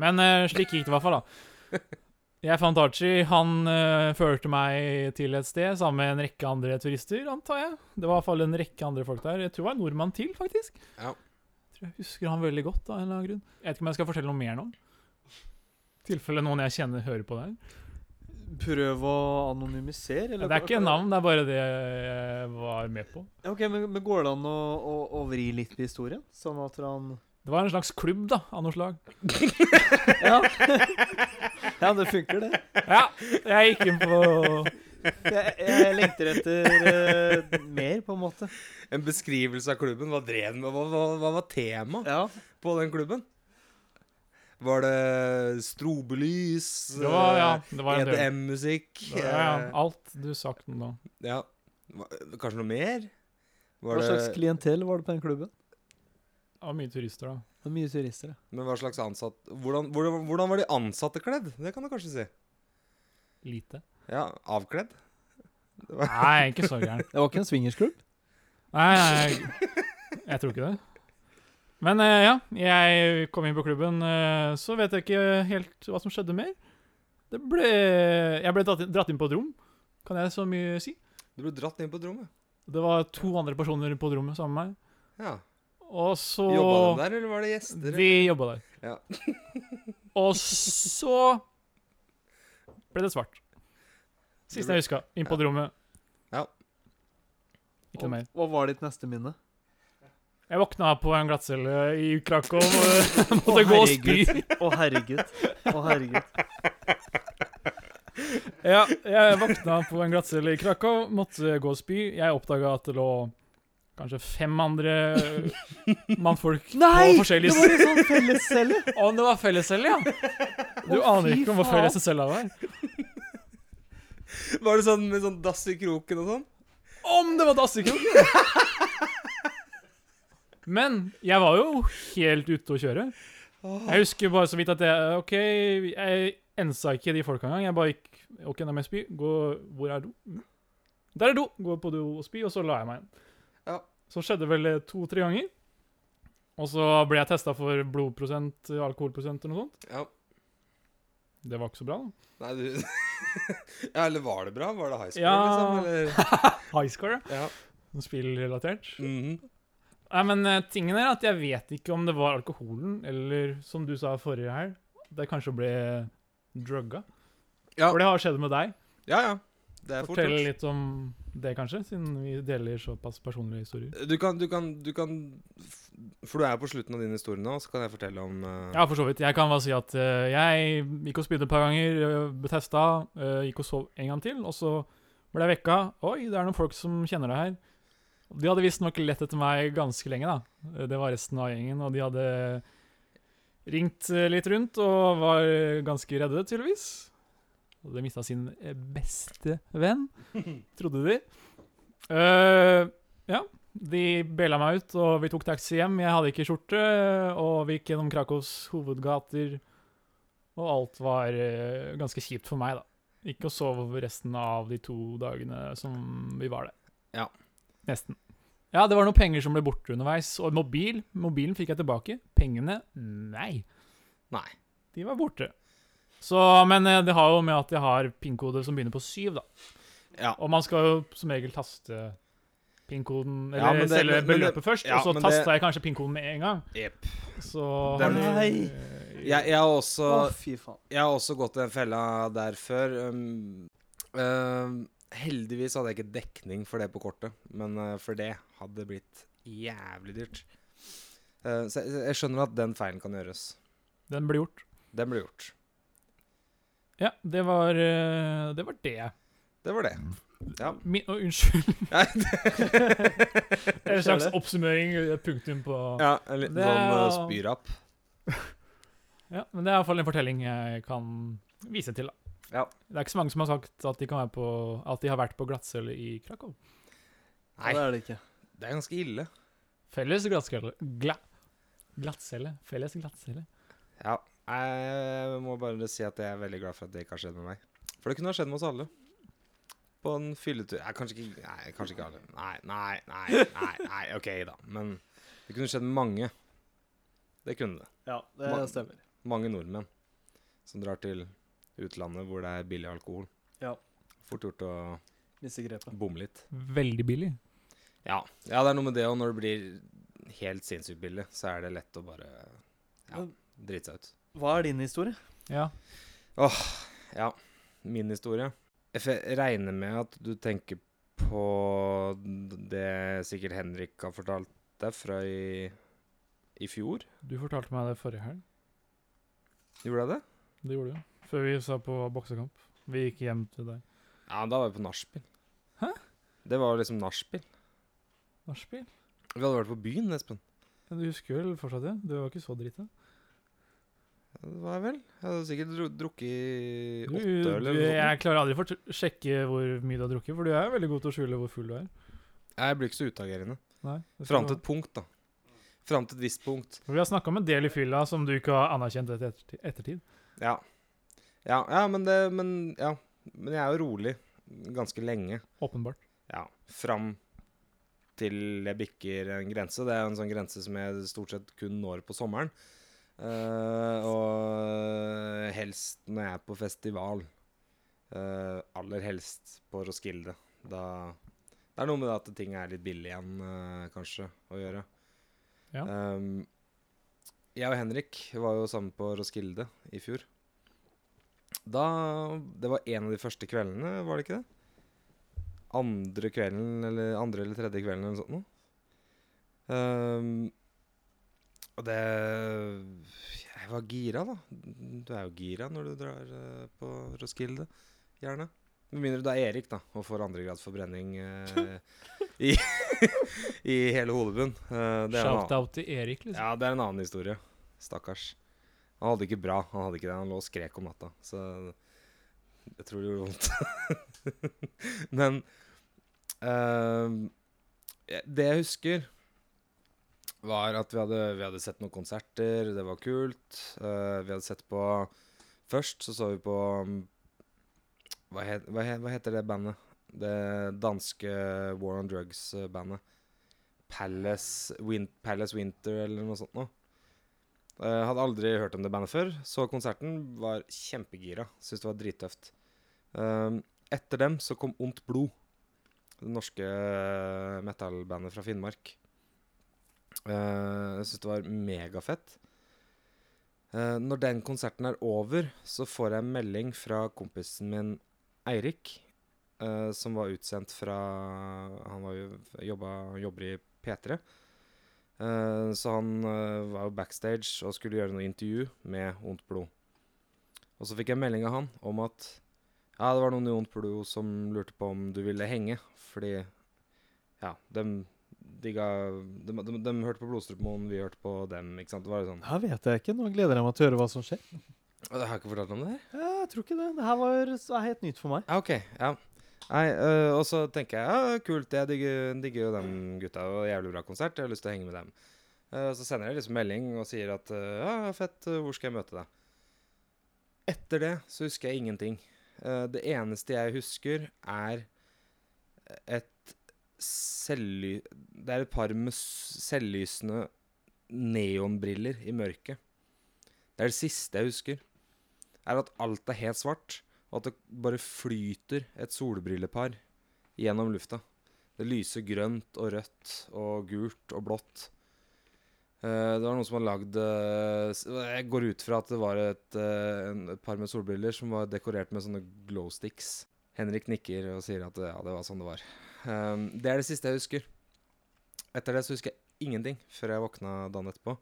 Men eh, slik gikk det i hvert fall, da. Jeg fant Archie. Han eh, førte meg til et sted sammen med en rekke andre turister, antar jeg. Det var i hvert fall en rekke andre folk der. Jeg tror det var en nordmann til, faktisk.
Ja.
Jeg tror jeg husker han veldig godt, av en eller annen grunn. Jeg vet ikke om jeg skal fortelle noe mer nå. I tilfelle noen jeg kjenner, hører på det her.
Prøv å anonymisere, eller?
Det er ikke navn, det er bare det jeg var med på.
Ja, Ok, men, men går det an å, å, å vri litt på historien? Sånn at han
Det var en slags klubb, da, av noe slag.
Ja, ja det funker, det.
Ja, jeg gikk inn på
Jeg, jeg lengter etter eh, mer, på en måte.
En beskrivelse av klubben. Hva drev den med? Hva, hva, hva var temaet
Ja.
på den klubben? Var det strobelys? E
Det var, ja, det var en del.
EDM-musikk?
Det var, ja, alt du sagt nå.
ja. Hva- Kanskje noe mer? Var
Hva slags
det-
klientell var det på den klubben?
Det var mye turister, da.
Det var mye turister, ja.
Men hva slags ansatt hvordan, hvordan, hvordan var de ansatte kledd? Det kan du kanskje si.
Lite.
Ja, avkledd?
Nei, ikke så gæren.
Det var ikke en swingersklubb?
Nei, nei, jeg tror ikke det. Men eh, ja, jeg kom inn på klubben, eh, så vet jeg ikke helt hva som skjedde mer. Det ble Jeg ble dratt inn, dratt inn på et rom, kan jeg så mye si.
Du ble dratt inn på et rom, ja.
Det var to andre personer på et rom sammen med meg,
ja.
og så
Jobba de der, eller var det gjester?
De jobba der.
Ja.
og så ble det svart. Siste jeg huska. Inn på det rommet.
Ja.
Ikke noe mer.
Hva var ditt neste minne?
Jeg våkna på en glattcelle i Krakow og måtte gå og spy.
Å, herregud. Å, herregud.
Ja, jeg våkna på en glattcelle i Krakow, måtte gå og spy. Jeg oppdaga at det lå kanskje fem andre mannfolk på
Det
forskjellige
var en sånn fellescelle!
Om det var fellescelle, ja! Du
Å,
aner
fy
ikke om hvor
faen.
fellescella var.
Var det sånn med sånn dass i kroken og sånn?
Om det var dassekrok! Men jeg var jo helt ute å kjøre. Jeg husker bare så vidt at jeg OK, jeg ensa ikke de folka engang. Jeg bare gikk OK, nå må jeg spy. Gå Hvor er do? Mm. Der er do! Gå på do og spy, og så la jeg meg igjen.
Ja.
Så skjedde vel det to-tre ganger. Og så ble jeg testa for blodprosent, alkoholprosent eller noe sånt.
Ja.
Det var ikke så bra, da.
Nei, du Ja, eller var det bra? Var det high score,
Ja.
liksom? Eller
High score,
Ja.
ja. Spillrelatert.
Mhm.
Nei, men eh, tingen er at jeg vet ikke om det var alkoholen, eller som du sa forrige helg, det kanskje ble drugga.
Ja.
For det har skjedd med deg.
ja, ja. Det er fort
Fortell
gjort.
litt om det, kanskje, siden vi deler såpass personlige historier.
Du kan, du kan, du kan f- For du er på slutten av din historie nå, så kan jeg fortelle om eh,
Ja, for så vidt. Jeg kan bare si at eh, jeg gikk og spydde et par ganger, eh, ble testa, eh, gikk og sov en gang til, og så ble jeg vekka. Oi, det er noen folk som kjenner deg her. De hadde visstnok lett etter meg ganske lenge, da. Eh, Det var resten av gjengen, og de hadde ringt eh, litt rundt og var eh, ganske redde, tydeligvis. Og de mista sin eh, beste venn, trodde de. Eh, ja. De bela meg ut, og vi tok taxi hjem. Jeg hadde ikke skjorte, og vi gikk gjennom Krakows hovedgater. Og alt var eh, ganske kjipt for meg, da. Ikke å sove resten av de to dagene som vi var der.
Ja.
Nesten. Ja, det var noen penger som ble borte underveis, og mobil, mobilen fikk jeg tilbake. Pengene, nei.
Nei.
De var borte. Så, men eh, det har jo med at jeg har pin-kode som begynner på syv, da.
Ja.
Og man skal jo som regel taste pin-koden,
Ja,
eller
men det-
selve
men- men det-
beløpet først,
ja,
og så
men det-
tasta jeg kanskje pin-koden med en gang.
Jepp.
Så
Den-
Nei.
Jeg, jeg har også
Å, fy faen.
Jeg har også gått i den fella der før. Um, um, heldigvis hadde jeg ikke dekning for det på kortet, men uh, for det hadde det blitt jævlig dyrt. Uh, så jeg, jeg skjønner at den feilen kan gjøres.
Den ble gjort.
Den ble gjort.
Ja, det var eh, det. Var det.
Det var det. Ja.
Min, å, unnskyld.
Nei, det-
En slags oppsummering, eh, punktum på
ja,
ja.
en liten
Det
sånn uh,
er-
spyrapp.
Men det er iallfall en fortelling jeg kan vise til, da.
Ja.
Det er ikke så mange som har sagt at de, kan være på, at de har vært på glattcelle i Krakow.
Nei,
Det er det ikke.
det er ganske ille.
Felles glattcelle. Gla, glattcelle. Felles glattcelle.
Ja. Jeg må bare si at jeg er veldig glad for at det ikke har skjedd med meg. For det kunne ha skjedd med oss alle. På en fylletur Nei, kanskje ikke, nei, kanskje ikke alle. Nei, nei, nei, nei, nei, OK, da. Men det kunne skjedd med mange. Det kunne det.
Ja, det
Man-
stemmer.
Mange nordmenn som drar til utlandet hvor det er billig alkohol.
Ja.
Fort gjort å
Miste grepet.
bomme litt.
Veldig billig.
Ja. ja, det er noe med det, og når det blir helt sinnssykt billig, så er det lett å bare ja,
Men-
drite seg ut.
Hva er din historie?
Ja.
Ja, min historie. F- Jeg regner med at du tenker på det sikkert Henrik har fortalt deg fra i, i fjor.
Du fortalte meg det forrige helg.
Gjorde jeg det?
Det gjorde du. Før vi sa på boksekamp. Vi gikk hjem til deg.
Ja, da var vi på nachspiel.
Hæ?
Det var liksom nachspiel.
Nachspiel?
Vi hadde vært på byen, Espen.
Ja, Du husker vel fortsatt det? Du var ikke så drita.
Ja, Det var jeg vel. Jeg hadde sikkert dru drukket
Du,
åtte
du,
øl eller noe sånt.
jeg klarer aldri for å sjekke hvor mye du har drukket, for du er jo veldig god til å skjule hvor full du er.
Jeg blir ikke så utagerende.
Nei, det skal
Fram
du
til
ha.
et punkt, da. Fram til et visst punkt.
For Vi har snakka om en del i fylla som du ikke har anerkjent etter ettertid. ettertid.
Ja. Ja, ja, men det Men ja. Men jeg er jo rolig ganske lenge.
Åpenbart.
ja, fram til jeg bikker en grense. Det er en sånn grense som jeg stort sett kun når på sommeren. Eh, og helst når jeg er på festival. Eh, aller helst på Roskilde. Da Det er noe med det at ting er litt billig igjen, eh, kanskje, å gjøre.
Ja.
Ehm, jeg og Henrik var jo sammen på Roskilde i fjor. Da Det var en av de første kveldene, var det ikke det? andre kvelden, eller andre eller tredje kvelden, eller noe sånt. noe. Ehm, og det Jeg var gira, da. Du er jo gira når du drar eh, på Roskilde, gjerne. Med mindre du er Erik, da, og får andregrads forbrenning eh, i, i hele hodebunnen. Eh, det er en annen-
Shout-out til Erik, liksom.
ja, det er en annen historie. Stakkars. Han hadde det ikke bra. Han hadde ikke det. Han lå og skrek om natta. Så jeg tror det gjorde vondt. Men eh, det jeg husker, var at vi hadde, vi hadde sett noen konserter, det var kult. Eh, vi hadde sett på Først så så vi på mm, Hva, het, hva, he- hva heter det bandet? Det danske War on eh, Drugs-bandet. Palace, Win Palace Winter eller noe sånt noe. Eh, hadde aldri hørt om det bandet før. Så konserten, var kjempegira. Syntes det var drittøft. Eh, etter dem så kom Ondt blod. Det norske eh, metal-bandet fra Finnmark. Eh, jeg syns det var megafett. Eh, når den konserten er over, så får jeg en melding fra kompisen min Eirik, eh, som var utsendt fra Han var jo, jobba, jobber i P3. Eh, så han eh, var jo backstage og skulle gjøre noe intervju med Ondt blod. Og så fikk jeg melding av han om at ja, det var noen i Ondt blod som lurte på om du ville henge, fordi ja, dem digga de, de, de hørte på Blodstrupemoen, vi hørte på dem. ikke sant? Det var jo sånn
Her vet jeg ikke. Nå gleder jeg meg til å høre hva som skjer.
«Å, Jeg har ikke fortalt om det her?
Ja, Jeg tror ikke det. Det her var så er helt nytt for meg.
Ja, OK. Ja. Nei, øh, og så tenker jeg ja, kult, jeg digger, digger jo dem gutta. og Jævlig bra konsert, jeg har lyst til å henge med dem. Eh, så sender jeg liksom melding og sier at eh, ja, fett, eh, hvor skal jeg møte deg? Etter det så husker jeg ingenting. Eh, det eneste jeg husker, er et selvly... Det er et par med s- selvlysende neonbriller i mørket. Det er det siste jeg husker. Er at alt er helt svart. Og at det bare flyter et solbrillepar gjennom lufta. Det lyser grønt og rødt og gult og blått. Eh, det var noen som hadde lagd eh, s- Jeg går ut fra at det var et, eh, en- et par med solbriller som var dekorert med sånne glow sticks. Henrik nikker og sier at ja, det var sånn det var. Eh, det er det siste jeg husker. Etter det så husker jeg ingenting før jeg våkna dagen etterpå.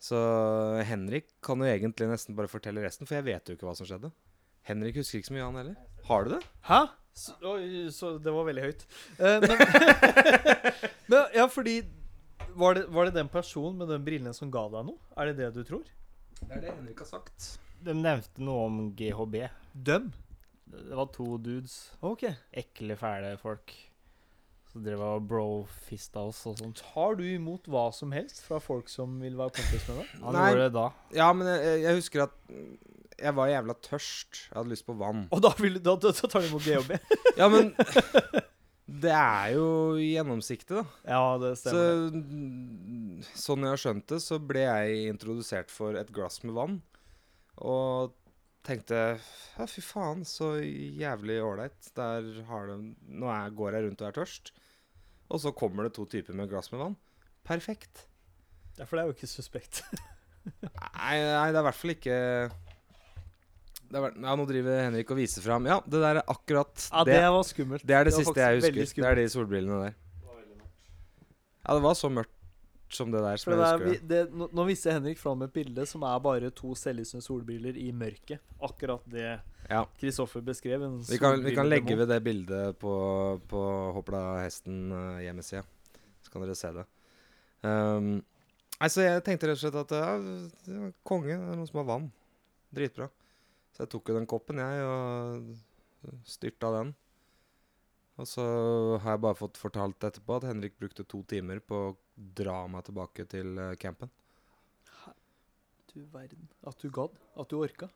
Så Henrik kan jo egentlig nesten bare fortelle resten, for jeg vet jo ikke hva som skjedde. Henrik husker ikke så mye, han heller. Har du det?
Hæ? Så, oi, så det var veldig høyt. Eh, men, men ja, fordi var det, var det den personen med den brillene som ga deg noe? Er det det du tror?
Det er det Henrik har sagt.
De nevnte noe om GHB.
Dem?
Det var to dudes.
OK.
Ekle, fæle folk. Så drev og brofista oss og sånt.
Tar du imot hva som helst fra folk som vil være kompis med deg?
Han
Nei.
gjorde det da.
Ja, men jeg, jeg- jeg husker at mm, jeg var jævla tørst. Jeg hadde lyst på vann.
Og da, vil, da, da tar du imot GHB?
Ja, men det er jo gjennomsiktig, da.
Ja, det
Så,
stemmer.
mm, sånn jeg har skjønt det, så ble jeg introdusert for et glass med vann. Og tenkte ja, fy faen, så jævlig ålreit. Der har de Nå er, går jeg rundt og er tørst. Og så kommer det to typer med glass med vann. Perfekt.
Det. Ja, for det er jo ikke suspekt.
Nei, nei, det er i hvert fall ikke det er, ver- Ja, nå driver Henrik og viser fram. Ja, det der er akkurat
Ja, det
det.
var skummelt.
Det er det
var
siste
faktisk
jeg
veldig
husker. Det
skummelt.
er de solbrillene der. Ja, det var så mørkt som det der.
For
Som
det
jeg
er,
husker det.
vi- det, nå, nå viser Henrik fram et bilde som er bare to selvlysende solbriller i mørket. Akkurat det
Ja.
Kristoffer beskrev. En
Vi kan, vi kan legge
solbrilledemon.
ved det bildet på, på Hopla Hesten-hjemmesida. Så kan dere se det. Um, nei, så jeg tenkte rett og slett at ja, det var konge, det er noen som har vann. Dritbra. Så jeg tok jo den koppen, jeg, og styrta den. Og så har jeg bare fått fortalt etterpå at Henrik brukte to timer på å dra meg tilbake til eh, campen.
Du verden. At du gadd. At du orka.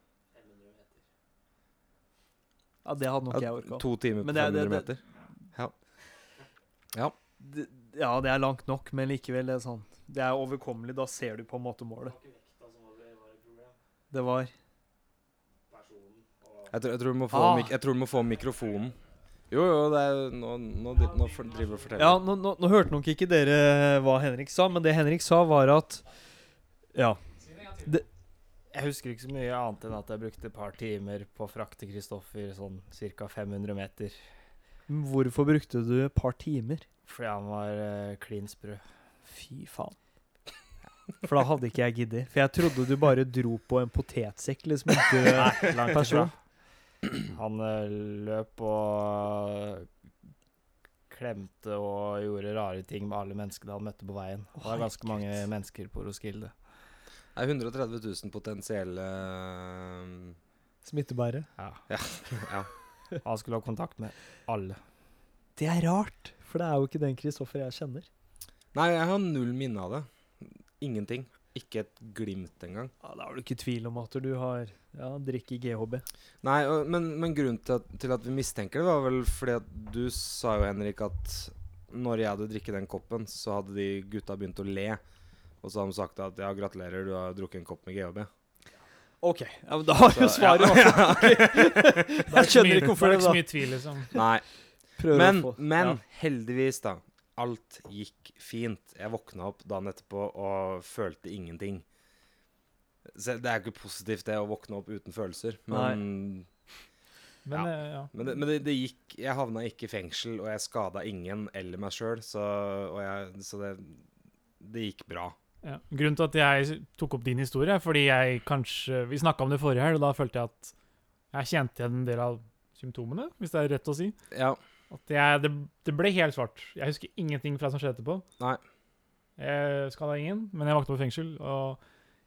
Ja, det hadde nok jeg
Ja,
orka.
to timer på
Men det er- det-
500 meter.
Det- Ja, det er langt nok, men likevel, det er sånn. Det er overkommelig. Da ser du på en måte målet. Det var
Jeg tror, jeg tror, du, må få
Ah.
mik jeg tror du må få mikrofonen. Jo, jo, det er nå, nå, dri- nå for- driver du og forteller.
Ja, nå, nå, nå hørte nok ikke dere hva Henrik sa, men det Henrik sa, var at Ja.
Jeg husker ikke så mye annet enn at jeg brukte et par timer på å frakte Kristoffer sånn ca. 500 meter.
Hvorfor brukte du et par timer?
Fordi han var eh, klin sprø.
Fy faen. For da hadde ikke jeg giddet. For jeg trodde du bare dro på en potetsekk, liksom. en død-
Nei, langt ifra.
Person.
Han eh, løp og klemte og gjorde rare ting med alle menneskene han møtte på veien. Det var ganske mange mennesker på Roskilde.
Det er 130 000 potensielle um,
Smittebærer.
Ja.
Ja.
Han skulle ha kontakt med alle.
Det er rart, for det er jo ikke den Kristoffer jeg kjenner.
Nei, jeg har null minne av det. Ingenting. Ikke et glimt engang.
Ja, Da er du ikke i tvil om at du har ja, drikk i GHB.
Nei, og, men, men grunnen til at, til at vi mistenker det, var vel fordi at du sa jo, Henrik, at når jeg hadde drikket den koppen, så hadde de gutta begynt å le. Og så hadde de sagt at ja, gratulerer, du har drukket en kopp med GHB.
OK. Ja, men da har jo
Så-
svaret
ja.
Jeg skjønner ikke hvorfor det,
det er ikke så
da.
mye tvil, liksom.
Nei.
Prøver
Men,
å få-
men
Ja.
heldigvis, da. Alt gikk fint. Jeg våkna opp dagen etterpå og følte ingenting. Så det er jo ikke positivt, det, å våkne opp uten følelser. Men,
Men
Ja.
eh, ja.
men, det, men det, det gikk Jeg havna ikke i fengsel, og jeg skada ingen eller meg sjøl, så, og jeg- så det, det gikk bra.
Ja. Grunnen til at jeg tok opp din historie, er fordi jeg kanskje Vi snakka om det forrige helg, og da følte jeg at jeg kjente igjen en del av symptomene, hvis det er rett å si.
Ja.
At jeg, det, det ble helt svart. Jeg husker ingenting fra det som skjedde etterpå.
Nei.
Jeg skada ingen, men jeg våkna opp i fengsel. Og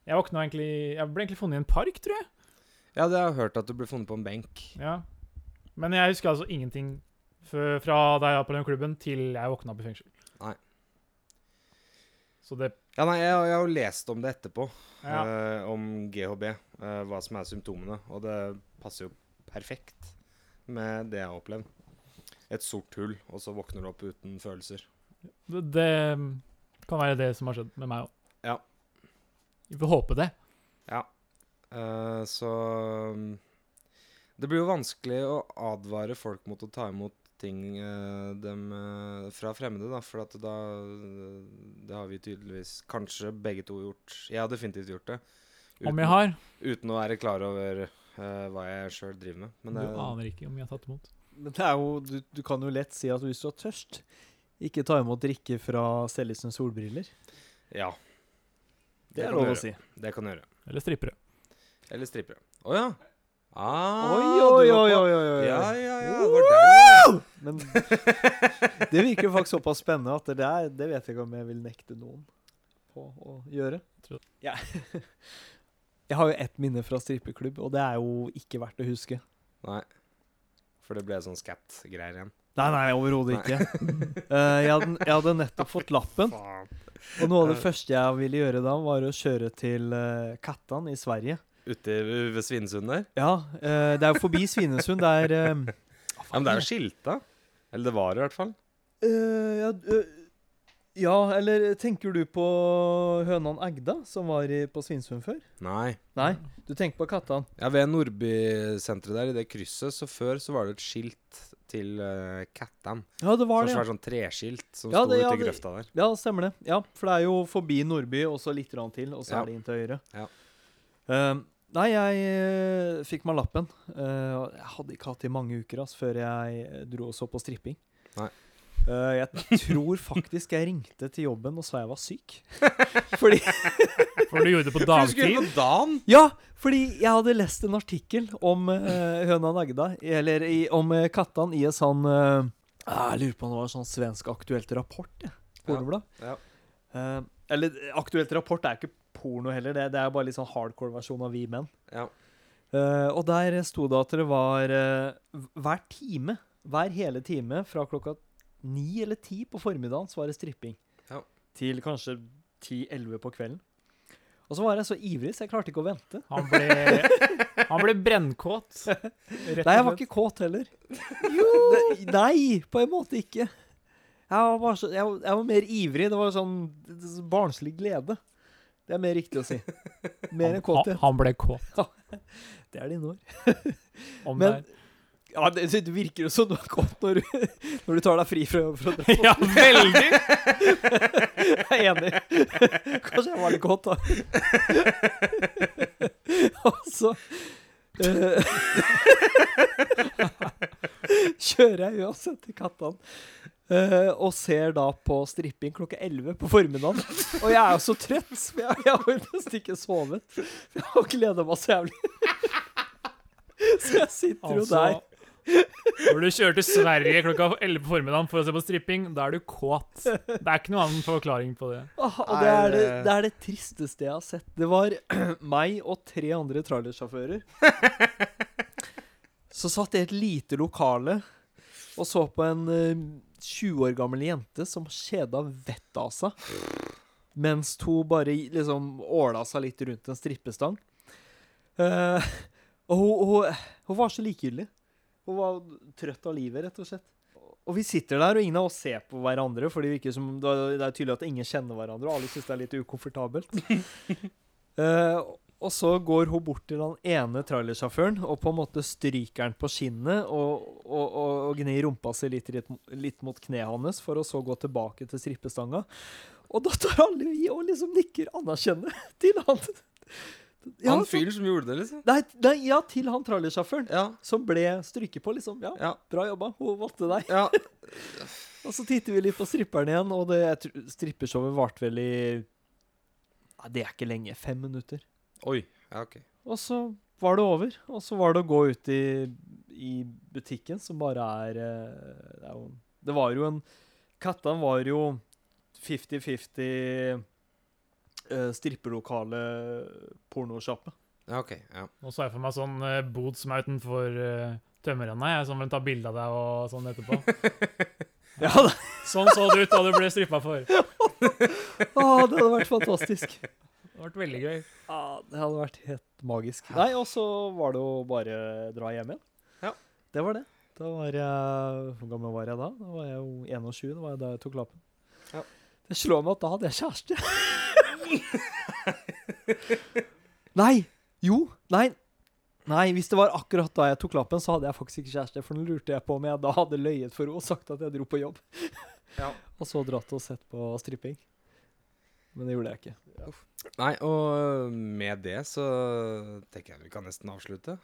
jeg våkna egentlig Jeg ble egentlig funnet i en park, tror jeg.
Ja, det har jeg hørt at du ble funnet på en benk.
Ja. Men jeg husker altså ingenting fø- fra da jeg var på den klubben, til jeg våkna opp i fengsel.
Nei.
Så det
Ja, nei, jeg, jeg har jo lest om det etterpå.
Ja.
eh, om GHB, eh, hva som er symptomene. Og det passer jo perfekt med det jeg har opplevd. Et sort hull, og så våkner du opp uten følelser.
Det, det kan være det som har skjedd med meg òg.
Ja.
Vi får håpe det.
Eh, så mm, Det blir jo vanskelig å advare folk mot å ta imot ting eh, dem eh, fra fremmede, da. For at da eh, Det har vi tydeligvis kanskje begge to gjort. Jeg har definitivt gjort det.
Om jeg har.
uten å være klar over eh, hva jeg sjøl driver med. Men
Du
det,
aner ikke om jeg har tatt imot.
Men det er jo, du, du kan jo lett si at hvis du er tørst, ikke ta imot drikke fra Seljesen solbriller.
ja.
Det, er
kan du
lov å
gjøre.
si.
Det kan du gjøre.
Eller strippere.
Eller strippere. Å ja. Ah, du
Oi, oi,
var
oi,
på-
oi, oi, oi.
Ja, ja, ja. Det var der du var.
Men det virker jo faktisk såpass spennende at det der, det vet jeg ikke om jeg vil nekte noen på å gjøre.
Tror
Ja. Jeg har jo ett minne fra strippeklubb, og det er jo ikke verdt å huske.
Nei. For det ble sånn scat-greier igjen.
Nei, nei, overhodet ikke. Eh, jeg, hadde, jeg hadde nettopp fått lappen,
Faen.
og noe av det første jeg ville gjøre da, var å kjøre til eh, Kattan i Sverige.
Ute ved Svinesund der?
Ja, eh, det er jo forbi Svinesund, det er eh,
Ja, men det er jo skilta. Eller det var i hvert fall.
Eh, ja, eh, ja, eller tenker du på hønan Agda, som var i, på Svinesund før?
Nei.
Nei, du tenker på Kattan.
Ja, ved Nordbysenteret der, i det krysset, så før så var det et skilt til uh, Kattan.
Ja, det var
Som
det. Ja.
svært sånn treskilt som
Ja,
sto
det- ja,
ute i
det-
grøfta der.
ja, stemmer det. Ja, For det er jo forbi Nordby, og så litt rann til, og så
Ja.
er det inn til høyre.
Ja.
Eh, nei, jeg eh, fikk meg lappen. eh, og jeg hadde ikke hatt det i mange uker ass, før jeg eh, dro og så på stripping.
Nei.
Eh, jeg tror faktisk jeg ringte til jobben og sa jeg var syk. Fordi
For du gjorde det på
For du skulle
dagtid.
på dagen!
Ja, fordi jeg hadde lest en artikkel om eh, høna Nagda, eller i, om uh, Kattan, i en sånn eh, ah, Jeg lurer på om det var en sånn svensk aktuelt rapport, jeg. Pornoblad.
Ja,
Eh, eller eh, aktuelt rapport er ikke porno heller, det, det er bare litt sånn hardcore versjon av Vi menn.
Ja.
Eh, og der sto det at det var eh, hver time, hver hele time fra klokka ni eller ti på formiddagen, så var det stripping.
Ja.
Til kanskje ti-elleve på kvelden. Og så var jeg så ivrig, så jeg klarte ikke å vente.
Han ble, han ble brennkåt. Rett
Nei, jeg var
og slett.
ikke kåt heller. Ne- Nei, på en måte ikke. Jeg var, bare så, jeg, var- jeg var mer ivrig. Det var sånn det- det- sånn barnslig glede. Det er mer riktig å si. Mer enn
Han,
kåthet.
han ble kåt.
Det er dine ord.
Om det
Men ja, det, det virker jo som du er kåt når du, når du tar deg fri fra fra
er- Ja, veldig!
Jeg er enig. Kanskje jeg var litt kåt, da. Altså eh, Kjører jeg uansett til Kattan eh, og ser da på stripping klokka 11 på formiddagen. Og jeg er jo så trøtt, for jeg, jeg har jo nesten ikke sovet. For Jeg har gleda meg så jævlig. Så jeg sitter jo
Altså,
der.
når du kjører til Sverige klokka 11 på formiddagen for å se på stripping, da er du kåt. Det er ikke noen annen forklaring på det.
Åh, og det er
Nei,
det,
det-
det er det tristeste jeg har sett. Det var meg og tre andre trailersjåfører. Så satt jeg i et lite lokale og så på en eh, 20 år gammel jente som kjeda vettet av seg. Mens to bare liksom åla seg litt rundt en strippestang. Eh, og hun, hun, hun var så likegyldig. Hun var trøtt av livet, rett og slett. Og vi sitter der, og ingen av oss ser på hverandre, fordi vi ikke som, det er det er tydelig at ingen kjenner hverandre, og alle syns det er litt ukomfortabelt. Eh, og så går hun bort til den ene trailersjåføren og på en måte stryker han på skinnet og, og, og, og gnir rumpa si litt, litt, litt mot kneet hans, for å så gå tilbake til strippestanga. Og da tar alle i og liksom nikker anerkjennende til han. Ja,
Han
så-
fyren som gjorde det, liksom.
Nei, nei, ja, til han trailersjåføren
Ja.
som ble stryket på, liksom. Ja,
Ja.
bra jobba, hun valgte deg.
ja.
Og så titter vi litt på stripperen igjen, og det jeg tror- strippershowet varte vel i ja, Det er ikke lenge. Fem minutter.
Oi. Ja, OK.
Og så var det over. Og så var det å gå ut i, i butikken, som bare er eh, Det, er jo, det var jo en Kattan var jo 50-50 eh, strippelokale pornosjappe.
Ja, ok, ja.
Nå så jeg for meg sånn eh, bod som er utenfor uh, tømmerrenna, jeg, som vil ta bilde av deg og sånn etterpå.
Ja, det,
Sånn så det ut da du ble strippa for. Det
å, det hadde vært fantastisk.
hadde vært veldig gøy.
Ja, det hadde vært helt magisk. Nei, og så var det jo bare å dra hjem igjen.
Ja.
Det var det. Da var jeg Hvor gammel var jeg da? Da var jeg jo 21. Det var jeg da jeg tok lappen.
Ja.
Det slår meg at da hadde jeg kjæreste. nei! Jo. Nei. Nei, hvis det var akkurat da jeg tok lappen, så hadde jeg faktisk ikke kjæreste. For nå lurte jeg på om jeg da hadde løyet for henne og sagt at jeg dro på jobb.
Ja.
Og så dratt og sett på stripping. Men det gjorde jeg ikke.
Nei, og med det så tenker jeg vi kan nesten avslutte.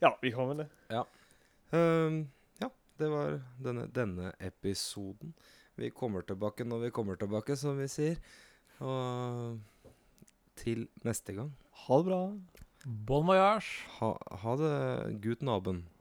Ja, vi kan vel det.
Ehm, ja, det var denne, denne episoden. Vi kommer tilbake når vi kommer tilbake, som vi sier. Og til neste gang.
Ha det bra.
Bon voyage.
Ha, ha det, gut naben.